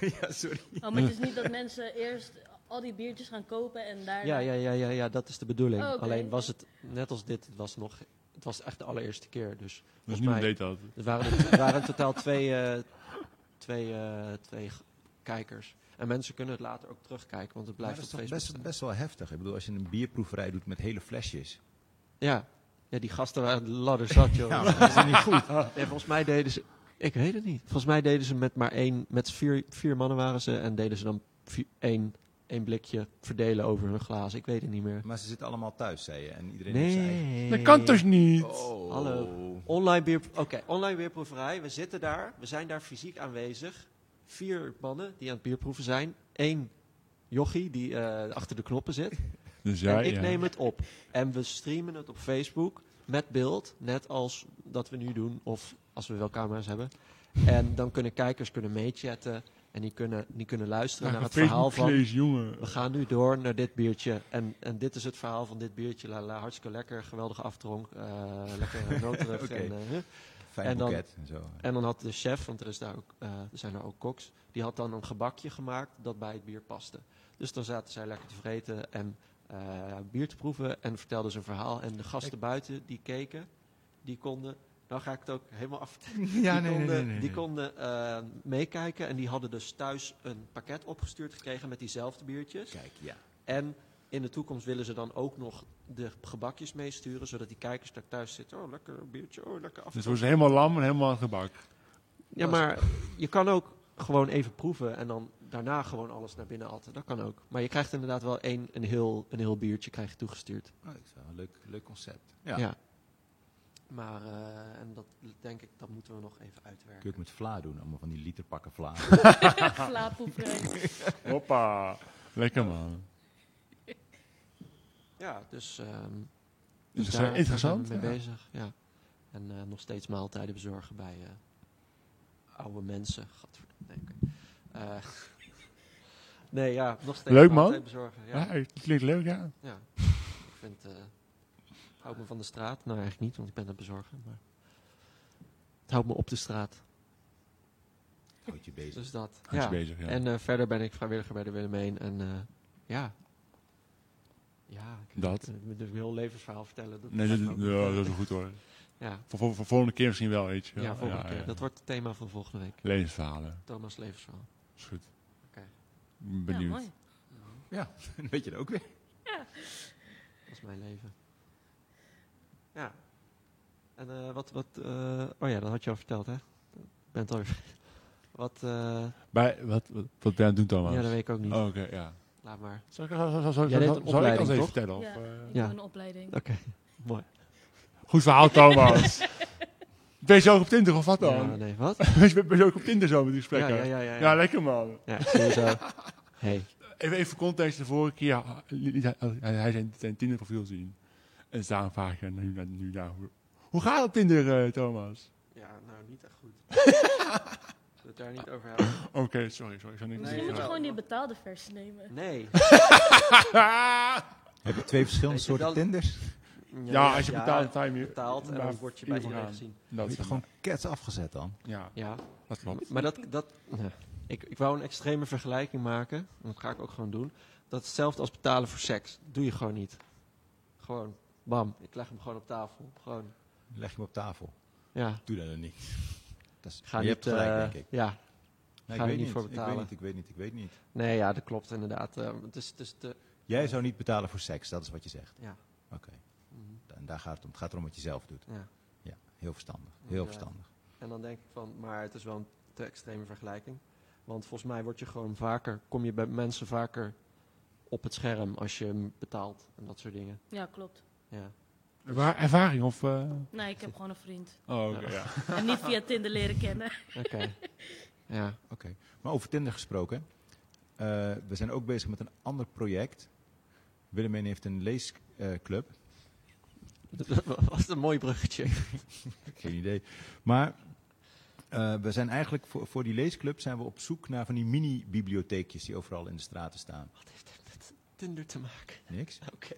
Speaker 3: eh, ja, sorry.
Speaker 2: Oh, maar het is niet dat mensen eerst al die biertjes gaan kopen en daar...
Speaker 3: Ja, ja, ja, ja, ja, dat is de bedoeling.
Speaker 2: Oh, oké.
Speaker 3: Alleen was het, net als dit, het was nog, het was echt de allereerste keer. Dus
Speaker 5: Dus
Speaker 3: Volgens
Speaker 5: niemand
Speaker 3: mij-
Speaker 5: deed dat.
Speaker 3: Er Dus waren, er waren in totaal twee, eh, twee, eh, twee g- kijkers. En mensen kunnen het later ook terugkijken, want het
Speaker 1: Maar
Speaker 3: blijft
Speaker 1: dat is
Speaker 3: op
Speaker 1: toch
Speaker 3: Facebook
Speaker 1: best,
Speaker 3: staan.
Speaker 1: best wel heftig. Ik bedoel, als je een bierproeverij doet met hele flesjes.
Speaker 3: Ja. ja, die gasten waren de ladder zat, joh.
Speaker 1: Ja, maar dat is niet goed.
Speaker 3: Nee, volgens mij deden ze... Ik weet het niet. Volgens mij deden ze met maar één... Met vier, vier mannen waren ze en deden ze dan vi- één, één blikje verdelen over hun glazen. Ik weet het niet meer.
Speaker 1: Maar ze zitten allemaal thuis, zei je. En iedereen heeft zijn eigen...
Speaker 3: Nee.
Speaker 5: Dat kan toch niet?
Speaker 1: Oh.
Speaker 3: Hallo. Online beer, oké, online bierproeverij. We zitten daar, we zijn daar fysiek aanwezig. Vier mannen die aan het bierproeven zijn. Eén jochie die eh, achter de knoppen zit.
Speaker 5: Dus ja,
Speaker 3: en ik
Speaker 5: ja.
Speaker 3: neem het op. En we streamen het op Facebook met beeld. Net als dat we nu doen, of als we wel camera's hebben. En dan kunnen kijkers kunnen meechatten. En die kunnen, die kunnen luisteren naar het verhaal van...
Speaker 5: Vlees, jongen.
Speaker 3: We gaan nu door naar dit biertje. En, en dit is het verhaal van dit biertje. La, la, hartstikke lekker, geweldige aftronk. eh, lekker noterig.
Speaker 1: Oké.
Speaker 3: en, eh, huh.
Speaker 1: Fijn
Speaker 3: En dan-
Speaker 1: boeket en zo.
Speaker 3: en dan had de chef, want er, is daar ook, eh, er zijn daar ook koks, die had dan een gebakje gemaakt dat bij het bier paste. Dus dan zaten zij lekker te vreten en eh, bier te proeven en vertelden ze een verhaal. En de gasten buiten die keken, die konden, nou ga ik het ook helemaal af. die konden, die konden eh, meekijken en die hadden dus thuis een pakket opgestuurd gekregen met diezelfde biertjes.
Speaker 1: Kijk, ja.
Speaker 3: En in de toekomst willen ze dan ook nog de gebakjes meesturen, zodat die kijkers daar thuis zitten. Oh, lekker biertje, oh, lekker af.
Speaker 5: Dus wordt ze helemaal lam en helemaal gebak.
Speaker 3: Ja, maar je kan ook gewoon even proeven en dan daarna gewoon alles naar binnen atten. Dat kan ook. Maar je krijgt inderdaad wel één, een, heel, een heel biertje krijg je toegestuurd.
Speaker 1: Oh, ik zou- leuk, leuk concept.
Speaker 3: Ja.
Speaker 1: Ja.
Speaker 3: Maar, eh, en dat denk ik, dat moeten we nog even uitwerken.
Speaker 1: Kun je ook met vla doen, allemaal van die literpakken vla.
Speaker 2: Slaapproeverij.
Speaker 5: Hoppa. Lekker man.
Speaker 3: Ja, dus, ehm,
Speaker 5: Dus dat
Speaker 3: daar
Speaker 5: is wel interessant.
Speaker 3: zijn we mee
Speaker 5: ja.
Speaker 3: bezig, ja. En eh, nog steeds maaltijden bezorgen bij eh, oude mensen. Gadverdamme, nee, oké. Eh, nee, ja, nog steeds
Speaker 5: Leuk, man.
Speaker 3: maaltijden bezorgen. Ja.
Speaker 5: Ja, het klinkt leuk, ja.
Speaker 3: Ja, ik vind. eh houdt me van de straat. Nou, eigenlijk niet, want ik ben aan het bezorgen. Maar het houdt me op de straat.
Speaker 1: Houd je bezig.
Speaker 3: Dus dat.
Speaker 5: Goed
Speaker 3: Ja.
Speaker 5: bezig, ja.
Speaker 3: En eh, verder ben ik vrijwilliger bij de Willemijn. En eh, ja. Ja, ik
Speaker 5: Dat.
Speaker 3: ik moet dus mijn heel levensverhaal vertellen. Dat
Speaker 5: Nee, dat,
Speaker 3: lijkt me ook niet,
Speaker 5: ja,
Speaker 3: eh,
Speaker 5: dat is wel goed hoor.
Speaker 3: ja.
Speaker 5: Voor, voor, voor volgende keer misschien wel, weet je.
Speaker 3: Ja,
Speaker 5: wel.
Speaker 3: volgende
Speaker 5: Ja,
Speaker 3: keer.
Speaker 5: ja.
Speaker 3: Dat wordt het thema van volgende week.
Speaker 5: Levensverhalen.
Speaker 3: Thomas' levensverhaal.
Speaker 5: Is goed.
Speaker 3: Oké.
Speaker 5: Ik ben
Speaker 2: Ja,
Speaker 5: Benieuwd.
Speaker 2: mooi.
Speaker 3: Dus
Speaker 1: Dan weet je dat ook weer.
Speaker 3: Dat is mijn leven. Ja. En eh, wat, wat, eh, oh ja, dat had je al verteld, hè? Ik ben het alweer vergeten. Wat, eh,
Speaker 5: Bij, wat, wat, wat ben je aan het doen, Thomas?
Speaker 3: ja, dat weet ik ook niet.
Speaker 5: Oh, oké, ja.
Speaker 3: Laat maar.
Speaker 5: Zal ik, zal, zal, zal,
Speaker 3: Jij deed
Speaker 5: zal-
Speaker 3: een
Speaker 5: zal ik
Speaker 3: opleiding,
Speaker 5: alles even
Speaker 3: toch?
Speaker 5: vertellen? Of,
Speaker 2: Ja.
Speaker 5: eh?
Speaker 2: Ik
Speaker 3: Ja.
Speaker 2: doe een opleiding.
Speaker 3: Oké, mooi.
Speaker 5: Goed verhaal, Thomas. ben je zo ook op Tinder of wat dan?
Speaker 3: Ja, nee, wat?
Speaker 5: ben, je, ben je ook op Tinder zo met die
Speaker 3: Ja,
Speaker 5: gesprekken?
Speaker 3: ja, ja. ja,
Speaker 5: Ja,
Speaker 3: ja.
Speaker 5: lekker man.
Speaker 3: ja ik zie je zo. Hey.
Speaker 5: Even, even context, de vorige keer ah, liet hij, hij, hij zijn, zijn Tinder profiel zien. En ze daarom vraag ik hem nu, nu, nu nou, hoe, hoe gaat het Tinder, eh, Thomas?
Speaker 3: Ja, nou, niet echt goed. Zullen we het daar niet over hebben?
Speaker 5: Oké, sorry, sorry. Ik zou niks
Speaker 3: Nee,
Speaker 2: Misschien
Speaker 5: zeggen.
Speaker 2: moet je
Speaker 3: ja.
Speaker 2: gewoon die betaalde versie nemen.
Speaker 3: Nee.
Speaker 1: Heb je twee verschillende
Speaker 3: Weet je
Speaker 1: soorten
Speaker 3: wel-
Speaker 1: tinders?
Speaker 5: Ja, als je betaalt, dan je
Speaker 3: betaalt en dan word je bij iedereen
Speaker 5: vooraan.
Speaker 3: gezien.
Speaker 5: Dat
Speaker 1: Heb
Speaker 5: is
Speaker 1: je
Speaker 5: gewoon.
Speaker 1: gewoon
Speaker 3: eh,
Speaker 1: kets afgezet dan?
Speaker 5: Ja,
Speaker 3: Ja,
Speaker 5: dat klopt.
Speaker 3: maar dat... dat ja. ik, ik wou een extreme vergelijking maken. en Dat ga ik ook gewoon doen. Dat is hetzelfde als betalen voor seks. Doe je gewoon niet. Gewoon, bam. Ik leg hem gewoon op tafel. Gewoon,
Speaker 1: Leg je hem op tafel.
Speaker 3: ja.
Speaker 1: Doe dat dan niet. Dat is,
Speaker 3: Ga
Speaker 1: je
Speaker 3: niet,
Speaker 1: hebt gelijk,
Speaker 3: eh,
Speaker 1: denk ik.
Speaker 3: Ja,
Speaker 1: Nee,
Speaker 3: ga
Speaker 1: ik weet
Speaker 3: je niet
Speaker 1: niet.
Speaker 3: voor
Speaker 1: Ik
Speaker 3: betalen.
Speaker 1: weet niet, ik weet niet, ik weet niet.
Speaker 3: nee, ja, dat klopt inderdaad. Eh, het is, het is te...
Speaker 1: Jij zou niet betalen voor seks, dat is wat je zegt.
Speaker 3: Ja. Mhm.
Speaker 1: Oké, en daar gaat het om. Het gaat erom wat je zelf doet.
Speaker 3: ja.
Speaker 1: Ja, heel verstandig. Heel
Speaker 3: Inderdaad.
Speaker 1: verstandig.
Speaker 3: En dan denk ik van, maar het is wel een te extreme vergelijking. Want volgens mij word je gewoon vaker, kom je bij mensen vaker op het scherm als je hem betaalt en dat soort dingen.
Speaker 2: Ja, klopt.
Speaker 3: Ja.
Speaker 5: Waar, ervaring of. eh?
Speaker 2: Nee, ik heb gewoon een vriend.
Speaker 5: Oh, oké, ja.
Speaker 2: En niet via Tinder leren kennen.
Speaker 3: Oké. ja.
Speaker 1: Oké, maar over Tinder gesproken. eh, we zijn ook bezig met een ander project. Willemijn heeft een leesclub.
Speaker 3: Dat was een mooi bruggetje.
Speaker 1: Geen idee. Maar eh, eh, we zijn eigenlijk voor, voor die leesclub zijn we op zoek naar van die mini-bibliotheekjes die overal in de straten staan.
Speaker 3: Wat heeft dat met Tinder te maken?
Speaker 1: Niks?
Speaker 3: Oké.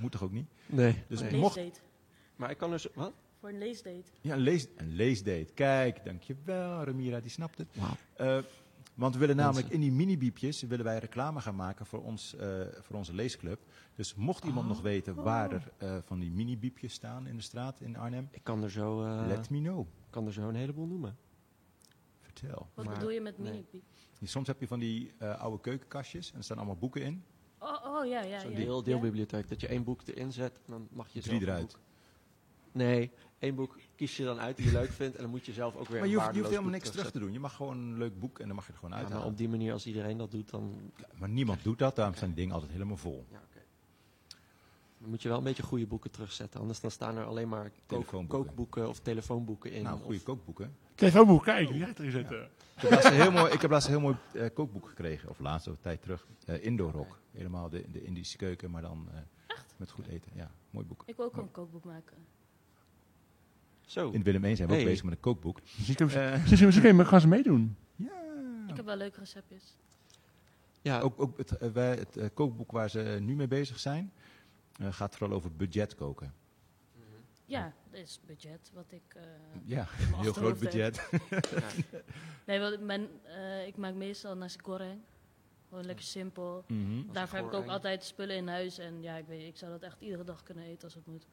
Speaker 1: Moet toch ook niet?
Speaker 3: Nee.
Speaker 1: Dus
Speaker 3: nee.
Speaker 1: mo- Mocht-
Speaker 2: Leesdate.
Speaker 3: Maar ik kan dus... Wat?
Speaker 2: Voor een leesdate.
Speaker 1: Ja, een, lees, een leesdate. Kijk, dankjewel. Ramira, die snapt het.
Speaker 3: Wauw.
Speaker 1: Eh, want we willen namelijk
Speaker 3: Mensen.
Speaker 1: in die mini-biepjes willen wij reclame gaan maken voor, ons, eh, voor onze leesclub. Dus mocht
Speaker 3: Ah.
Speaker 1: iemand nog weten
Speaker 3: Oh.
Speaker 1: waar er eh, van die mini-biepjes staan in de straat in Arnhem,
Speaker 3: Ik kan er, zo, eh,
Speaker 1: let me know.
Speaker 3: kan er zo een heleboel noemen.
Speaker 1: Vertel.
Speaker 2: Wat
Speaker 3: Maar-
Speaker 2: bedoel je met
Speaker 3: nee.
Speaker 2: mini?
Speaker 1: Soms heb je van die eh, oude keukenkastjes en er staan allemaal boeken in.
Speaker 2: Oh, oh, ja, ja.
Speaker 3: Zo'n
Speaker 2: ja.
Speaker 3: deel,
Speaker 2: Ja?
Speaker 3: deelbibliotheek. Dat je één boek erin zet en dan mag je
Speaker 1: Drie
Speaker 3: zelf een
Speaker 1: eruit.
Speaker 3: boek- Nee, één boek kies je dan uit die je leuk vindt. En dan moet je zelf ook weer
Speaker 1: Maar
Speaker 3: een
Speaker 1: je hoeft, je hoeft
Speaker 3: waardeloos
Speaker 1: helemaal
Speaker 3: boek
Speaker 1: niks terug te doen. Je mag gewoon een leuk boek en dan mag je er gewoon
Speaker 3: Ja,
Speaker 1: uit
Speaker 3: Nou, maar op die manier, als iedereen dat doet, dan...
Speaker 1: Maar niemand doet dat, daarom zijn die dingen altijd helemaal vol.
Speaker 3: Ja, oké. Dan moet je wel een beetje goede boeken terugzetten. Anders dan staan er alleen maar kook-
Speaker 1: Telefoonboeken.
Speaker 3: kookboeken of telefoonboeken in.
Speaker 1: Nou,
Speaker 3: of-
Speaker 1: goede kookboeken.
Speaker 5: Telefoonboek, kijk, die gaat erin zetten.
Speaker 1: Ik heb laatst een heel mooi, ik heb laatst een heel mooi eh, kookboek gekregen, of laatst of een tijd terug. Eh Indorok. Helemaal de, de Indische keuken, maar dan eh, met goed eten. Ja, mooi boek.
Speaker 2: Ik wil ook een kookboek maken.
Speaker 3: Zo.
Speaker 1: In Willem 1 zijn we ook
Speaker 3: Hey.
Speaker 1: bezig met een kookboek.
Speaker 5: Misschien kunnen ze-
Speaker 1: Eh,
Speaker 5: misschien- misschien kunnen we- gaan ze meedoen.
Speaker 2: Ik heb wel leuke receptjes.
Speaker 3: Ja,
Speaker 1: ook ook het, eh, wij- het eh, kookboek waar ze nu mee bezig zijn, eh, gaat vooral over budget koken.
Speaker 2: Ja, dat is budget wat ik... eh,
Speaker 1: Ja,
Speaker 2: mijn
Speaker 1: heel groot
Speaker 2: achterhoofd heb.
Speaker 1: budget.
Speaker 2: Nee, want mijn, eh, ik maak meestal nasi goreng. Gewoon lekker simpel.
Speaker 1: Mhm.
Speaker 2: Daarvoor heb ik ook
Speaker 3: goreng.
Speaker 2: altijd spullen in huis. En ja, ik, weet, ik zou dat echt iedere dag kunnen eten als het moet.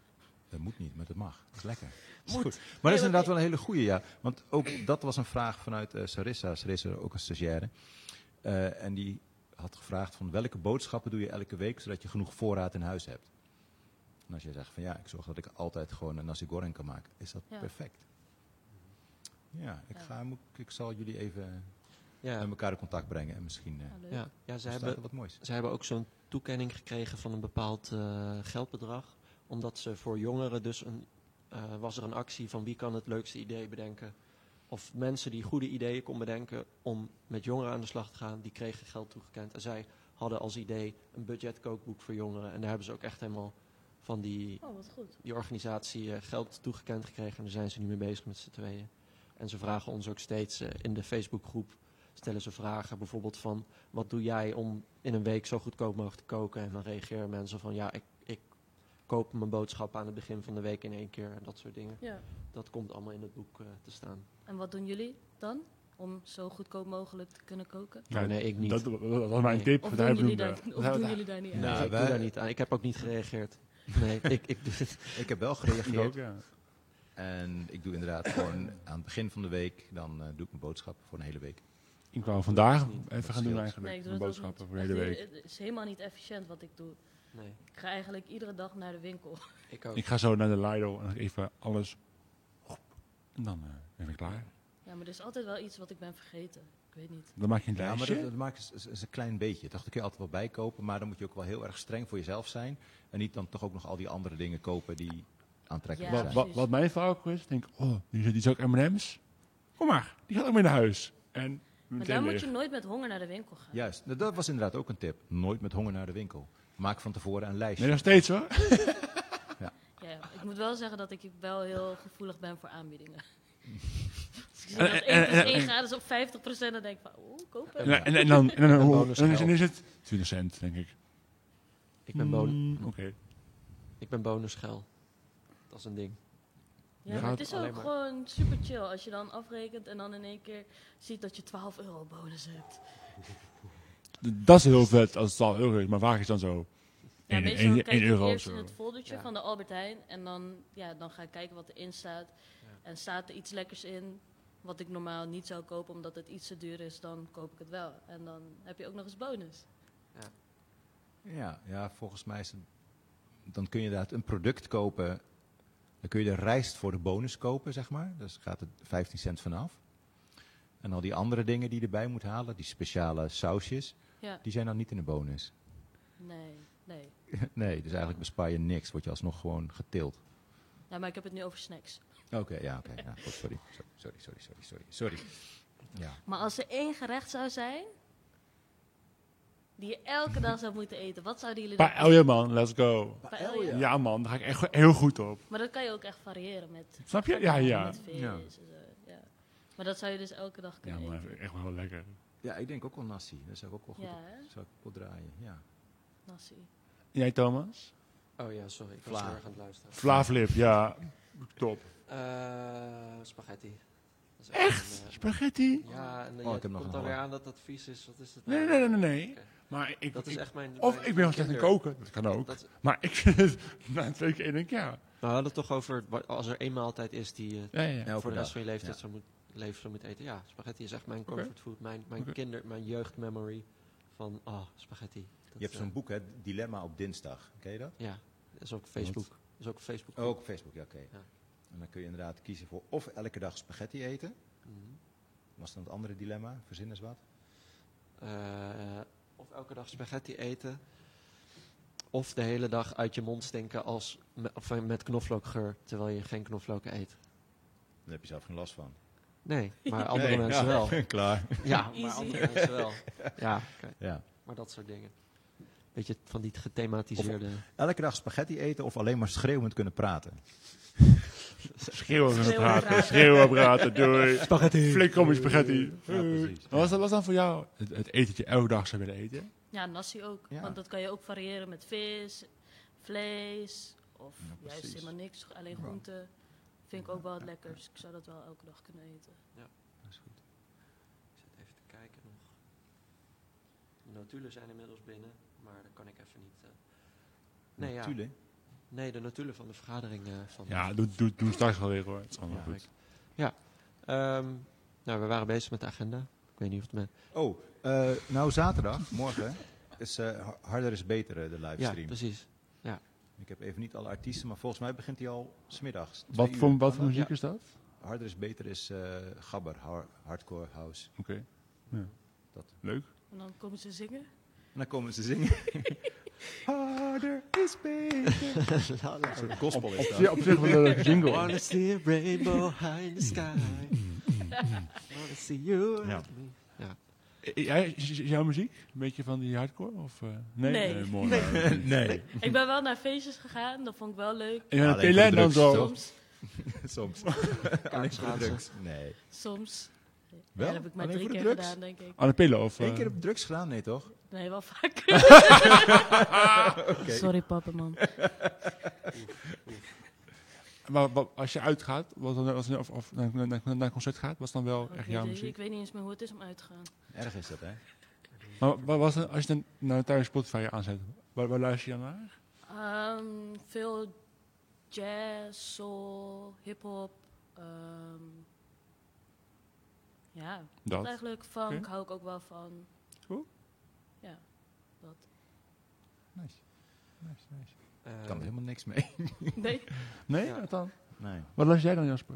Speaker 1: Dat moet niet, maar dat mag. Dat is lekker. Dat is
Speaker 2: Moet.
Speaker 1: goed. Maar dat is
Speaker 2: maar-
Speaker 1: inderdaad wel een hele goede, ja. Want ook dat was een vraag vanuit eh, Sarissa. Sarissa is ook een stagiaire. Eh, en die had gevraagd van welke boodschappen doe je elke week zodat je genoeg voorraad in huis hebt. En als jij zegt van ja, ik zorg dat ik altijd gewoon een nasi goreng kan maken, is dat
Speaker 2: Ja.
Speaker 1: perfect. Ja, ik,
Speaker 2: Ja.
Speaker 1: ga, moet- ik zal jullie even met
Speaker 3: ja,
Speaker 1: elkaar in contact brengen en misschien eh
Speaker 2: Ja, Ah, leuk.
Speaker 3: ja, ja ze,
Speaker 1: staat
Speaker 3: hebben,
Speaker 1: er wat moois.
Speaker 3: ze hebben ook zo'n toekenning gekregen van een bepaald eh, geldbedrag. Omdat ze voor jongeren dus een... eh, was er een actie van wie kan het leukste idee bedenken. Of mensen die goede ideeën kon bedenken om met jongeren aan de slag te gaan, die kregen geld toegekend. En zij hadden als idee een budgetkookboek voor jongeren. En daar hebben ze ook echt helemaal van die
Speaker 2: Oh, wat goed.
Speaker 3: die organisatie eh, geld toegekend gekregen en daar zijn ze nu mee bezig met z'n tweeën. En ze vragen ons ook steeds eh, in de Facebookgroep, stellen ze vragen bijvoorbeeld van wat doe jij om in een week zo goedkoop mogelijk te koken? En dan reageren mensen van ja, ik, ik koop mijn boodschappen aan het begin van de week in één keer en dat soort dingen.
Speaker 2: Ja.
Speaker 3: Dat komt allemaal in het boek eh, te staan.
Speaker 2: En wat doen jullie dan? Om zo goedkoop mogelijk te kunnen koken?
Speaker 5: Ja,
Speaker 3: nee, ik niet.
Speaker 5: Dat, dat- dat was mijn
Speaker 3: Nee.
Speaker 5: tip.
Speaker 2: Of
Speaker 5: daar
Speaker 2: doen
Speaker 5: hebben
Speaker 2: jullie
Speaker 5: we-
Speaker 2: daar,
Speaker 5: daar-
Speaker 2: of doen jullie daar niet aan?
Speaker 1: Nou,
Speaker 3: Nee, ik doe
Speaker 1: wij-
Speaker 3: daar niet aan. Ik heb ook niet gereageerd. Nee, ik, ik doe het.
Speaker 1: Ik heb wel
Speaker 5: Ik ook,
Speaker 1: gereageerd.
Speaker 5: ja.
Speaker 1: En ik doe inderdaad gewoon aan het begin van de week, dan eh, doe ik mijn boodschappen voor een hele week.
Speaker 5: Ik wou vandaag
Speaker 3: Dat is niet-
Speaker 5: even gaan
Speaker 1: scheelt.
Speaker 5: doen eigenlijk.
Speaker 2: Nee, ik doe
Speaker 5: de
Speaker 2: dat ook
Speaker 5: boodschappen
Speaker 2: niet.
Speaker 5: voor de hele
Speaker 2: Echt,
Speaker 5: week.
Speaker 2: Het is helemaal niet efficiënt wat ik doe.
Speaker 3: Nee,
Speaker 2: Ik ga eigenlijk iedere dag naar de winkel.
Speaker 3: ik ook.
Speaker 5: Ik ga zo naar de Lido en dan even alles op. En dan eh, ben ik klaar.
Speaker 2: Ja, maar er is altijd wel iets wat ik ben vergeten. Ik weet niet.
Speaker 5: Dan maak je een
Speaker 1: Ja, maar
Speaker 5: lijstje.
Speaker 1: dat, dat maakt is, is- is een klein beetje. Dat kun je altijd wel bijkopen, maar dan moet je ook wel heel erg streng voor jezelf zijn. En niet dan toch ook nog al die andere dingen kopen die aantrekkelijk
Speaker 2: Ja,
Speaker 5: wat,
Speaker 1: zijn.
Speaker 5: wat,
Speaker 2: precies.
Speaker 5: wat mijn vrouw ook is, denk ik, oh, die, zit- die is ook M&M's. Kom maar, die gaat ook mee naar huis. En
Speaker 2: Maar
Speaker 5: meteen
Speaker 2: daar moet
Speaker 5: leeg.
Speaker 2: je nooit met honger naar de winkel gaan.
Speaker 1: Juist, Nou, dat was inderdaad ook een tip. Nooit met honger naar de winkel. Maak van tevoren een lijstje.
Speaker 5: Nee, nog steeds hoor.
Speaker 2: Ja, ja. ik moet wel zeggen dat ik wel heel gevoelig ben voor aanbiedingen. Als ik zie
Speaker 5: En-
Speaker 2: dat
Speaker 5: en-
Speaker 2: 1 plus
Speaker 5: en-
Speaker 2: 1 gratis op 50 dan denk ik van, oeh, koop het.
Speaker 5: En, en, en dan, en dan,
Speaker 3: Een
Speaker 5: hoe- en
Speaker 3: bonus
Speaker 5: dan is,
Speaker 3: geld.
Speaker 5: is het 20 cent, denk ik.
Speaker 3: Ik ben, bon
Speaker 5: Mm, Oké.
Speaker 3: ik ben bonusgeil. Dat is een ding.
Speaker 2: Ja, maar
Speaker 5: gaat
Speaker 2: het is
Speaker 3: alleen
Speaker 2: ook
Speaker 3: maar-
Speaker 2: gewoon super chill als je dan afrekent en dan in één keer ziet dat je 12 euro bonus hebt.
Speaker 5: D- Dat is heel vet als het al euro is, maar vaak is dan zo.
Speaker 2: Ja,
Speaker 5: Eén-
Speaker 2: meestal
Speaker 5: één-
Speaker 2: dan kijk
Speaker 5: één
Speaker 2: ik
Speaker 5: euro of
Speaker 2: eerst in
Speaker 5: zo.
Speaker 2: het foldertje
Speaker 3: Ja.
Speaker 2: van de Albert Heijn en dan, ja, dan ga ik kijken wat erin staat. En staat er iets lekkers in wat ik normaal niet zou kopen omdat het iets te duur is, dan koop ik het wel. En dan heb je ook nog eens bonus.
Speaker 1: Ja, ja, volgens mij is het, dan kun je inderdaad een product kopen. Dan kun je de rijst voor de bonus kopen, zeg maar. Dus gaat er 15 cent vanaf. En al die andere dingen die je erbij moet halen, die speciale sausjes,
Speaker 2: Ja,
Speaker 1: die zijn dan niet in de bonus.
Speaker 2: nee, nee.
Speaker 1: Nee, dus eigenlijk bespaar je niks. Word je alsnog gewoon getild.
Speaker 2: Ja, maar ik heb het nu over snacks.
Speaker 1: Oké, ja, oké. ja, goed, sorry. Sorry, sorry, sorry, sorry. sorry. Ja.
Speaker 2: Maar als er één gerecht zou zijn die je elke dag zou moeten eten, wat zouden jullie dan
Speaker 5: Paella oh man, let's go.
Speaker 2: Paella.
Speaker 5: Ja man, daar ga ik echt heel goed op.
Speaker 2: Maar dat kan je ook echt variëren met,
Speaker 5: Snap je? Ja, ja.
Speaker 2: met vis. en zo, ja. Maar dat zou je dus elke dag
Speaker 5: Ja,
Speaker 2: kunnen eten.
Speaker 5: maar echt wel lekker.
Speaker 1: Ja, ik denk ook wel nasi. Dat zou ik ook wel goed
Speaker 2: Ja,
Speaker 1: op,
Speaker 2: hè?
Speaker 1: zou ik wel draaien. Ja.
Speaker 2: Nasi.
Speaker 5: Jij, Thomas?
Speaker 3: Oh ja, sorry. Ik was
Speaker 1: Vla.
Speaker 3: heel erg aan het luisteren.
Speaker 5: Vlaaflip, ja. Top.
Speaker 3: Eh, spaghetti. Dat is echt? een, eh,
Speaker 5: Spaghetti?
Speaker 3: ja, en
Speaker 1: Oh,
Speaker 3: oh,
Speaker 1: ik heb nog
Speaker 3: komt
Speaker 1: een
Speaker 3: alweer
Speaker 1: hoor.
Speaker 3: aan dat dat vies is. Wat is het
Speaker 5: Nee,
Speaker 3: nou?
Speaker 5: nee, nee, nee, nee.
Speaker 3: Oké.
Speaker 5: Maar ik,
Speaker 3: Dat is
Speaker 5: ik-
Speaker 3: echt mijn...
Speaker 5: of
Speaker 3: mijn
Speaker 5: ik ben heel slecht in
Speaker 3: kinder-
Speaker 5: koken. Dat kan ook.
Speaker 3: Dat,
Speaker 5: Maar ik vind het na twee keer denk ik, ja.
Speaker 3: we hadden het toch over wa- als er één maaltijd is die je
Speaker 5: Ja, ja, ja.
Speaker 1: Elke
Speaker 3: voor de
Speaker 1: dag.
Speaker 3: rest van je leeftijd
Speaker 1: Ja.
Speaker 3: zou moet, leven zou moeten eten. Ja, spaghetti is echt mijn
Speaker 5: Oké.
Speaker 3: comfort food. Mijn, mijn
Speaker 5: Oké.
Speaker 3: kinder, mijn jeugdmemory van, oh, spaghetti. Dat,
Speaker 1: Je hebt
Speaker 3: eh,
Speaker 1: zo'n boek, hè, Dilemma op dinsdag. Ken je dat?
Speaker 3: Ja, dat is ook op Facebook. Dat is ook op Facebook.
Speaker 1: Oh, ook op Facebook, ja, oké.
Speaker 3: Ja.
Speaker 1: En dan kun je inderdaad kiezen voor of elke dag spaghetti eten.
Speaker 3: Mhm.
Speaker 1: Was dan het andere dilemma? Verzin eens wat.
Speaker 3: Eh, of elke dag spaghetti eten. Of de hele dag uit je mond stinken als me- of eh, met knoflookgeur, terwijl je geen knoflook eet.
Speaker 1: Daar heb je zelf geen last van.
Speaker 3: Nee, maar andere
Speaker 1: Nee,
Speaker 3: mensen
Speaker 1: ja,
Speaker 3: wel.
Speaker 1: Klaar.
Speaker 3: Ja, maar
Speaker 2: Easy.
Speaker 3: andere mensen wel. Ja, oké.
Speaker 1: Ja.
Speaker 3: maar dat soort dingen. Beetje van die gethematiseerde...
Speaker 1: Elke dag spaghetti eten of alleen maar schreeuwend kunnen praten.
Speaker 5: Schreeuwen op
Speaker 2: Schreeuwen
Speaker 5: praten,
Speaker 2: praten.
Speaker 5: schreeuwen op praten, doei.
Speaker 3: Spaghetti!
Speaker 5: Flink om je spaghetti.
Speaker 1: Ja, precies.
Speaker 5: Wat was, dat- was dan voor jou het, het eten dat je elke dag zou willen eten?
Speaker 2: Ja, nasi ook.
Speaker 1: Ja.
Speaker 2: Want dat kan je ook variëren met vis, vlees of
Speaker 1: Ja,
Speaker 2: juist
Speaker 1: precies.
Speaker 2: helemaal niks. Alleen groenten vind ik ook wel het lekkers. Ik zou dat wel elke dag kunnen eten.
Speaker 1: Dat is goed.
Speaker 3: Ik zit even te kijken nog. De notulen zijn inmiddels binnen, maar dat kan ik even niet... eh. Nee, ja.
Speaker 1: Natuurlijk.
Speaker 3: Nee, de notulen van de vergadering eh, van...
Speaker 5: Ja, doe, doe, doe straks wel weer hoor. Het is allemaal
Speaker 3: Ja,
Speaker 5: goed.
Speaker 3: Ehm, nou, we waren bezig met de agenda. Ik weet niet of het men...
Speaker 1: Oh, eh, nou zaterdag, morgen, is eh, ha- Harder is Beter eh, de
Speaker 3: Ja,
Speaker 1: livestream.
Speaker 5: dus-
Speaker 3: precies.
Speaker 1: ik heb even niet alle artiesten, maar volgens mij begint hij al smiddags. twee
Speaker 5: Wat
Speaker 1: uur.
Speaker 5: voor, wat
Speaker 1: Kan
Speaker 5: voor
Speaker 1: dat?
Speaker 5: muziek is dat?
Speaker 1: Ja. Harder is Beter is eh, gabber, har- hardcore house.
Speaker 5: Oké. Ja.
Speaker 1: Dat.
Speaker 5: Leuk.
Speaker 2: En dan komen ze zingen.
Speaker 1: En dan komen ze zingen. Harder is Beter. Een soort gospel
Speaker 5: Op,
Speaker 1: is dat.
Speaker 5: zich- op zich wel een leuke
Speaker 1: Oh,
Speaker 5: jingle.
Speaker 3: Wanna see a rainbow high in the sky. Wanna see you
Speaker 1: Ja.
Speaker 3: and me.
Speaker 5: Eh, Jij, is- is jouw muziek? Een beetje van die hardcore? Of, eh, nee?
Speaker 2: Nee.
Speaker 5: mooi. nee.
Speaker 1: Nee.
Speaker 2: ik ben wel naar feestjes gegaan. Dat vond ik wel leuk.
Speaker 5: En dan
Speaker 1: Alleen
Speaker 5: Telen
Speaker 1: voor de
Speaker 5: dan
Speaker 1: drugs,
Speaker 5: zo.
Speaker 1: toch?
Speaker 2: Soms.
Speaker 1: Soms. Alleen voor de
Speaker 3: schaatsen.
Speaker 1: drugs. Nee.
Speaker 2: Soms.
Speaker 1: Wel?
Speaker 2: Ja, dat heb ik maar
Speaker 1: Alleen
Speaker 2: drie
Speaker 1: voor de
Speaker 2: keer
Speaker 1: drugs?
Speaker 2: gedaan, denk ik.
Speaker 5: Aan de pillen of...
Speaker 1: Eén
Speaker 5: eh,
Speaker 1: keer op drugs gedaan? Nee, toch?
Speaker 2: Nee, wel vaker. Sorry, papa, man.
Speaker 5: Maar wat- als je uitgaat, wat dan, als je, of, of naar, naar, naar naar een concert gaat, was dan wel
Speaker 2: Ik
Speaker 5: echt
Speaker 2: weet
Speaker 5: jouw
Speaker 2: het-
Speaker 5: muziek?
Speaker 2: Ik weet niet eens meer hoe het is om uit te gaan.
Speaker 1: Erg is dat, hè?
Speaker 5: Eh, Maar wat was dan, als je dan nou thuis Spotify aanzet, waar, waar luister je dan naar?
Speaker 2: Ehm, veel jazz, soul, hip-hop. ehm, ja, dat
Speaker 5: Dat.
Speaker 2: eigenlijk. Funk
Speaker 5: Oké.
Speaker 2: hou ik ook wel van.
Speaker 5: Cool.
Speaker 2: Ja, dat.
Speaker 1: Nice. Nice, nice.
Speaker 3: Eh,
Speaker 1: Ik kan er helemaal niks mee.
Speaker 2: Nee,
Speaker 5: Nee,
Speaker 3: Ja.
Speaker 5: wat dan?
Speaker 1: Nee.
Speaker 5: Wat luister jij dan, Jasper?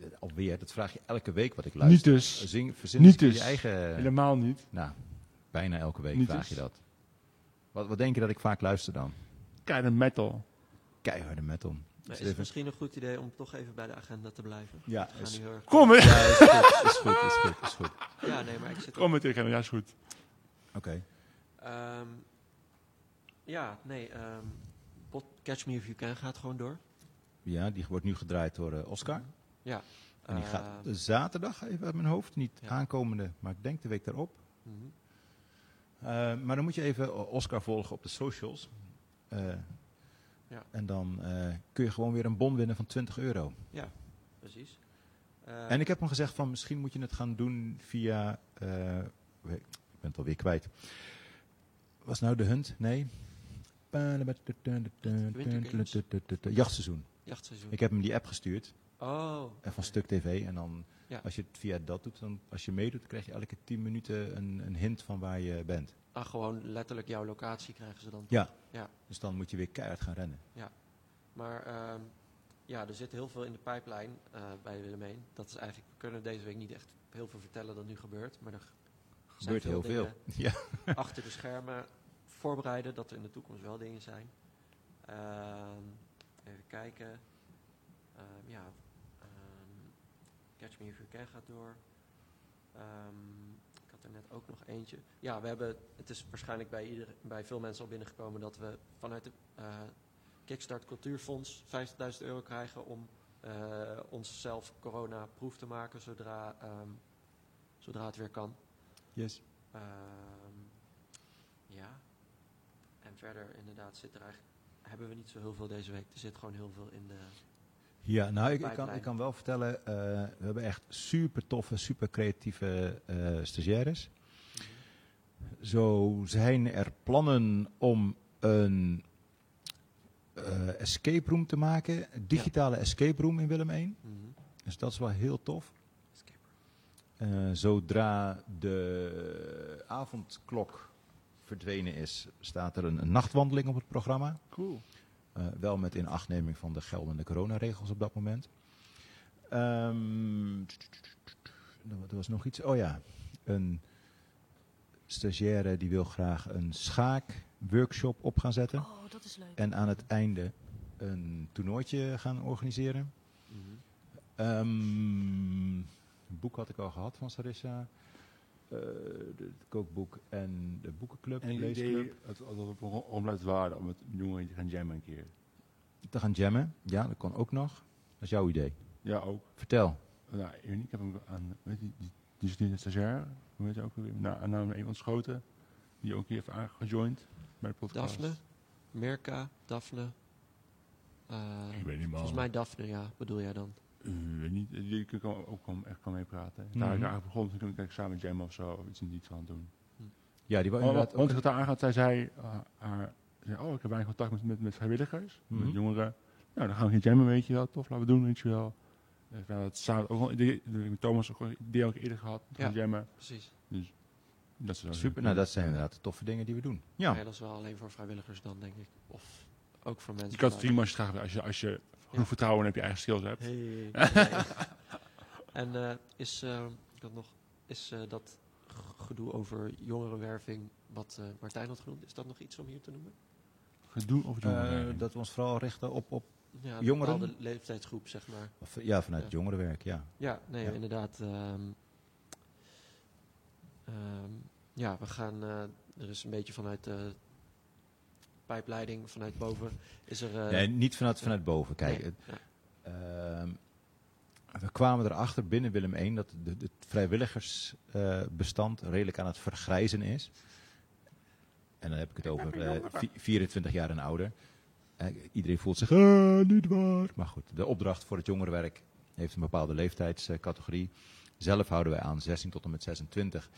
Speaker 1: Eh, Alweer, dat vraag je elke week wat ik luister.
Speaker 5: Niet dus.
Speaker 1: Zing, verzin
Speaker 5: Niet
Speaker 1: eens je
Speaker 5: dus.
Speaker 1: eigen...
Speaker 5: Helemaal niet.
Speaker 1: Nou, bijna elke week
Speaker 5: Niet
Speaker 1: vraag
Speaker 5: dus.
Speaker 1: je dat. Wat, wat denk je dat ik vaak luister dan?
Speaker 5: Keiharde metal.
Speaker 1: Keiharde metal.
Speaker 3: maar
Speaker 1: Is
Speaker 3: is het
Speaker 1: even-
Speaker 3: misschien een goed idee om toch even bij de agenda te blijven?
Speaker 1: Ja,
Speaker 3: We gaan
Speaker 1: is,
Speaker 3: nu heel erg-
Speaker 5: Kom hè!
Speaker 1: ja, is goed, is goed, is goed, is goed.
Speaker 3: Ja, nee, maar ik zit...
Speaker 5: Kom met tegen, ja is goed.
Speaker 1: Oké.
Speaker 3: Ehm, ja, nee. ehm, pot Catch Me If You Can gaat gewoon door.
Speaker 1: Ja, die wordt nu gedraaid door eh, Oscar. En die
Speaker 3: Eh,
Speaker 1: gaat zaterdag even uit mijn hoofd. Niet
Speaker 3: Ja.
Speaker 1: aankomende, maar ik denk de week daarop.
Speaker 3: mhm.
Speaker 1: Eh, maar dan moet je even O- Oscar volgen op de socials. Eh,
Speaker 3: Ja.
Speaker 1: En dan eh, kun je gewoon weer een bon winnen van 20 euro.
Speaker 3: Precies. Eh,
Speaker 1: En ik heb hem gezegd van misschien moet je het gaan doen via... eh, we- ik ben het alweer kwijt. Was nou de hunt? Nee.
Speaker 3: Games?
Speaker 1: Jachtseizoen.
Speaker 3: Jachtseizoen.
Speaker 1: Ik heb hem die app gestuurd.
Speaker 3: Oh.
Speaker 1: eh,
Speaker 3: oké.
Speaker 1: Van Stuk TV. En dan
Speaker 3: Ja.
Speaker 1: als je het via dat doet, dan als je meedoet, dan krijg je elke 10 minuten een, een hint van waar je bent.
Speaker 3: Ah, gewoon letterlijk jouw locatie krijgen ze dan.
Speaker 1: Ja.
Speaker 3: Ja.
Speaker 1: Dus dan moet je weer keihard gaan rennen.
Speaker 3: Maar ehm, ja, er zit heel veel in de pijplijn eh, bij Willemijn. Dat is eigenlijk, we kunnen deze week niet echt heel veel vertellen dat nu gebeurt. Maar er g- zijn
Speaker 1: Gebeurt heel veel.
Speaker 3: dingen
Speaker 1: Ja.
Speaker 3: achter de schermen voorbereiden dat er in de toekomst wel dingen zijn. Ehm, even kijken. Ehm, ja, ehm, Catch Me If You Can gaat door. Ehm, ik had er net ook nog eentje. Ja, we hebben, het is waarschijnlijk bij, ieder, bij veel mensen al binnengekomen dat we vanuit de eh, Kickstart Cultuurfonds 50.000 euro krijgen om eh, onszelf corona-proof te maken zodra, ehm, zodra het weer kan.
Speaker 1: Yes.
Speaker 3: Ehm, ja. En verder inderdaad zit er eigenlijk, hebben we niet zo heel veel deze week. Er zit gewoon heel veel in de...
Speaker 1: Ja, nou, ik, ik, kan,
Speaker 3: Pipeline.
Speaker 1: ik kan wel vertellen, eh, we hebben echt super toffe, super creatieve eh, stagiaires. Zo zijn er plannen om een eh, escape room te maken, een digitale escape room in Willem 1.
Speaker 3: Mhm.
Speaker 1: Dus dat is wel heel tof.
Speaker 3: Escape
Speaker 1: Eh, zodra de avondklok verdwenen is, staat er een, een nachtwandeling op het programma.
Speaker 5: Cool.
Speaker 1: Eh, wel met inachtneming van de geldende coronaregels op dat moment. Ehm, er wa- er was nog iets. Oh ja, een stagiaire die wil graag een schaakworkshop op gaan zetten.
Speaker 2: Oh, dat is leuk.
Speaker 1: En aan het einde een toernooitje gaan organiseren.
Speaker 3: Mhm.
Speaker 1: Ehm, een boek had ik al gehad van Sarissa. Eh, de- het kookboek en de boekenclub,
Speaker 5: En
Speaker 1: de
Speaker 5: het
Speaker 1: leesclub.
Speaker 5: idee dat we omluid waren om met jongeren te gaan jammen een keer.
Speaker 1: Te gaan jammen, ja, dat kan ook nog. Dat is jouw idee.
Speaker 5: Ja, ook.
Speaker 1: Vertel.
Speaker 5: Nou, ik weet niet, ik heb hem aan, weet je, die, die is nu een stagiair, hoe heet hij ook weer? Nou, aan naam een ontschoten, die ook hier heeft aangejoind bij de podcast.
Speaker 3: Daphne? Mirka, Daphne. eh,
Speaker 5: Ik weet niet, man.
Speaker 3: volgens mij Daphne, ja, bedoel jij dan?
Speaker 5: Eh, weet niet, eh, die kan ook kan, echt kan meepraten.
Speaker 1: Mhm.
Speaker 5: Daar heb ik eigenlijk begonnen, toen kunnen we samen jammen of zo, of iets in die trant doen.
Speaker 1: Ja, die wil
Speaker 5: Oh,
Speaker 1: inderdaad
Speaker 5: want
Speaker 1: ook
Speaker 5: als ik het aangaat, zij zei, eh, haar, zei, oh, ik heb weinig contact met, met, met vrijwilligers,
Speaker 1: Mhm.
Speaker 5: met jongeren. Nou, dan gaan we hier jammen, weet je wel, tof, laten we doen, weet je wel. Eh, we hebben het samen ook al, ik denk- met Thomas ook al een idee ook eerder gehad, gaan
Speaker 3: Ja.
Speaker 5: jammen.
Speaker 3: Precies.
Speaker 5: Dat is wel
Speaker 1: Super,
Speaker 5: leuk.
Speaker 1: nou dat zijn inderdaad de toffe dingen die we doen. Ja,
Speaker 3: Nee, dat is wel alleen voor vrijwilligers dan, denk ik. Of ook voor mensen.
Speaker 5: Je kan
Speaker 3: vanuit-
Speaker 5: het streamen als je het graag wil. Als je, als je
Speaker 3: Ja.
Speaker 5: genoeg vertrouwen hebt, je eigen skills hebt.
Speaker 3: Hey. Nee. en eh, is, eh, ik had nog, is eh, dat g- gedoe over jongerenwerving, wat eh, Martijn had genoemd, is dat nog iets om hier te noemen?
Speaker 5: Gedoe of doen.
Speaker 1: eh, dat we ons vooral richten op, op
Speaker 3: Ja, een
Speaker 1: Jongeren?
Speaker 3: bepaalde leeftijdsgroep, zeg maar.
Speaker 1: of, ja, vanuit
Speaker 3: Ja.
Speaker 1: het jongerenwerk, ja.
Speaker 3: Ja, nee,
Speaker 1: Ja.
Speaker 3: inderdaad. ehm, ehm, ja, we gaan. eh, er is een beetje vanuit de pijpleiding, vanuit boven. Is er. eh,
Speaker 1: nee, niet vanuit, vanuit boven. Kijk,
Speaker 3: nee,
Speaker 1: het-
Speaker 3: ja.
Speaker 1: ehm, we kwamen erachter binnen Willem I dat de- het vrijwilligersbestand eh, redelijk aan het vergrijzen is. En dan heb ik het over eh, vi- 24 jaar en ouder. Eh, iedereen voelt zich, "Ah, niet waar. Maar goed, de opdracht voor het jongerenwerk heeft een bepaalde leeftijdscategorie. Zelf houden wij aan 16 tot en met 26.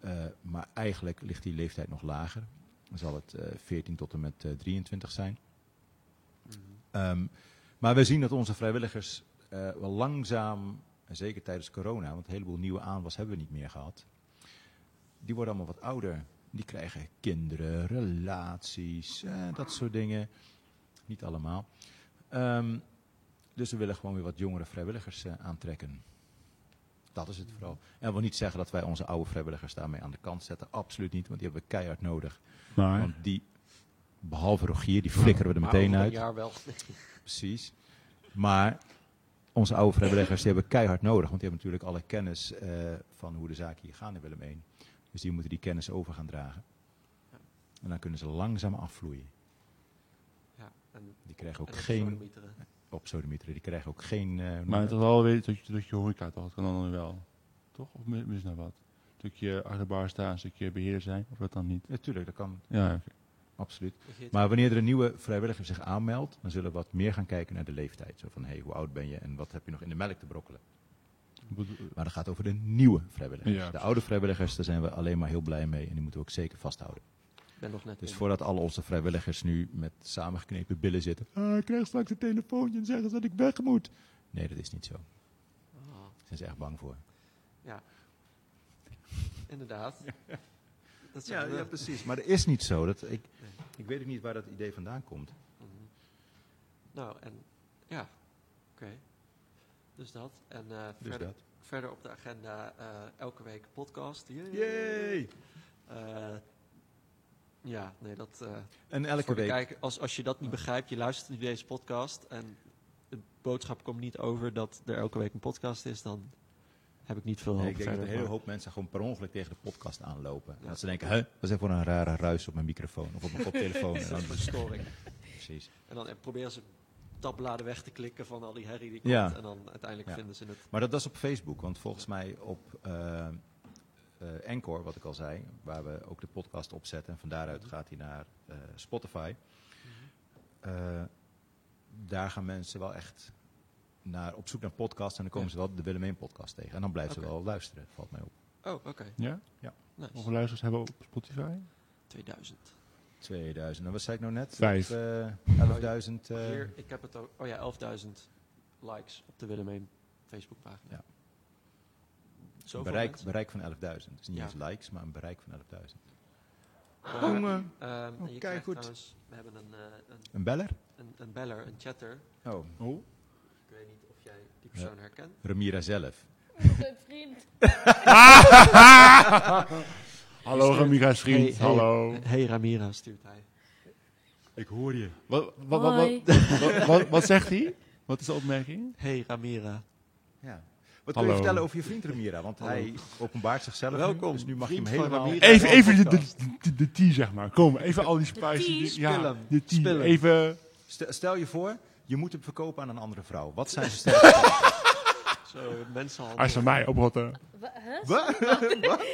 Speaker 1: Eh, maar eigenlijk ligt die leeftijd nog lager. Dan zal het eh, 14 tot en met eh, 23 zijn.
Speaker 3: Mhm.
Speaker 1: Ehm, maar we zien dat onze vrijwilligers eh, wel langzaam, en zeker tijdens corona, want een heleboel nieuwe aanwas hebben we niet meer gehad. Die worden allemaal wat ouder. Die krijgen kinderen, relaties, eh, dat soort dingen. Niet allemaal. Ehm, dus we willen gewoon weer wat jongere vrijwilligers eh, aantrekken. Dat is het vooral. En wil niet zeggen dat wij onze oude vrijwilligers daarmee aan de kant zetten. Absoluut niet, want die hebben we keihard nodig.
Speaker 5: Maar,
Speaker 1: Want die, behalve Rogier, die flikkeren we er
Speaker 3: Maar
Speaker 1: meteen
Speaker 3: over een
Speaker 1: uit.
Speaker 3: jaar wel.
Speaker 1: Precies. Maar onze oude vrijwilligers die hebben keihard nodig. Want die hebben natuurlijk alle kennis eh, van hoe de zaken hier gaan in Willem 1. Dus die moeten die kennis over gaan dragen. En dan kunnen ze langzaam afvloeien.
Speaker 3: ja, en,
Speaker 1: Die krijgen
Speaker 3: en
Speaker 1: ook
Speaker 3: dat
Speaker 1: geen...
Speaker 3: sodemieteren.
Speaker 1: Op sodemieteren. Die krijgen ook geen... eh,
Speaker 5: maar het is wel weer dat je, dat je horeca toch, dat kan dan wel. Toch? Of mi- mis nou wat? Een stukje achter de bar staan, een stukje beheerder zijn, of dat dan niet?
Speaker 1: Natuurlijk, dat kan
Speaker 5: Ja, oké.
Speaker 1: absoluut.
Speaker 3: Ik heet-
Speaker 1: Maar wanneer er een nieuwe vrijwilliger zich aanmeldt... dan zullen we wat meer gaan kijken naar de leeftijd. Zo van, hé, hey, hoe oud ben je en wat heb je nog in de melk te brokkelen?
Speaker 5: Ik bedoel-
Speaker 1: Maar dat gaat over de nieuwe vrijwilligers.
Speaker 5: Ja,
Speaker 1: de oude vrijwilligers, daar zijn we alleen maar heel blij mee. En die moeten we ook zeker vasthouden.
Speaker 3: Ik ben nog net.
Speaker 1: Dus
Speaker 3: in.
Speaker 1: voordat al onze vrijwilligers nu met samengeknepen billen zitten. Ah, ik krijg straks een telefoontje en zeggen ze dat ik weg moet. Nee, dat is niet zo. Daar
Speaker 3: Ah,
Speaker 1: zijn ze echt bang voor.
Speaker 3: inderdaad. Dat zeggen we.
Speaker 1: precies. Maar dat is niet zo. Dat, ik,
Speaker 3: Nee.
Speaker 1: ik weet ook niet waar dat idee vandaan komt.
Speaker 3: Mhm. Nou, en ja, oké. Dus dat. En eh, verder,
Speaker 1: dat.
Speaker 3: verder op de agenda eh, elke week podcast. Yay! Eh, ja, nee, dat. eh,
Speaker 1: En elke
Speaker 3: voor de
Speaker 1: week.
Speaker 3: kijker, als, als je dat niet begrijpt, je luistert nu deze podcast en de boodschap komt niet over dat er elke week een podcast is, dan heb ik niet veel
Speaker 1: Nee,
Speaker 3: hoop
Speaker 1: ik denk dat
Speaker 3: verder.
Speaker 1: een hele
Speaker 3: maar-
Speaker 1: hoop mensen gewoon per ongeluk tegen de podcast aanlopen.
Speaker 3: Ja.
Speaker 1: Dat ze denken, hè, wat is dat voor een rare ruis op mijn microfoon of op mijn koptelefoon?
Speaker 3: Dat
Speaker 1: en
Speaker 3: is
Speaker 1: dan,
Speaker 3: een verstoring.
Speaker 1: precies.
Speaker 3: En dan eh, proberen ze tabbladen weg te klikken van al die herrie die komt.
Speaker 1: Ja.
Speaker 3: En dan uiteindelijk
Speaker 1: Ja.
Speaker 3: vinden ze het.
Speaker 1: Maar dat, dat is op Facebook, want volgens mij op eh eh, Anchor, wat ik al zei, waar we ook de podcast op zetten, en van daaruit
Speaker 3: Mhm.
Speaker 1: gaat hij naar eh, Spotify. Eh, daar gaan mensen wel echt naar, op zoek naar podcasts en dan komen
Speaker 3: Ja.
Speaker 1: ze wel de Willemijn podcast tegen. En dan blijven
Speaker 3: Oké.
Speaker 1: ze wel luisteren, valt mij op.
Speaker 3: Oh, oké.
Speaker 5: Ja?
Speaker 3: Nice.
Speaker 5: Hoeveel luisteraars hebben we op Spotify?
Speaker 3: 2000.
Speaker 1: 2000, en wat zei ik nou net?
Speaker 5: Vijf.
Speaker 1: Dat, eh, 11.000. eh,
Speaker 3: Hier, ik heb het ook. Oh ja, 11.000 likes op de Willemijn Facebookpagina.
Speaker 1: Ja.
Speaker 3: Zoveel
Speaker 1: bereik,
Speaker 3: mensen.
Speaker 1: bereik van 11.000. Dus niet
Speaker 3: Ja.
Speaker 1: eens likes, maar een bereik van 11.000.
Speaker 3: Maar,
Speaker 1: Jongen.
Speaker 3: ehm, en je
Speaker 1: Oh,
Speaker 3: krijgt
Speaker 1: keigoed.
Speaker 3: trouwens, we hebben een, eh, een,
Speaker 1: Een beller?
Speaker 3: een, een beller, een chatter.
Speaker 1: Oh,
Speaker 5: Oh.
Speaker 3: Ik weet niet of jij die persoon herkent.
Speaker 1: Ramira zelf.
Speaker 2: Mijn vriend.
Speaker 5: Hallo Ramira vriend,
Speaker 3: Hey, hey.
Speaker 5: hallo.
Speaker 3: Hey Ramira, stuurt hij.
Speaker 1: Ik hoor je.
Speaker 5: Wat, wat, wat,
Speaker 2: Hoi.
Speaker 5: wat, wat, wat zegt hij? Wat is de opmerking?
Speaker 3: Hey Ramira.
Speaker 1: Ja. Wat
Speaker 5: Hallo.
Speaker 1: kun je vertellen over je vriend Ramira? Want hij openbaart zichzelf. nu,
Speaker 3: Welkom,
Speaker 1: dus nu mag je hem
Speaker 3: vriend van
Speaker 1: helemaal...
Speaker 3: Ramira.
Speaker 5: Even,
Speaker 3: Ja,
Speaker 5: even de,
Speaker 3: podcast.
Speaker 5: de, de, de tea, zeg maar. Kom, even al die spices.
Speaker 2: tea,
Speaker 5: die-
Speaker 3: spil
Speaker 5: ja,
Speaker 3: hem,
Speaker 5: de
Speaker 3: spil
Speaker 5: tea.
Speaker 3: hem.
Speaker 5: Even,
Speaker 1: Stel, stel je voor, je moet hem verkopen aan een andere vrouw. Wat zijn zijn sterke kanten?
Speaker 3: Zo, mensenhandel.
Speaker 5: als van mij oprotten.
Speaker 2: Wa- hè?
Speaker 1: Wat? Wat?
Speaker 2: Als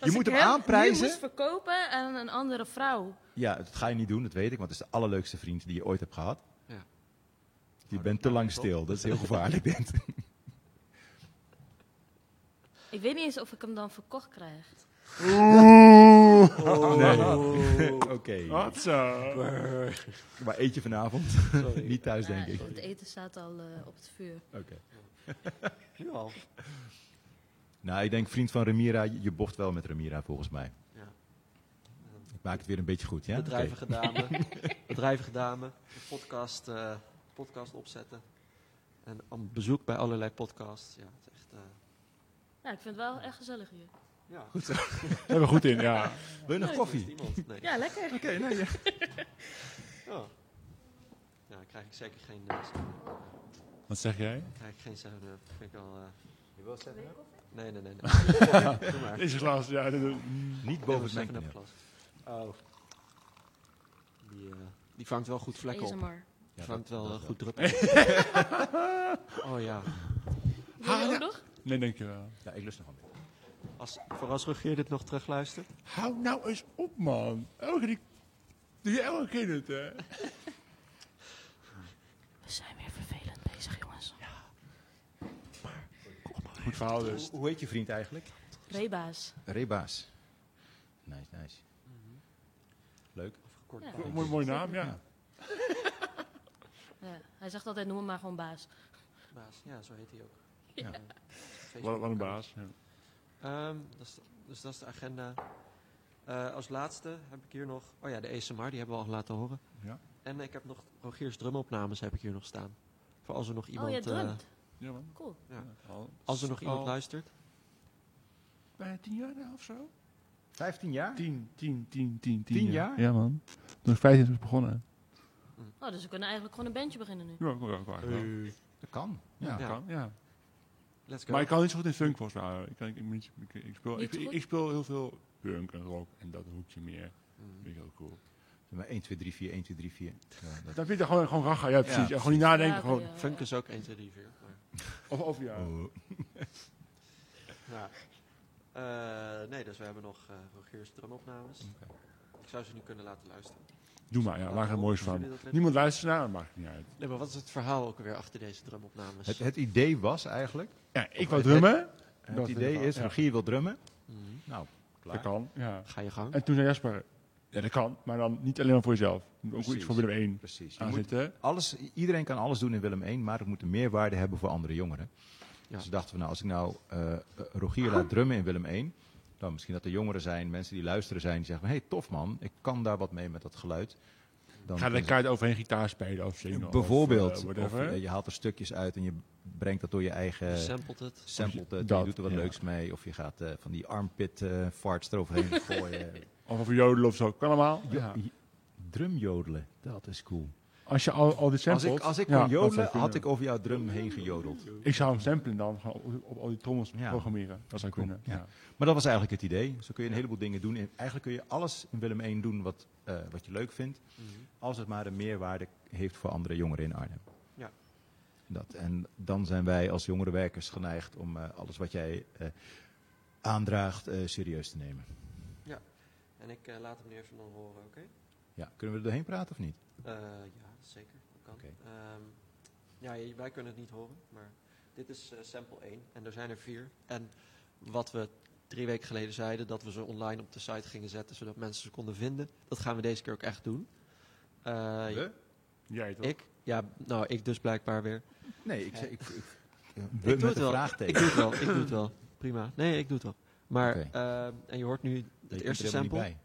Speaker 2: ik
Speaker 1: moet hem
Speaker 2: Nu
Speaker 1: aanprijzen?
Speaker 2: moest verkopen aan een andere vrouw.
Speaker 1: Ja, dat ga je niet doen, dat weet ik. Want het is de allerleukste vriend die je ooit hebt gehad.
Speaker 3: Ja.
Speaker 1: Je bent te lang stil. Dat is heel gevaarlijk, dit.
Speaker 2: Ik weet niet eens of ik hem dan verkocht krijg.
Speaker 3: Oh,
Speaker 1: Oké.
Speaker 5: Wat zo.
Speaker 1: Maar eet je vanavond?
Speaker 3: Sorry.
Speaker 1: niet thuis, denk
Speaker 2: Nou,
Speaker 1: ik.
Speaker 2: Het eten staat al eh, op het vuur.
Speaker 1: Oké.
Speaker 3: Nu al.
Speaker 1: Nou, ik denk vriend van Ramira, je je bocht wel met Ramira volgens mij.
Speaker 3: Ja.
Speaker 1: Ik maak het weer een beetje goed, ja?
Speaker 3: Bedrijvige dame. Bedrijvige dame. Een podcast, eh, podcast opzetten. En aan bezoek bij allerlei podcasts. Ja, het is echt... eh,
Speaker 2: Nou, ik vind het wel echt gezellig hier.
Speaker 3: ja.
Speaker 5: Daar hebben we goed in, ja.
Speaker 1: Oké. Wil je nog
Speaker 3: Is
Speaker 1: koffie?
Speaker 3: iemand? Nee.
Speaker 2: Ja, lekker.
Speaker 1: Oké, nee, ja.
Speaker 3: Ja. Ja, dan krijg ik zeker geen, eh,
Speaker 5: Wat zeg jij?
Speaker 3: dan krijg ik geen 7-up. Vind ik al... eh,
Speaker 1: Je wil zeggen?
Speaker 3: nee, nee, nee. nee. Doe maar.
Speaker 5: Deze glas, ja. dit-
Speaker 1: Niet
Speaker 3: Boven
Speaker 1: boven het
Speaker 3: het 7-up
Speaker 1: mengpaneel.
Speaker 3: glas. Oh. Die, eh, die vangt wel goed vlekken op.
Speaker 2: ASMR.
Speaker 1: Ja,
Speaker 3: vangt
Speaker 1: dat-
Speaker 3: wel
Speaker 1: dat
Speaker 3: eh, goed druk op. oh
Speaker 2: Wil je
Speaker 3: ja.
Speaker 5: Ah,
Speaker 2: ook
Speaker 5: ja.
Speaker 2: nog?
Speaker 5: Nee, dankjewel.
Speaker 1: Ja, ik lust nog een beetje.
Speaker 3: Als, voor als Rogier dit nog terugluistert.
Speaker 5: Hou nou eens op, man. Elke die... Doe je elke keer het, hè?
Speaker 2: We zijn weer vervelend bezig, jongens.
Speaker 5: Goed verhaal dus.
Speaker 1: Hoe, hoe heet je vriend eigenlijk?
Speaker 2: Rebaas.
Speaker 1: Rebaas. Nice, nice.
Speaker 3: Mhm.
Speaker 1: Leuk.
Speaker 3: Afgekort.
Speaker 2: Ja.
Speaker 3: baas.
Speaker 5: Mooi, mooi naam, ja.
Speaker 2: Ja, hij zegt altijd, noem me maar gewoon baas. Oh,
Speaker 3: Baas. Ja, zo heet hij ook. Eh,
Speaker 5: Ja.
Speaker 3: Facebook.
Speaker 5: Wat, wat een baas. ja.
Speaker 3: Ehm, dat is- dus dat is de agenda. Eh, als laatste heb ik hier nog... Oh ja, de ASMR, die hebben we al laten horen.
Speaker 5: Ja.
Speaker 3: En ik heb nog Rogiers drumopnames heb ik hier nog staan. Voor als er nog iemand,
Speaker 2: oh, je
Speaker 3: eh,
Speaker 2: drumt.
Speaker 5: Ja, man.
Speaker 2: Cool.
Speaker 5: Al-
Speaker 3: als er nog iemand
Speaker 5: al
Speaker 3: luistert.
Speaker 5: Bijna tien jaar nou, of zo?
Speaker 1: 15 jaar?
Speaker 5: Tien, tien, tien, tien, tien,
Speaker 1: Tien jaar?
Speaker 5: Ja, man. Toen ik vijftien was begonnen.
Speaker 2: Oh, dus we kunnen eigenlijk gewoon een bandje beginnen nu.
Speaker 5: Ja, ik ook wel.
Speaker 3: Eh,
Speaker 1: Dat kan.
Speaker 5: Ja,
Speaker 1: Ja.
Speaker 3: Ja.
Speaker 5: kan, ja.
Speaker 3: Let's go.
Speaker 5: Maar ik kan niet zo goed in funk volgens mij. Ik, kan, ik, ben niet- ik, ik speel,
Speaker 2: Niet
Speaker 5: ik,
Speaker 2: zo
Speaker 5: ik,
Speaker 2: goed?
Speaker 5: ik speel heel veel punk en rock en dat hoekje meer.
Speaker 3: Mm.
Speaker 5: Vind ik heel cool.
Speaker 1: Maar 1, 2, 3, 4, 1, 2, 3, 4. Ja, dat-
Speaker 5: Dan vind je gewoon, gewoon raga, ja precies. Ja, gewoon niet nadenken.
Speaker 2: Ja,
Speaker 5: Ah, gewoon,
Speaker 2: oké, ja.
Speaker 3: Funk is ook 1, 2, 3, 4. Maar,
Speaker 5: Of, of ja.
Speaker 1: Oh.
Speaker 3: ja. Eh, nee, dus we hebben nog eh Rogiers drumopnames.
Speaker 1: Oké.
Speaker 3: Ik zou ze nu kunnen laten luisteren.
Speaker 5: Doe maar, ja, maak er het moois
Speaker 3: Vinden
Speaker 5: van.
Speaker 3: jullie dat leuk?
Speaker 5: Niemand luistert naar, dat maakt het niet uit.
Speaker 3: Nee, maar wat is het verhaal ook weer achter deze drumopnames?
Speaker 1: Het, het idee was eigenlijk...
Speaker 5: Ja, ik wou drummen.
Speaker 1: Het
Speaker 5: Dat
Speaker 1: idee
Speaker 5: inderdaad,
Speaker 1: is,
Speaker 5: ja.
Speaker 1: Rogier wil drummen.
Speaker 3: Mhm.
Speaker 1: Nou,
Speaker 5: Dat
Speaker 1: klaar.
Speaker 5: kan, ja.
Speaker 3: Ga je gang.
Speaker 5: En toen zei Jasper, ja dat kan, maar dan niet alleen maar voor jezelf. Je moet Ook
Speaker 1: Precies.
Speaker 5: iets voor Willem 1
Speaker 1: Precies. Je
Speaker 5: aan
Speaker 1: moet
Speaker 5: zitten.
Speaker 1: alles, iedereen kan alles doen in Willem 1, maar het moet een meerwaarde hebben voor andere jongeren.
Speaker 3: Ja.
Speaker 1: Dus dachten we, nou, als ik nou eh, Rogier laat drummen in Willem 1, dan misschien dat er jongeren zijn, mensen die luisteren zijn, die zeggen, hé, hey, tof man, ik kan daar wat mee met dat geluid. Dan
Speaker 5: Ga
Speaker 1: kunnen
Speaker 5: de
Speaker 1: ze-
Speaker 5: kaart overheen gitaar spelen of zingen. of,
Speaker 1: Bijvoorbeeld,
Speaker 5: eh,
Speaker 1: of,
Speaker 5: whatever.
Speaker 1: eh, je haalt er stukjes uit en je brengt dat door je eigen
Speaker 3: Je samplet het.
Speaker 1: sample, te-
Speaker 5: Dat,
Speaker 1: je doet er wat
Speaker 5: ja.
Speaker 1: leuks mee, of je gaat eh, van die armpit eh, farts eroverheen gooien.
Speaker 5: eh, Of over jodelen of zo. Kan allemaal. Ja.
Speaker 1: Drumjodelen, dat is cool.
Speaker 5: Als je al, al die
Speaker 1: Als
Speaker 5: samples...
Speaker 1: ik, als ik
Speaker 5: Ja,
Speaker 1: kon
Speaker 5: dat zou
Speaker 1: jodelen,
Speaker 5: kunnen.
Speaker 1: had ik over jouw drum heen gejodeld.
Speaker 5: Ik zou hem samplen dan, gewoon op, op al die trommels
Speaker 1: Ja.
Speaker 5: programmeren. Dat zou
Speaker 1: Cool.
Speaker 5: kunnen. Ja.
Speaker 1: Maar dat was eigenlijk het idee. Zo kun je een heleboel dingen doen. En eigenlijk kun je alles in Willem 1 doen wat, eh, wat je leuk vindt. Als het maar een meerwaarde heeft voor andere jongeren in Arnhem.
Speaker 3: Ja.
Speaker 1: Dat, en dan zijn wij als jongerenwerkers geneigd om eh, alles wat jij eh, aandraagt eh, serieus te nemen.
Speaker 3: En ik eh, laat hem nu even dan horen, oké?
Speaker 1: Ja, kunnen we er doorheen praten of niet?
Speaker 3: Eh, ja, zeker. Dat kan.
Speaker 1: Oké.
Speaker 3: Ehm, ja, je- wij kunnen het niet horen, maar dit is eh, sample 1 en er zijn er vier. En wat we drie weken geleden zeiden, dat we ze online op de site gingen zetten, zodat mensen ze konden vinden. Dat gaan we deze keer ook echt doen. Eh,
Speaker 1: We?
Speaker 5: Jij toch?
Speaker 3: Ik? Ja, nou, ik dus blijkbaar weer.
Speaker 1: Nee, ik, zei- ik, ik, we
Speaker 3: doe
Speaker 1: met
Speaker 3: het
Speaker 1: een
Speaker 3: wel. Ik
Speaker 1: vraagteken.
Speaker 3: doe het wel, ik doe het wel. Prima. Nee, ik doe het wel. Maar,
Speaker 1: Oké.
Speaker 3: ehm, en je hoort nu
Speaker 1: Je
Speaker 3: het
Speaker 1: komt er
Speaker 3: eerste
Speaker 1: helemaal
Speaker 3: sample.
Speaker 1: niet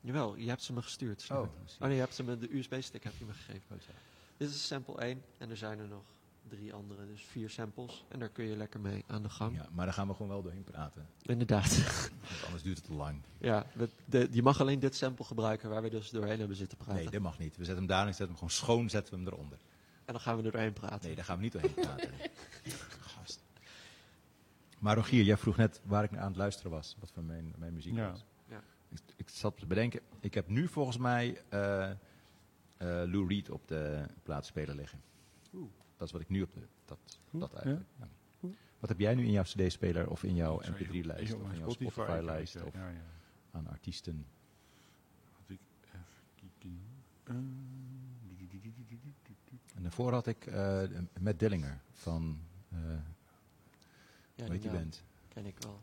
Speaker 3: Jawel, je hebt ze me gestuurd.
Speaker 1: bij. Oh,
Speaker 3: Oh nee, je hebt ze me, de USB-stick heb je me gegeven. Dit is sample 1 en er zijn er nog drie andere, dus vier samples. En daar kun je lekker mee aan de gang.
Speaker 1: ja, maar daar gaan we gewoon wel doorheen praten.
Speaker 3: Inderdaad.
Speaker 1: Want anders duurt het te lang.
Speaker 3: ja, we- de- je mag alleen dit sample gebruiken waar we dus doorheen hebben zitten praten.
Speaker 1: Nee, dat mag niet. We zetten hem daar en zetten we hem gewoon schoon, zetten we hem eronder.
Speaker 3: en dan gaan we er doorheen praten.
Speaker 1: Nee, daar gaan we niet doorheen praten. Gast. Maar Rogier, jij vroeg net waar ik naar aan het luisteren was. Wat voor mijn, mijn muziek
Speaker 5: Ja.
Speaker 1: was.
Speaker 3: Ja.
Speaker 1: Ik, ik zat te bedenken. Ik heb nu volgens mij eh, eh, Lou Reed op de plaatsspeler liggen.
Speaker 3: Oeh.
Speaker 1: Dat is wat ik nu op de... Dat,
Speaker 5: Oeh,
Speaker 1: dat eigenlijk. ja. Wat heb jij nu in jouw cd-speler of in jouw mp3-lijst
Speaker 5: Ik op
Speaker 1: of in
Speaker 5: mijn
Speaker 1: jouw Spotify-lijst
Speaker 5: kijk,
Speaker 1: of
Speaker 5: Ja, ja.
Speaker 1: aan artiesten?
Speaker 5: Had ik even kijken. Eh,
Speaker 1: En daarvoor had ik eh Matt Dillinger van, eh
Speaker 3: Ja,
Speaker 1: hoe heet die
Speaker 3: naam
Speaker 1: band?
Speaker 3: ken ik wel.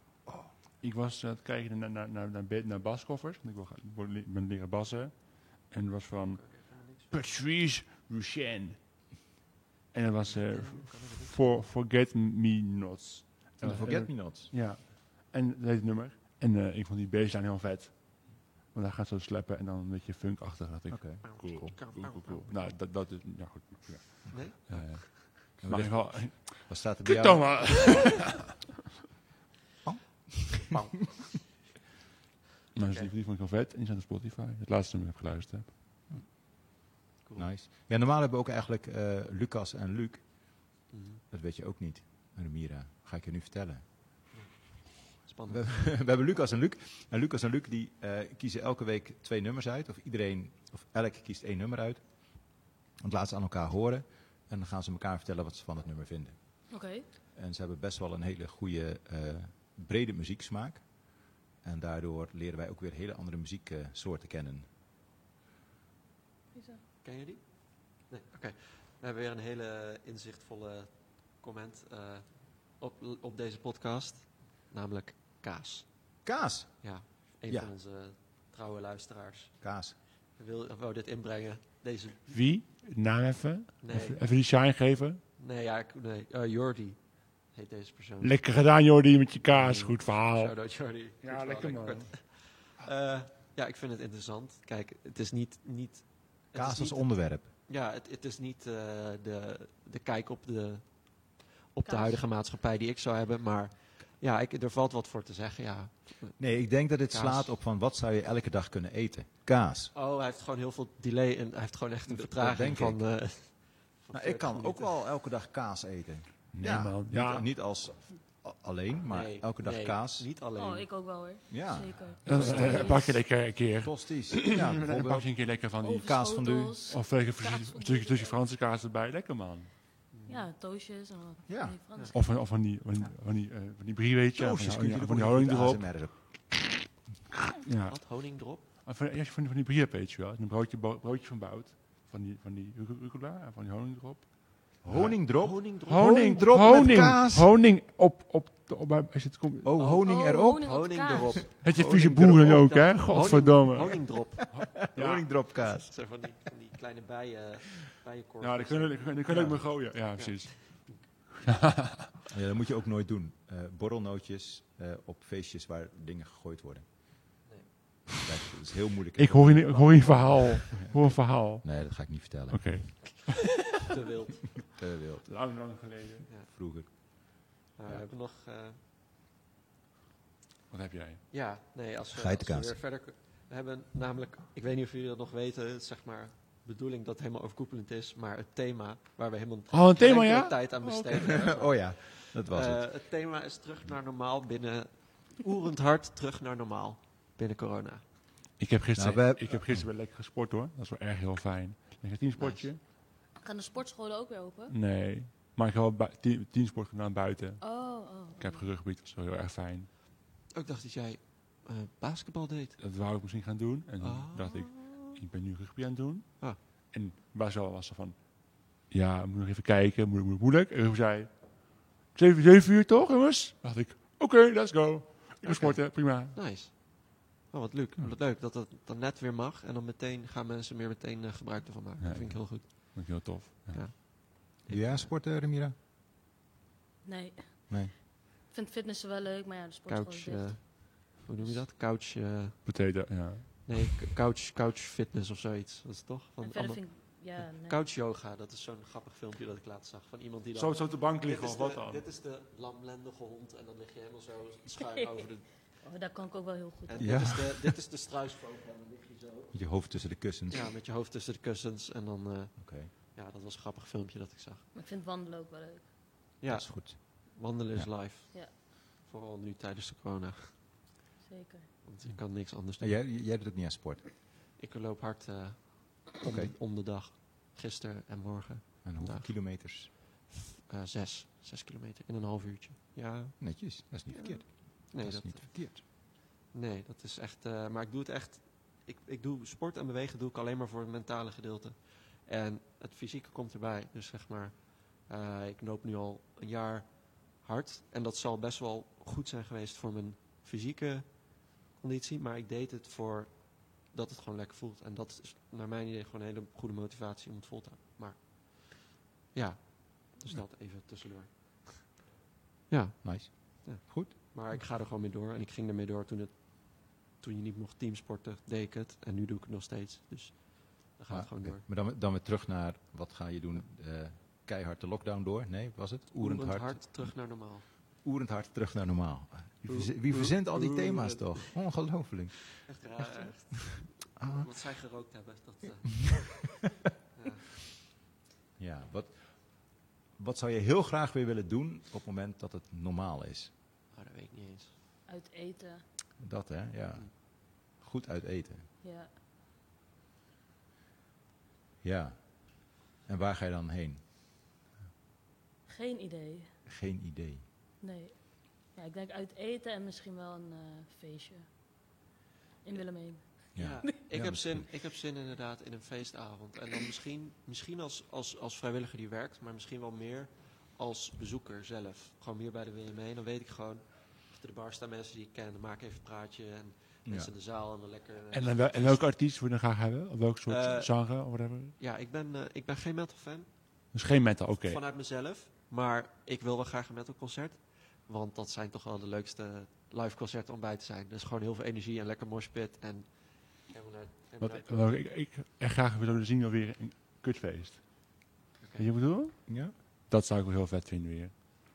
Speaker 5: Ik was aan het kijken naar, naar, naar, naar, be- naar baskoffers. Want ik wil, gaan- wil, le- ben leren bassen. En het was van Patrice Rouchen. En dat was eh, for, Forget Me Nots.
Speaker 1: En
Speaker 5: En-
Speaker 1: Forget Me Nots.
Speaker 5: Ja, en dat heet het nummer. En eh, ik vond die baseline heel vet. Want daar gaat zo slappen en dan een beetje funk achter. Dacht ik.
Speaker 1: Oké, cool.
Speaker 5: Cool, cool, cool. Nou, dat, dat is. Ja, goed. Ja.
Speaker 3: Nee?
Speaker 5: Eh,
Speaker 1: En
Speaker 5: maar
Speaker 1: wat
Speaker 5: ik
Speaker 1: is-
Speaker 5: wel.
Speaker 1: Wat staat er bij
Speaker 5: Kut
Speaker 1: jou?
Speaker 5: dan maar!
Speaker 3: Pauw.
Speaker 5: Nou, dus die, die vond ik heel vet. En die zijn op Spotify. Het laatste nummer dat ik geluisterd heb.
Speaker 1: Nice. Ja, normaal hebben we ook eigenlijk eh, Lucas en Luc.
Speaker 3: Mhm.
Speaker 1: Dat weet je ook niet. En Mira, ga ik je nu vertellen.
Speaker 3: Spannend.
Speaker 1: We, we hebben Lucas en Luc. En Lucas en Luc die eh, kiezen elke week twee nummers uit. Of iedereen, of elk kiest één nummer uit. En laat ze aan elkaar horen. En dan gaan ze elkaar vertellen wat ze van het nummer vinden.
Speaker 2: Oké.
Speaker 1: En ze hebben best wel een hele goede, eh, brede muzieksmaak. En daardoor leren wij ook weer hele andere muzieksoorten kennen.
Speaker 3: Ken je die? Nee, oké. We hebben weer een hele inzichtvolle comment eh, op, op deze podcast. Namelijk Kaas.
Speaker 1: Kaas!
Speaker 3: Ja, een
Speaker 1: Ja.
Speaker 3: van onze trouwe luisteraars.
Speaker 1: Kaas.
Speaker 3: Wil, wou dit inbrengen. Deze,
Speaker 5: Wie? Naam even.
Speaker 3: nee,
Speaker 5: Even, even die shine geven.
Speaker 3: nee, ja, ik, nee. eh, Jordi heet deze persoon.
Speaker 5: Lekker gedaan, Jordi, met je kaas. Goed verhaal.
Speaker 3: Shout-out Jordi. Goed
Speaker 5: Ja,
Speaker 3: verhaal,
Speaker 5: lekker man.
Speaker 3: kort. Eh, ja, ik vind het interessant. Kijk, het is niet... niet het is
Speaker 1: Kaas als
Speaker 3: niet-
Speaker 1: onderwerp.
Speaker 3: Ja, het, het is niet eh, de, de kijk op, de, op de
Speaker 2: Kaas.
Speaker 3: huidige maatschappij die ik zou hebben, maar ja, ik, er valt wat voor te zeggen, ja.
Speaker 1: Nee, ik denk dat dit
Speaker 3: Kaas.
Speaker 1: slaat op van wat zou je elke dag kunnen eten? Kaas.
Speaker 3: Oh, hij heeft gewoon heel veel delay en hij heeft gewoon echt een
Speaker 1: Dat- dat
Speaker 3: vertraging
Speaker 1: denk
Speaker 3: van, eh, van
Speaker 1: Nou, ik
Speaker 3: 40
Speaker 1: kan ook
Speaker 3: minuten.
Speaker 1: wel elke dag kaas eten.
Speaker 5: Nee,
Speaker 1: ja,
Speaker 5: man.
Speaker 1: Niet,
Speaker 5: Ja.
Speaker 1: niet als a- alleen, maar
Speaker 3: Nee,
Speaker 1: elke dag
Speaker 3: nee,
Speaker 1: kaas.
Speaker 3: Niet alleen.
Speaker 2: Oh, ik ook wel hoor.
Speaker 1: Ja,
Speaker 2: Zeker.
Speaker 5: Dat is, eh, pak je lekker een keer.
Speaker 1: tosties. ja,
Speaker 5: Dan pak
Speaker 1: bijvoorbeeld.
Speaker 5: je een keer lekker van die.
Speaker 1: kaas van
Speaker 2: Overschotels.
Speaker 5: Of lekker
Speaker 2: Kaas
Speaker 5: tussen
Speaker 2: van
Speaker 5: tussen-
Speaker 2: de-
Speaker 5: tussen Franse kaas erbij. Lekker, man.
Speaker 2: Ja, toastjes en wat.
Speaker 1: Ja.
Speaker 2: Nee, Frans.
Speaker 5: Oh. Of, van- of van die, van die, van die, eh, van die brie, weet je.
Speaker 1: Toosjes
Speaker 5: van,
Speaker 1: kun
Speaker 5: die-
Speaker 1: je
Speaker 5: van
Speaker 1: er
Speaker 5: die
Speaker 1: ook
Speaker 5: honing
Speaker 1: niet
Speaker 5: erop.
Speaker 1: ASMR op.
Speaker 5: Ja.
Speaker 3: Wat, honingdrop?
Speaker 5: Of van, als je van die, van die brie hebt, weet je wel. En een broodje, bo- broodje van bout. Van die, van die ruc- rucola en van die honing erop. Oh,
Speaker 1: Honingdrop.
Speaker 3: Honingdrop?
Speaker 1: Honing erop met
Speaker 5: honing,
Speaker 1: kaas.
Speaker 5: Honing op, op, de- op, als je het komt.
Speaker 1: Oh, honing
Speaker 2: Oh,
Speaker 1: erop.
Speaker 2: honing op
Speaker 3: Honing
Speaker 2: kaas.
Speaker 3: erop.
Speaker 5: Het je
Speaker 1: honing
Speaker 5: vieze boeren
Speaker 1: erop,
Speaker 5: ook,
Speaker 3: dat-
Speaker 5: hè? Godverdomme.
Speaker 3: Honingdrop. oh.
Speaker 5: Ja.
Speaker 1: Honingdrop kaas.
Speaker 3: Dat zijn van die, van die kleine bijen, eh, bijenkorven.
Speaker 5: Ja, die Nou, kunnen, die kunnen, die kunnen
Speaker 3: Ja.
Speaker 5: ook me gooien. Ja, precies.
Speaker 1: Ja, dat moet je ook nooit doen. Eh, borrelnootjes eh, op feestjes waar dingen gegooid worden.
Speaker 3: Nee.
Speaker 1: Kijk, dat is heel moeilijk.
Speaker 5: Ik hoor je, ik hoor je verhaal. Ik hoor een verhaal.
Speaker 1: Nee, dat ga ik niet vertellen.
Speaker 5: Oké.
Speaker 3: Te wild.
Speaker 1: Te wild.
Speaker 5: Lang, lang geleden.
Speaker 1: Vroeger.
Speaker 3: Nou, we hebben nog... eh,
Speaker 5: Wat heb jij?
Speaker 3: Ja, nee, als we, als we
Speaker 1: Geitenkaas.
Speaker 3: weer verder... k- We hebben namelijk, ik weet niet of jullie dat nog weten, zeg maar, bedoeling dat het helemaal overkoepelend is, maar het thema waar we helemaal
Speaker 5: Oh, een
Speaker 3: geen
Speaker 5: thema,
Speaker 3: enkele
Speaker 5: ja?
Speaker 3: tijd aan
Speaker 5: Oh, oké.
Speaker 3: besteden.
Speaker 1: oh ja, dat was
Speaker 3: Eh,
Speaker 1: het.
Speaker 3: het thema is terug naar normaal binnen. Oerend hard terug naar normaal binnen corona.
Speaker 5: Ik heb gisteren,
Speaker 1: Nou, we-
Speaker 5: ik heb gisteren wel lekker gesport hoor. Dat is wel erg heel fijn. Lekker teamsportje.
Speaker 2: Gaan de sportscholen ook weer open?
Speaker 5: Nee. Maar ik heb wel bui- team- teamsport gedaan buiten.
Speaker 2: Oh, oh.
Speaker 5: Ik heb gerugbied, dat is wel heel erg fijn.
Speaker 3: Ik dacht dat jij eh, basketbal deed.
Speaker 5: Dat wou ik misschien gaan doen. En toen
Speaker 3: Ah.
Speaker 5: dacht ik, ik ben nu rugby aan het doen.
Speaker 3: Ah.
Speaker 5: En waar zo was ze van, ja, ik moet nog even kijken, moeilijk, moeilijk, moeilijk. En toen zei, 7, 7 uur toch jongens? Dacht ik, oké, let's go. Ik wil
Speaker 3: Oké.
Speaker 5: sporten, prima.
Speaker 3: Nice. Oh, wat leuk.
Speaker 5: Ja.
Speaker 3: Wat leuk dat dat dan net weer mag. En dan meteen gaan mensen meer meteen eh, gebruik ervan maken.
Speaker 5: Ja,
Speaker 3: dat vind ik
Speaker 5: ja.
Speaker 3: heel goed.
Speaker 5: Vond ik heel tof. Ja.
Speaker 3: Ja.
Speaker 1: Doe jij aan eh, sporten, Remira?
Speaker 2: Nee.
Speaker 1: Nee.
Speaker 2: Ik vind fitnessen wel leuk, maar ja, de sportschool is
Speaker 3: Couch.
Speaker 2: dicht.
Speaker 3: eh, hoe noem je dat? Couch. eh,
Speaker 5: Potato, ja.
Speaker 3: nee, k- couch, couch fitness of zoiets. Dat is toch? Van
Speaker 2: en verder
Speaker 3: allemaal-
Speaker 2: vind ik... Ja, nee.
Speaker 3: Couch yoga, dat is zo'n grappig filmpje dat ik laatst zag. Van iemand die dan.
Speaker 5: Zo, zo op de bank
Speaker 3: dit,
Speaker 5: liggen,
Speaker 3: is
Speaker 5: of wat
Speaker 3: de,
Speaker 5: dan?
Speaker 3: dit is de lamlendige hond. En dan lig je helemaal zo schuin over de.
Speaker 2: Oh, daar kan ik ook wel heel goed
Speaker 3: En
Speaker 2: in.
Speaker 1: Ja.
Speaker 3: dit, is de, dit is de struisvogel. En dan lig je zo.
Speaker 1: Met je hoofd tussen de kussens.
Speaker 3: Ja, met je hoofd tussen de kussens. En dan. eh,
Speaker 1: Oké.
Speaker 3: ja, dat was een grappig filmpje dat ik zag.
Speaker 2: Maar ik vind wandelen ook wel leuk.
Speaker 3: Ja,
Speaker 1: Dat is goed.
Speaker 3: wandelen is live.
Speaker 2: Ja.
Speaker 3: Vooral nu tijdens de corona.
Speaker 2: Zeker.
Speaker 3: Want je kan niks anders
Speaker 1: En
Speaker 3: doen.
Speaker 1: jij, jij doet ook niet aan sport.
Speaker 3: Ik loop hard eh, om,
Speaker 1: Oké.
Speaker 3: de, om de dag. Gisteren en morgen.
Speaker 1: En hoeveel
Speaker 3: Dag.
Speaker 1: kilometers?
Speaker 3: Eh, zes. Zes kilometer in een half uurtje. Ja,
Speaker 1: Netjes, dat is niet verkeerd.
Speaker 3: nee,
Speaker 1: dat is
Speaker 3: dat,
Speaker 1: niet verkeerd.
Speaker 3: nee, dat is echt... eh, maar ik doe het echt... Ik, ik doe sport en bewegen doe ik alleen maar voor het mentale gedeelte. En het fysieke komt erbij. Dus zeg maar, eh, ik loop nu al een jaar hard. En dat zal best wel goed zijn geweest voor mijn fysieke conditie. Maar ik deed het voor dat het gewoon lekker voelt. En dat is naar mijn idee gewoon een hele goede motivatie om het vol te houden. Maar ja, dus dat even tussendoor. Ja,
Speaker 1: Nice.
Speaker 3: Ja.
Speaker 1: Goed.
Speaker 3: maar ik ga er gewoon mee door. En ik ging ermee door toen, het, toen je niet mocht teamsporten, deed ik het. En nu doe ik het nog steeds. Dus dan gaat
Speaker 1: Maar,
Speaker 3: het gewoon
Speaker 1: Ah, oké.
Speaker 3: door.
Speaker 1: Maar dan, dan weer terug naar, wat ga je doen? Eh, keihard de lockdown door? Nee, was het? Oerend hard.
Speaker 3: terug naar normaal.
Speaker 1: Oerend hard terug naar normaal. Wie,
Speaker 3: Oer-
Speaker 1: verze- wie verzint al die
Speaker 3: oer-
Speaker 1: thema's
Speaker 3: oer-
Speaker 1: toch? Ongelooflijk.
Speaker 3: Echt raar. Echt.
Speaker 1: Ah.
Speaker 3: Wat zij gerookt hebben. Dat, eh, ja.
Speaker 1: Ja, wat, wat zou je heel graag weer willen doen op het moment dat het normaal is?
Speaker 3: Oh, dat weet ik niet eens.
Speaker 2: Uit eten.
Speaker 1: Dat hè, ja. Goed uit eten.
Speaker 2: Ja.
Speaker 1: Ja. En waar ga je dan heen?
Speaker 2: Geen idee.
Speaker 1: Geen idee.
Speaker 2: Nee. Ja, ik denk uit eten en misschien wel een eh, feestje. In Willemijn.
Speaker 1: Ja.
Speaker 3: Ik,
Speaker 1: Ja,
Speaker 3: heb
Speaker 1: misschien.
Speaker 3: zin, ik heb zin inderdaad in een feestavond. En dan misschien, misschien als, als, als vrijwilliger die werkt, maar misschien wel meer als bezoeker zelf. Gewoon meer bij de WME. Dan weet ik gewoon, achter de bar staan mensen die ik ken. Dan maak ik even een praatje. En mensen
Speaker 1: Ja.
Speaker 3: in de zaal en dan lekker... eh,
Speaker 5: En, dan wel, en welke artiest wil je dan graag hebben? Of welke soort
Speaker 3: Eh,
Speaker 5: genre, of whatever?
Speaker 3: ja, ik ben, eh, ik ben geen metal fan.
Speaker 5: Dus geen metal, oké.
Speaker 3: vanuit mezelf. Maar ik wil wel graag een metalconcert. Want dat zijn toch wel de leukste live concerten om bij te zijn. Dus gewoon heel veel energie en lekker moshpit. En helemaal naar, helemaal
Speaker 5: Wat,
Speaker 3: naar-
Speaker 5: wat ik, ik echt graag wil willen zien wel weer een kutfeest.
Speaker 3: Oké.
Speaker 5: Weet je wat ik bedoel?
Speaker 1: Ja?
Speaker 5: Dat zou ik wel heel vet vinden weer. Er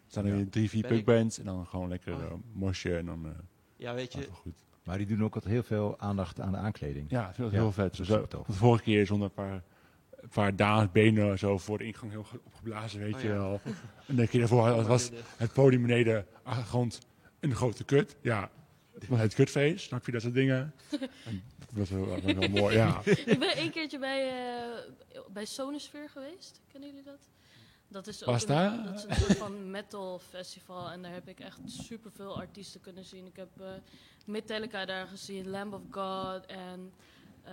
Speaker 5: staan er
Speaker 1: Ja.
Speaker 5: weer drie, vier
Speaker 3: Ben ik-
Speaker 5: pubbands en dan gewoon lekker
Speaker 3: Oh ja.
Speaker 5: eh, mosje en dan eh
Speaker 3: Ja, weet
Speaker 5: gaat
Speaker 3: je,
Speaker 5: het wel goed.
Speaker 1: Maar die doen ook altijd heel veel aandacht aan de aankleding.
Speaker 5: Ja, ik vind dat
Speaker 1: Ja,
Speaker 5: heel vet.
Speaker 1: dat
Speaker 5: Zo-
Speaker 1: is het ook.
Speaker 5: want vorige keer zonder een paar, een paar dames benen zo voor de ingang heel ge- opgeblazen, weet
Speaker 3: Oh
Speaker 5: je
Speaker 3: ja.
Speaker 5: wel. En de keer daarvoor had- was
Speaker 3: eh,
Speaker 5: het podium beneden, achtergrond, een grote kut. Ja, want het kutfeest, snap je dat soort dingen? En dat was wel, wel- wel mooi, ja.
Speaker 2: ik ben een keertje bij, eh, bij Sonosfeer geweest. Kennen jullie dat? Dat is, ook
Speaker 5: Was daar?
Speaker 2: een, dat is een soort van metal festival. En daar heb ik echt superveel artiesten kunnen zien. Ik heb eh, Metallica daar gezien, Lamb of God en eh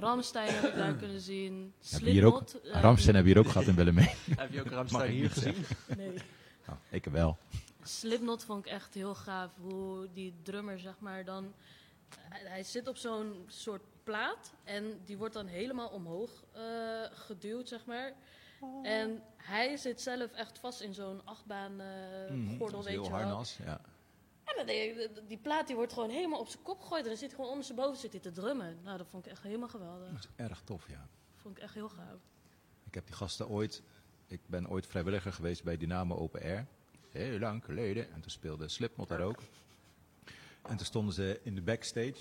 Speaker 2: Ramstein heb ik daar kunnen zien.
Speaker 1: Hebben hier ook-
Speaker 2: Slipknot. eh,
Speaker 1: Ramstein hebben hier ook gehad in Willemijn.
Speaker 3: Heb je ook Ramstein
Speaker 1: ik
Speaker 3: hier
Speaker 1: niet
Speaker 3: gezien?
Speaker 2: nee.
Speaker 1: Nou, ik wel.
Speaker 2: Slipknot vond ik echt heel gaaf. Hoe die drummer, zeg maar, dan... Hij, hij zit op zo'n soort plaat en die wordt dan helemaal omhoog eh, geduwd, zeg maar. En hij zit zelf echt vast in zo'n achtbaan eh, gordel, weet
Speaker 1: Mhm, heel
Speaker 2: je wel.
Speaker 1: harnas. Ja.
Speaker 2: En dan denk ik, die plaat die wordt gewoon helemaal op zijn kop gegooid. En dan zit hij gewoon ondersteboven zit hij te drummen. Nou, dat vond ik echt helemaal geweldig.
Speaker 1: Erg tof, ja.
Speaker 2: Vond ik echt heel gaaf.
Speaker 1: Ik heb die gasten ooit... Ik ben ooit vrijwilliger geweest bij Dynamo Open Air. Heel lang geleden. En toen speelde Slipknot daar ook. En toen stonden ze in de backstage.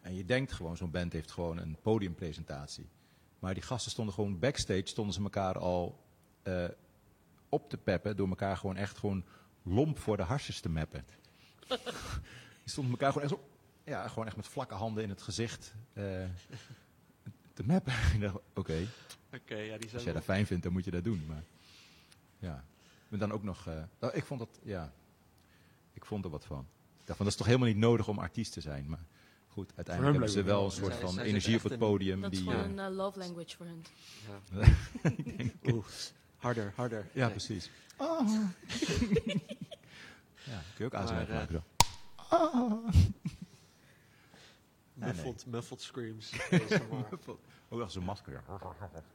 Speaker 1: En je denkt gewoon, zo'n band heeft gewoon een podiumpresentatie. Maar Maar die gasten stonden gewoon backstage, stonden ze elkaar al eh, op te peppen. Door elkaar gewoon echt gewoon lomp voor de harsjes te meppen. die stonden elkaar gewoon echt zo, ja, gewoon echt met vlakke handen in het gezicht eh, te meppen. Ik dacht, oké,
Speaker 3: Oké, ja, die
Speaker 1: als
Speaker 3: zijn
Speaker 1: jij
Speaker 3: wel-
Speaker 1: dat fijn vindt, dan moet je dat doen. Maar ja, maar dan ook nog, eh, nou, ik vond dat, ja, ik vond er wat van. Ik dacht van, dat is toch helemaal niet nodig om artiest te zijn. Maar goed, uiteindelijk
Speaker 5: Voor
Speaker 1: hebben ze wel
Speaker 5: hem blijkbaar wel.
Speaker 1: een soort
Speaker 3: Zij-
Speaker 1: van
Speaker 3: zij
Speaker 1: energie op
Speaker 3: zitten
Speaker 1: het
Speaker 3: echt in-
Speaker 1: podium.
Speaker 2: Dat is
Speaker 1: die,
Speaker 2: gewoon
Speaker 1: eh,
Speaker 2: een eh, love language voor hen.
Speaker 3: ja. Oeh, harder, harder.
Speaker 1: Ja,
Speaker 3: Nee.
Speaker 1: precies. ja, kun je ook ASMR
Speaker 3: Oh. Maar, eh,
Speaker 1: maken dan. nee.
Speaker 3: Muffled, muffled screams. ASMR.
Speaker 1: Ook als een masker.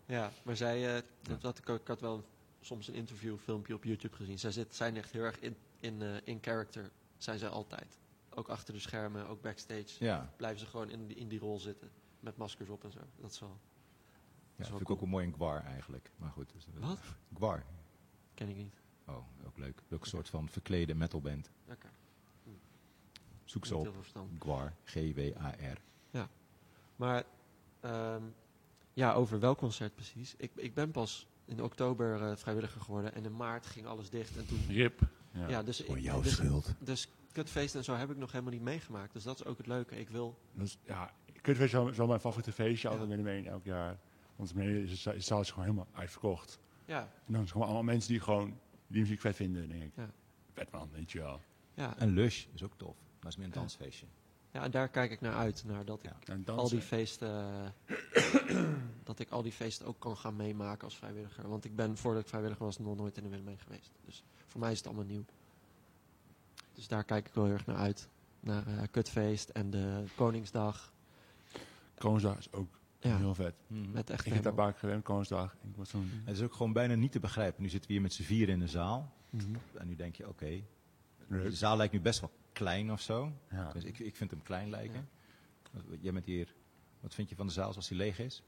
Speaker 3: ja, maar zij, eh dat, dat, ik, ook- ik had wel soms een interview filmpje op YouTube gezien. Zij zit, zijn echt heel erg in, in, eh, in character, zijn zij altijd. Ook achter de schermen, ook backstage.
Speaker 1: Ja,
Speaker 3: Blijven ze gewoon in die, in die rol zitten. Met maskers op en zo. Dat is wel,
Speaker 1: ja
Speaker 3: wel
Speaker 1: vind ik
Speaker 3: cool.
Speaker 1: ook een mooi in Gwar eigenlijk. Maar goed. Dus,
Speaker 3: Wat?
Speaker 1: Gwar.
Speaker 3: ken ik niet.
Speaker 1: Oh, ook leuk. Ook een soort van verklede metalband.
Speaker 3: Oké.
Speaker 1: Zoek
Speaker 3: Niet
Speaker 1: ze
Speaker 3: heel
Speaker 1: op.
Speaker 3: veel verstand.
Speaker 1: Gwar. G-W-A-R.
Speaker 3: Maar ehm, ja, over welk concert precies? Ik, ik ben pas in oktober eh, vrijwilliger geworden en in maart ging alles dicht. En toen,
Speaker 5: Rip.
Speaker 3: ja.
Speaker 5: Ja.
Speaker 3: dus
Speaker 4: Voor
Speaker 3: ik,
Speaker 4: jouw
Speaker 3: dus,
Speaker 4: schuld.
Speaker 3: dus kutfeesten en zo heb ik nog helemaal niet meegemaakt. Dus dat is ook het leuke. Ik wil,
Speaker 5: Dus, ja, Kutfeest is wel- is wel mijn favoriete feestje. Altijd met hem heen elk jaar. Want beneden is het zaal is gewoon helemaal uitverkocht.
Speaker 3: ja,
Speaker 5: En dan zijn gewoon allemaal mensen die gewoon die muziek vet vinden. denk ik,
Speaker 3: Ja.
Speaker 5: vet man, weet je wel.
Speaker 3: ja,
Speaker 1: En Lush is ook tof. Maar is meer een
Speaker 3: Ja.
Speaker 1: dansfeestje.
Speaker 3: ja, en daar kijk ik naar uit. Naar dat ik
Speaker 1: Ja.
Speaker 5: En
Speaker 3: al die
Speaker 5: dansen.
Speaker 3: feesten, dat ik al die feesten ook kan gaan meemaken als vrijwilliger. Want ik ben voordat ik vrijwilliger was nog nooit in de Willemijn geweest. Dus voor mij is het allemaal nieuw. Dus daar kijk ik wel heel erg naar uit. Naar eh, Kutfeest en de Koningsdag.
Speaker 5: Koningsdag is ook
Speaker 3: Ja,
Speaker 5: heel vet.
Speaker 2: Mhm.
Speaker 3: met echt
Speaker 5: Ik heb daar vaak gewend, Koningsdag. En Ik was zo'n
Speaker 1: Het is ook gewoon bijna niet te begrijpen. Nu zitten we hier met z'n vier in de zaal.
Speaker 3: Mhm.
Speaker 1: En nu denk je, oké, de
Speaker 5: leuk.
Speaker 1: zaal lijkt nu best wel klein of zo.
Speaker 5: Ja.
Speaker 1: Dus ik, ik vind hem klein lijken. Jij bent hier. Wat vind je van de zaal zoals die leeg is?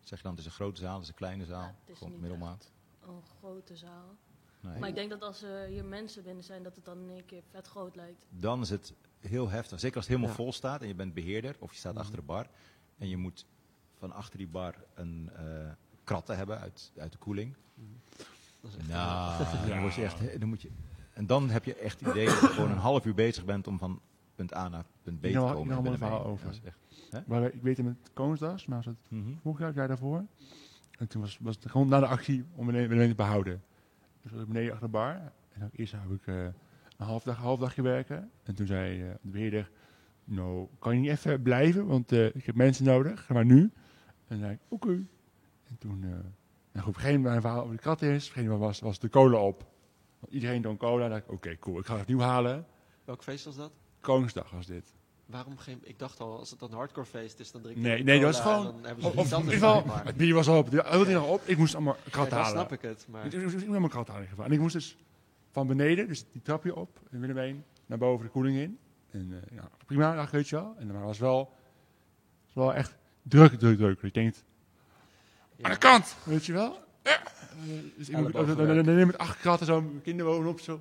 Speaker 1: Zeg je dan, het is een grote zaal, het is een kleine zaal.
Speaker 2: Ja, het is
Speaker 1: Gewoon
Speaker 2: niet
Speaker 1: middelmaat.
Speaker 2: Een grote zaal.
Speaker 1: Nee.
Speaker 2: Maar ik denk dat als er hier mensen binnen zijn, dat het dan in één keer vet groot lijkt.
Speaker 1: Dan is het heel heftig. Zeker als het helemaal
Speaker 3: Ja.
Speaker 1: vol staat en je bent beheerder of je staat
Speaker 3: Mhm.
Speaker 1: achter de bar. En je moet van achter die bar een eh kratten hebben uit, uit de koeling.
Speaker 3: Mm. Dat is echt
Speaker 1: Nou, dan,
Speaker 5: Ja.
Speaker 1: word je echt, dan moet je. En dan heb je echt het idee dat je gewoon een half uur bezig bent om van punt A naar punt B
Speaker 5: Ik
Speaker 1: te
Speaker 5: nam-
Speaker 1: komen.
Speaker 5: ik nam
Speaker 1: en
Speaker 5: een verhaal
Speaker 1: binnen-
Speaker 5: over.
Speaker 1: Ja, dat is echt-
Speaker 5: Maar ik weet het met Koningsdag, maar was het
Speaker 1: Mhm.
Speaker 5: vorig jaar, het jaar daarvoor. En toen was, was het gewoon na de actie om beneden, beneden te behouden. Dus was ik beneden achter de bar. En ook eerst heb ik eh, een half, dag, half dagje werken. En toen zei eh, de beheerder, nou, kan je niet even blijven? Want eh, ik heb mensen nodig, maar nu. En toen zei ik, oké. En toen, eh en goed, vergeet mijn verhaal over de kat is. Vergeet wat was, was de cola op. Want iedereen dronk cola. En dacht ik, oké, cool, ik ga het nieuw halen.
Speaker 3: Welk feest was dat?
Speaker 5: Koningsdag was dit.
Speaker 3: Waarom geen... Ik dacht al, als het dan een hardcore feest is, dan drinken
Speaker 5: Nee,
Speaker 3: we
Speaker 5: nee,
Speaker 3: cola
Speaker 5: dat is gewoon-
Speaker 3: en dan hebben ze
Speaker 5: Of,
Speaker 3: iets
Speaker 5: of in
Speaker 3: anders
Speaker 5: ieder geval,
Speaker 3: blijkbaar.
Speaker 5: het bier was al op. Het nog op. Ik moest allemaal
Speaker 3: Ja,
Speaker 5: kat
Speaker 3: dan
Speaker 5: halen.
Speaker 3: snap ik het, maar...
Speaker 5: Ik moest helemaal kat halen. in ieder geval. En ik moest dus van beneden, dus die trapje op, in Willemijn, naar boven de koeling in. En eh, ja, prima, dag, weet je wel. En dan was wel, was wel echt druk, druk, druk. Ik denk,
Speaker 3: ja.
Speaker 5: aan de kant, weet je wel. Ja. Eh, Dus ik moet, dan, dan, dan, dan neem ik acht kratten zo, mijn kinderen wonen op zo.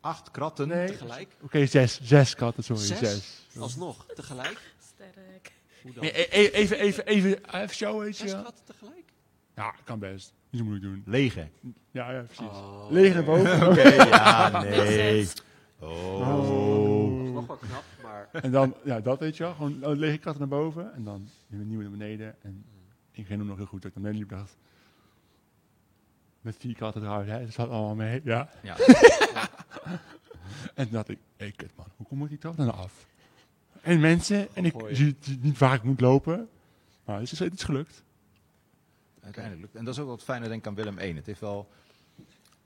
Speaker 1: Acht kratten.
Speaker 5: Nee.
Speaker 3: Tegelijk?
Speaker 5: Oké, zes, zes kratten, sorry,
Speaker 3: Zes?
Speaker 5: zes.
Speaker 3: Alsnog? Tegelijk?
Speaker 2: Sterk.
Speaker 3: Hoe dan?
Speaker 5: Nee, e- e- even, even, even, even show, weet je
Speaker 3: Zes
Speaker 5: wel.
Speaker 3: kratten tegelijk?
Speaker 5: Ja, kan best. Niet zo moeilijk doen.
Speaker 1: Lege.
Speaker 5: Ja, ja, precies.
Speaker 3: Oh.
Speaker 5: Leeg en boven.
Speaker 1: Oké, ja, nee.
Speaker 2: Makes
Speaker 1: Oh.
Speaker 3: Dat is nog wel knap, maar...
Speaker 5: En dan, ja, dat weet je wel. Gewoon een lege kratten naar boven en dan weer een nieuwe naar beneden. En ik ging hem nog heel goed. Dat ik naar beneden liep dacht, met vier kratten eruit, hè, dat zat allemaal mee. Ja.
Speaker 1: Ja,
Speaker 5: En toen dacht ik, hé kut man, hoe kom ik die trap dan af? En mensen, en ik
Speaker 3: Gooi.
Speaker 5: zie zie niet waar ik moet lopen. Maar het is, het is gelukt.
Speaker 1: uiteindelijk lukt En dat is ook wat fijner denk ik aan Willem 1. Het heeft wel...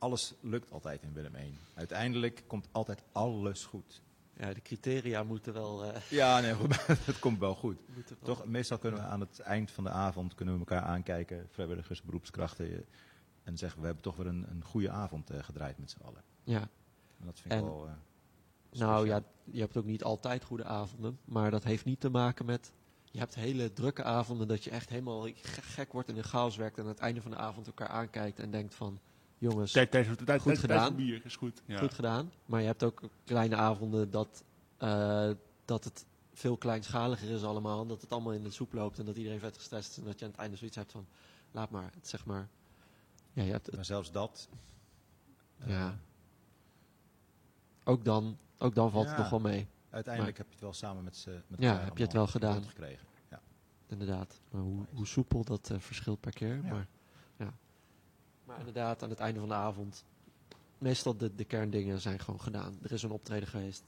Speaker 1: Alles lukt altijd in Willem 1. Uiteindelijk komt altijd alles goed.
Speaker 3: Ja, de criteria moeten wel... eh,
Speaker 1: Ja, nee, goed, het komt wel goed.
Speaker 3: moeten wel-
Speaker 1: Toch, meestal kunnen we aan het eind van de avond kunnen we elkaar aankijken, vrijwilligers, beroepskrachten, eh, en zeggen we hebben toch weer een, een goede avond eh, gedraaid met z'n allen.
Speaker 3: Ja,
Speaker 1: En dat vind ik
Speaker 3: En-
Speaker 1: wel. eh, speciaal.
Speaker 3: nou ja, je hebt ook niet altijd goede avonden, maar dat heeft niet te maken met... Je hebt hele drukke avonden dat je echt helemaal ge- gek wordt en in chaos werkt en aan het einde van de avond elkaar aankijkt en denkt van... Jongens,
Speaker 5: Tijd, tijd, tijd, tijd, tijd,
Speaker 3: gedaan.
Speaker 5: tijd, bier is goed. Ja.
Speaker 3: goed gedaan. Maar je hebt ook kleine avonden dat, eh, dat het veel kleinschaliger is allemaal. Dat het allemaal in de soep loopt en dat iedereen vet gestrest is. En dat je aan het einde zoiets hebt van, laat maar, het, zeg maar. Ja, je hebt het,
Speaker 1: Maar zelfs dat. eh,
Speaker 3: ja. Ook dan, ook dan valt het
Speaker 1: Ja.
Speaker 3: nog wel mee,
Speaker 1: Uiteindelijk heb je het wel samen met ze. Met
Speaker 3: Ja,
Speaker 1: elkaar
Speaker 3: heb je het
Speaker 1: allemaal
Speaker 3: wel gedaan.
Speaker 1: rond Gekregen.
Speaker 3: inderdaad. Maar hoe, hoe soepel, dat eh, verschilt per keer.
Speaker 1: Ja.
Speaker 3: Maar, ja. maar inderdaad, aan het einde van de avond, meestal de, de kerndingen zijn gewoon gedaan. Er is een optreden geweest.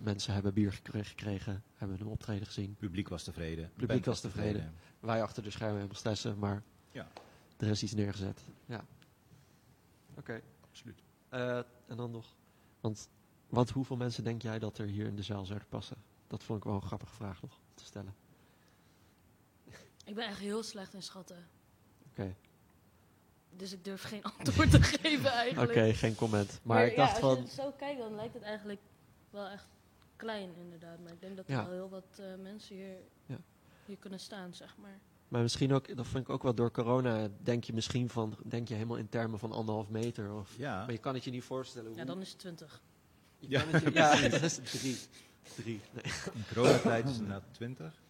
Speaker 3: Mensen hebben bier gekregen, gekregen hebben een optreden gezien.
Speaker 1: Publiek was tevreden.
Speaker 3: Publiek
Speaker 1: band
Speaker 3: was tevreden. wij achter de schermen helemaal stressen, maar
Speaker 1: Ja.
Speaker 3: er is iets neergezet. Ja. Oké.
Speaker 1: Absoluut.
Speaker 3: Eh, en dan nog, want wat, hoeveel mensen denk jij dat er hier in de zaal zouden passen? Dat vond ik wel een grappige vraag nog te stellen.
Speaker 2: Ik ben echt heel slecht in schatten.
Speaker 3: Oké.
Speaker 2: Dus ik durf geen antwoord te geven
Speaker 3: Oké,
Speaker 2: eigenlijk.
Speaker 3: geen comment. Maar, ik dacht
Speaker 2: ja, als
Speaker 3: gewoon,
Speaker 2: je het zo kijkt, dan lijkt het eigenlijk wel echt klein inderdaad. Maar ik denk dat er
Speaker 3: Ja.
Speaker 2: wel heel wat eh, mensen hier,
Speaker 3: Ja.
Speaker 2: hier kunnen staan, zeg maar.
Speaker 3: maar misschien ook, dat vond ik ook wel door corona, denk je misschien van, denk je helemaal in termen van anderhalf meter of...
Speaker 1: Ja.
Speaker 3: Maar je kan het je niet voorstellen hoe...
Speaker 2: Ja, dan is het 20.
Speaker 3: je
Speaker 1: Ja,
Speaker 3: kan het je- ja, dat is drie. Drie. Nee.
Speaker 1: In coronatijd is het na 20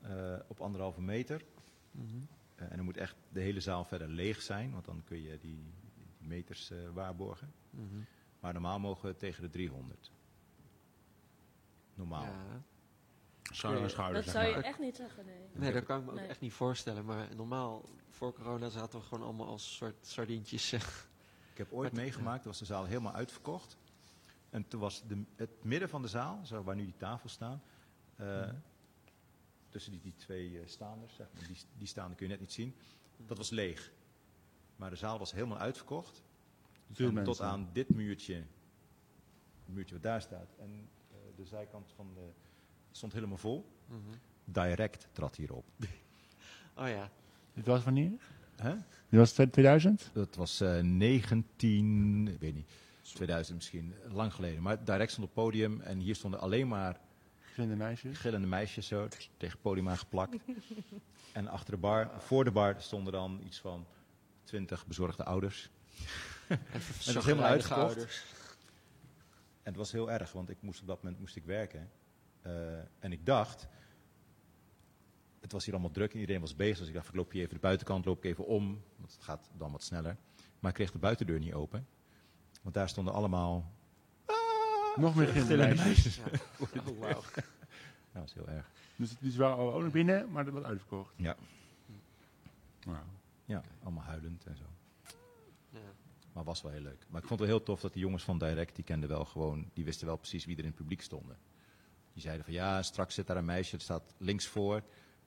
Speaker 1: eh, op anderhalve meter.
Speaker 3: Mhm.
Speaker 1: Eh, en dan moet echt de hele zaal verder leeg zijn, want dan kun je die, die meters eh, waarborgen.
Speaker 3: Mhm.
Speaker 1: Maar normaal mogen we tegen de 300. Normaal.
Speaker 3: Ja.
Speaker 5: Schouder aan schouder,
Speaker 2: Dat
Speaker 5: zeg
Speaker 2: zou je
Speaker 5: maar.
Speaker 2: echt niet zeggen, nee.
Speaker 3: Nee, dat kan ik me ook
Speaker 2: Nee.
Speaker 3: echt niet voorstellen. Maar normaal, voor corona zaten we gewoon allemaal als soort sardientjes. eh.
Speaker 1: Ik heb ooit
Speaker 3: Maar-
Speaker 1: meegemaakt, was de zaal helemaal uitverkocht. En toen was de, het midden van de zaal, zo waar nu die tafels staan, eh, tussen die, die twee eh, staanders, zeg maar, die, die staande kun je net niet zien, dat was leeg. Maar de zaal was helemaal uitverkocht.
Speaker 5: Veel
Speaker 1: En
Speaker 5: mensen.
Speaker 1: tot aan dit muurtje, het muurtje wat daar staat, en eh, de zijkant van de, stond helemaal vol.
Speaker 3: Mhm.
Speaker 1: Direct trad hierop.
Speaker 3: Oh ja,
Speaker 5: Dit was wanneer?
Speaker 1: Hè?
Speaker 5: Dit was 2000?
Speaker 1: Dat was eh 19, ik weet niet, 2000 misschien, lang geleden. Maar direct stond op het podium en hier stonden alleen maar
Speaker 5: Gezinde meisjes.
Speaker 1: gillende meisjes zo t- tegen het podium aangeplakt. en achter de bar, voor de bar stonden dan iets van 20 bezorgde ouders.
Speaker 3: en
Speaker 1: helemaal uitverkocht. En het was heel erg, want ik moest op dat moment moest ik werken. Eh, en ik dacht, het was hier allemaal druk en iedereen was bezig. Dus ik dacht, ik loop hier even de buitenkant, loop ik even om. Want het gaat dan wat sneller. Maar ik kreeg de buitendeur niet open. Want daar stonden allemaal...
Speaker 5: Nog meer gezinde meisjes.
Speaker 3: Ja. Oh, wauw.
Speaker 1: Nou, dat is heel erg.
Speaker 5: Dus die waren al ook nog binnen, maar dat was uitverkocht.
Speaker 1: Ja.
Speaker 5: Nou,
Speaker 1: Ja, allemaal huilend en zo.
Speaker 3: Ja.
Speaker 1: Maar was wel heel leuk. Maar ik vond het wel heel tof dat die jongens van Direct, die kenden wel gewoon, die wisten wel precies wie er in het publiek stonden. Die zeiden van ja, straks zit daar een meisje, dat staat links voor.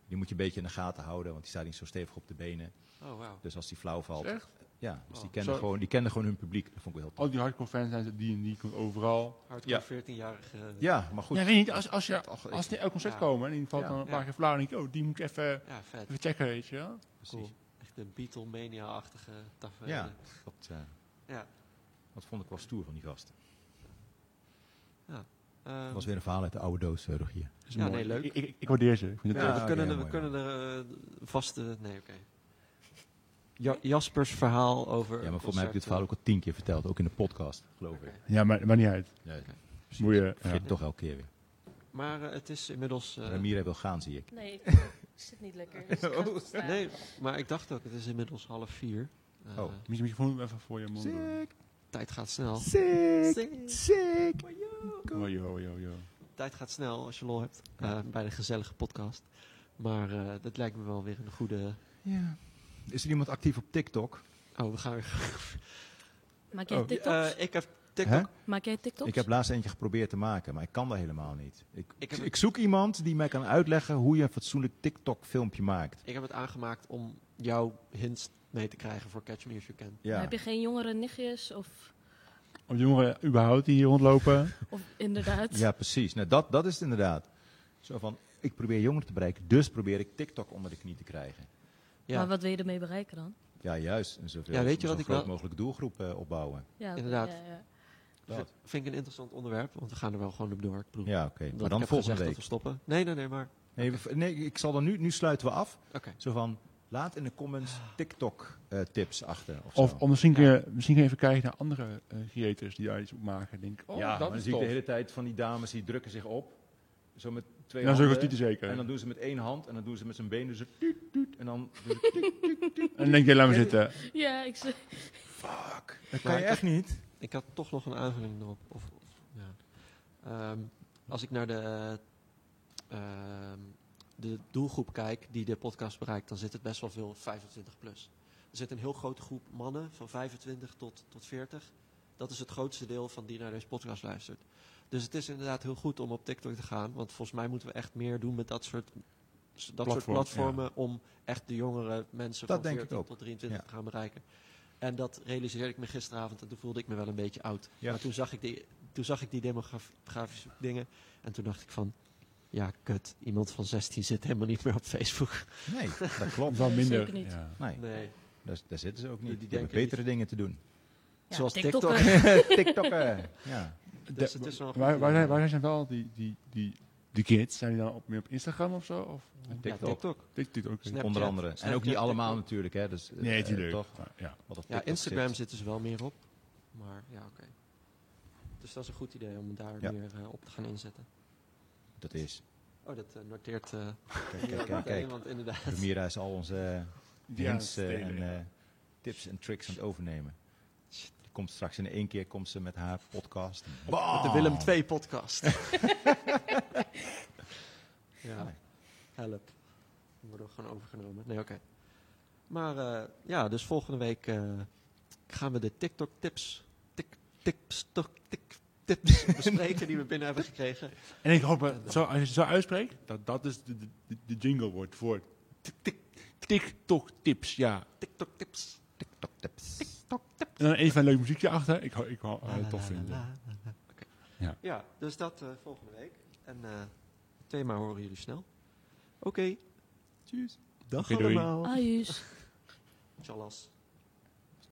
Speaker 1: Die moet je een beetje in de gaten houden, want die staat niet zo stevig op de benen.
Speaker 3: Oh, wauw.
Speaker 1: Dus als die flauw valt.
Speaker 5: echt?
Speaker 1: Ja, dus die
Speaker 3: Oh.
Speaker 1: kenden,
Speaker 5: Zo-
Speaker 1: gewoon, die kenden gewoon hun publiek. Dat vond ik wel heel tof.
Speaker 5: Al die hardcore fans zijn ze- die en die komt overal.
Speaker 3: Hardcore
Speaker 1: Ja.
Speaker 3: 14-jarige...
Speaker 1: Ja, maar goed.
Speaker 5: Ja, weet je niet, als, als, je,
Speaker 1: Toch, ik-
Speaker 5: als die elk concert
Speaker 3: Ja.
Speaker 5: komen en die valt
Speaker 1: Ja.
Speaker 5: dan een paar
Speaker 3: Ja.
Speaker 5: keer flauw, dan denk ik, oh, die moet ik even,
Speaker 3: Ja, vet.
Speaker 5: even checken, weet je wel.
Speaker 1: precies.
Speaker 3: Cool. Echt een Beatlemania-achtige tafereel.
Speaker 1: Ja, dat, eh,
Speaker 3: Ja.
Speaker 1: dat vond ik wel stoer van die gasten.
Speaker 3: Ehm,
Speaker 1: Dat was weer een verhaal uit de oude doos, eh, Rogier.
Speaker 5: Dat is
Speaker 3: Ja, nee, leuk.
Speaker 5: Ik, ik, ik waardeer ze. Ik vind het
Speaker 3: ja,
Speaker 1: Ja,
Speaker 5: tof.
Speaker 3: we
Speaker 1: oké,
Speaker 3: kunnen, er- we
Speaker 1: mooi,
Speaker 3: kunnen er eh, vaste... Nee, oké. Ja- Jaspers verhaal over...
Speaker 1: Ja, maar
Speaker 3: een
Speaker 1: volgens mij heb ik dit verhaal
Speaker 3: concert,
Speaker 1: ook al tien keer verteld. Ook in de podcast, geloof
Speaker 3: Oké.
Speaker 1: ik.
Speaker 5: ja maar, maar niet uit.
Speaker 1: Nee, ik
Speaker 5: Moet je,
Speaker 1: vergeet het toch elke keer weer.
Speaker 3: eh, Maar eh, het is inmiddels... eh,
Speaker 1: Ramira wil gaan, zie ik.
Speaker 2: Nee, ik, ik zit niet lekker. Dus ik
Speaker 5: Oh.
Speaker 2: ga staan.
Speaker 3: nee, maar ik dacht ook, het is inmiddels half vier. Eh,
Speaker 1: Oh.
Speaker 5: Misschien moet je gewoon even voor je mond doen.
Speaker 3: Tijd gaat snel. Sick.
Speaker 1: sick.
Speaker 5: Oh, yo, yo, yo.
Speaker 3: Tijd gaat snel als je lol hebt eh, bij de gezellige podcast. Maar eh, dat lijkt me wel weer een goede.
Speaker 1: Ja. Is er iemand actief op TikTok?
Speaker 3: Oh, we gaan weer.
Speaker 2: Maak jij
Speaker 5: Oh,
Speaker 2: TikToks?
Speaker 3: Eh, ik heb TikTok.
Speaker 1: Hè?
Speaker 2: Maak jij TikToks?
Speaker 1: Ik heb laatst eentje geprobeerd te maken, maar ik kan dat helemaal niet. Ik, ik,
Speaker 3: Ik heb-
Speaker 1: zoek iemand die mij kan uitleggen hoe je een fatsoenlijk TikTok-filmpje maakt.
Speaker 3: Ik heb het aangemaakt om jouw hints mee te krijgen voor Catch Me If You Can.
Speaker 1: Ja.
Speaker 2: Heb je geen jongere nichtjes? Of,
Speaker 5: Of jongeren Oh, überhaupt die hier rondlopen.
Speaker 2: of inderdaad?
Speaker 1: Ja, precies. Nou, dat, dat is het inderdaad. Zo van, ik probeer jongeren te bereiken, dus probeer ik TikTok onder de knie te krijgen.
Speaker 2: Maar
Speaker 3: Ja,
Speaker 2: wat wil je ermee bereiken dan?
Speaker 1: Ja, juist. En zoveel
Speaker 3: Ja, weet je
Speaker 1: zo'n
Speaker 3: wat ik
Speaker 1: groot
Speaker 3: wel-
Speaker 1: mogelijk doelgroep eh, opbouwen.
Speaker 2: Ja, oké,
Speaker 3: Inderdaad.
Speaker 2: ja, ja.
Speaker 1: Dat.
Speaker 3: vind ik een interessant onderwerp, want we gaan er wel gewoon op door. Ik bedoel,
Speaker 1: Ja, oké.
Speaker 3: omdat
Speaker 1: Maar
Speaker 3: ik
Speaker 1: dan
Speaker 3: heb
Speaker 1: volgende
Speaker 3: gezegd
Speaker 1: week.
Speaker 3: Hm. Dat we stoppen. Nee, nee, nee, maar.
Speaker 1: Nee, we- nee, ik zal dan nu, nu sluiten we af.
Speaker 3: Oké.
Speaker 1: Zo van, laat in de comments
Speaker 3: Ah.
Speaker 1: TikTok-tips achter. Of,
Speaker 5: Of,
Speaker 1: zo.
Speaker 5: of misschien, kun je, misschien kun je even kijken naar andere eh creators die daar iets op maken. Denk, ik, oh,
Speaker 1: ja, maar
Speaker 5: dat
Speaker 1: dan
Speaker 5: is
Speaker 1: zie ik de
Speaker 5: tof.
Speaker 1: hele tijd van die dames die drukken zich op. Zo met twee
Speaker 5: Nou, zulke
Speaker 1: handen.
Speaker 5: tieten zeker.
Speaker 1: En
Speaker 5: En
Speaker 1: dan
Speaker 5: dan,
Speaker 1: doen ze met één hand en dan doen ze met zijn been. Dus tuut, tuut, en dan doen ze tuut, tuut, tuut.
Speaker 5: denk je, laat me zitten.
Speaker 2: Ja, ik zeg.
Speaker 1: Fuck.
Speaker 3: Ja,
Speaker 1: Dat kan je
Speaker 3: ik-
Speaker 1: echt niet.
Speaker 3: Ik had toch nog een aanvulling erop. Of, of- ja. Ehm, als ik naar de, ehm, de doelgroep kijk die de podcast bereikt, dan zit het best wel veel 25 plus. Er zit een heel grote groep mannen van 25 tot, tot 40. Dat is het grootste deel van die naar deze podcast luistert. Dus het is inderdaad heel goed om op TikTok te gaan. Want volgens mij moeten we echt meer doen met dat soort, s- dat soort
Speaker 5: Platform,
Speaker 3: platformen. Om echt de jongere mensen
Speaker 1: Dat
Speaker 3: van
Speaker 1: denk ik
Speaker 3: 14
Speaker 1: ook.
Speaker 3: tot 23
Speaker 1: Ja.
Speaker 3: te gaan bereiken. En dat realiseerde ik me gisteravond en toen voelde ik me wel een beetje oud.
Speaker 1: Ja.
Speaker 3: Maar toen zag ik die, toen zag ik die demografische dingen en toen dacht ik van, ja kut, iemand van 16 zit helemaal niet meer op Facebook.
Speaker 1: Nee, dat klopt.
Speaker 5: Wel minder.
Speaker 2: Zeker niet.
Speaker 5: Ja.
Speaker 1: Nee,
Speaker 3: Nee,
Speaker 1: daar, daar zitten ze ook niet.
Speaker 3: Die- die
Speaker 1: Die hebben
Speaker 3: denken
Speaker 1: betere dingen te doen.
Speaker 2: Ja,
Speaker 3: zoals TikTok.
Speaker 2: TikTokken.
Speaker 1: TikTokken. Ja.
Speaker 3: Dus het is wel een
Speaker 5: waar,
Speaker 3: goede
Speaker 5: waar, zijn,
Speaker 3: manier.
Speaker 5: waar zijn wel die, die, die, die kids? Zijn die dan op, meer op Instagram of zo? Of
Speaker 3: Ja,
Speaker 1: TikTok.
Speaker 3: TikTok.
Speaker 5: TikTok ook?
Speaker 3: Snap.
Speaker 1: Onder
Speaker 3: Snapchat,
Speaker 1: andere. En ook
Speaker 3: Snapchat,
Speaker 1: niet allemaal
Speaker 3: TikTok.
Speaker 1: natuurlijk. Hè. Dus, eh,
Speaker 5: Nee,
Speaker 1: eh,
Speaker 5: tuurlijk.
Speaker 1: toch?
Speaker 5: Ja.
Speaker 1: Wat op
Speaker 3: Ja,
Speaker 1: TikTok
Speaker 3: Instagram
Speaker 1: zit.
Speaker 3: zitten ze wel meer op. Maar ja, oké. Dus dat is een goed idee om daar
Speaker 1: Ja.
Speaker 3: meer eh, op te gaan inzetten.
Speaker 1: Dat is.
Speaker 3: Oh, dat eh, noteert eh
Speaker 1: Kijk, kijk,
Speaker 3: iemand,
Speaker 1: Ah, kijk. kijk.
Speaker 3: iemand inderdaad.
Speaker 1: Ramira is al onze eh,
Speaker 5: Ja,
Speaker 1: hints eh,
Speaker 5: stelen,
Speaker 1: en
Speaker 5: ja.
Speaker 1: eh, tips en tricks aan het overnemen. Die komt straks in één keer komt ze met haar podcast.
Speaker 3: Met de Willem 2 podcast. ja, help. We worden gewoon overgenomen. Nee, oké. Maar eh, ja, dus volgende week eh, gaan we de TikTok tips, tik, tips, tok, tik, tips bespreken die we binnen hebben gekregen.
Speaker 5: En ik hoop, eh, zo, als je het zo uitspreekt, dat dat is de, de- de, de jingle wordt voor tik- tik- TikTok tips. Ja.
Speaker 3: TikTok tips.
Speaker 1: TikTok tips.
Speaker 3: TikTok tips.
Speaker 5: En dan even een leuk muziekje achter. Ik hou ik hou- hou het
Speaker 3: La,
Speaker 5: Oh, tof
Speaker 3: la, la,
Speaker 5: vinden.
Speaker 3: la, la, la. Oké.
Speaker 5: Ja.
Speaker 3: Ja, dus dat eh, volgende week. En eh, het thema horen jullie snel. Oké. Tjus. Dag
Speaker 5: Oké, doei.
Speaker 2: Ah.
Speaker 3: allemaal.
Speaker 2: Ajus.
Speaker 3: Tjallas.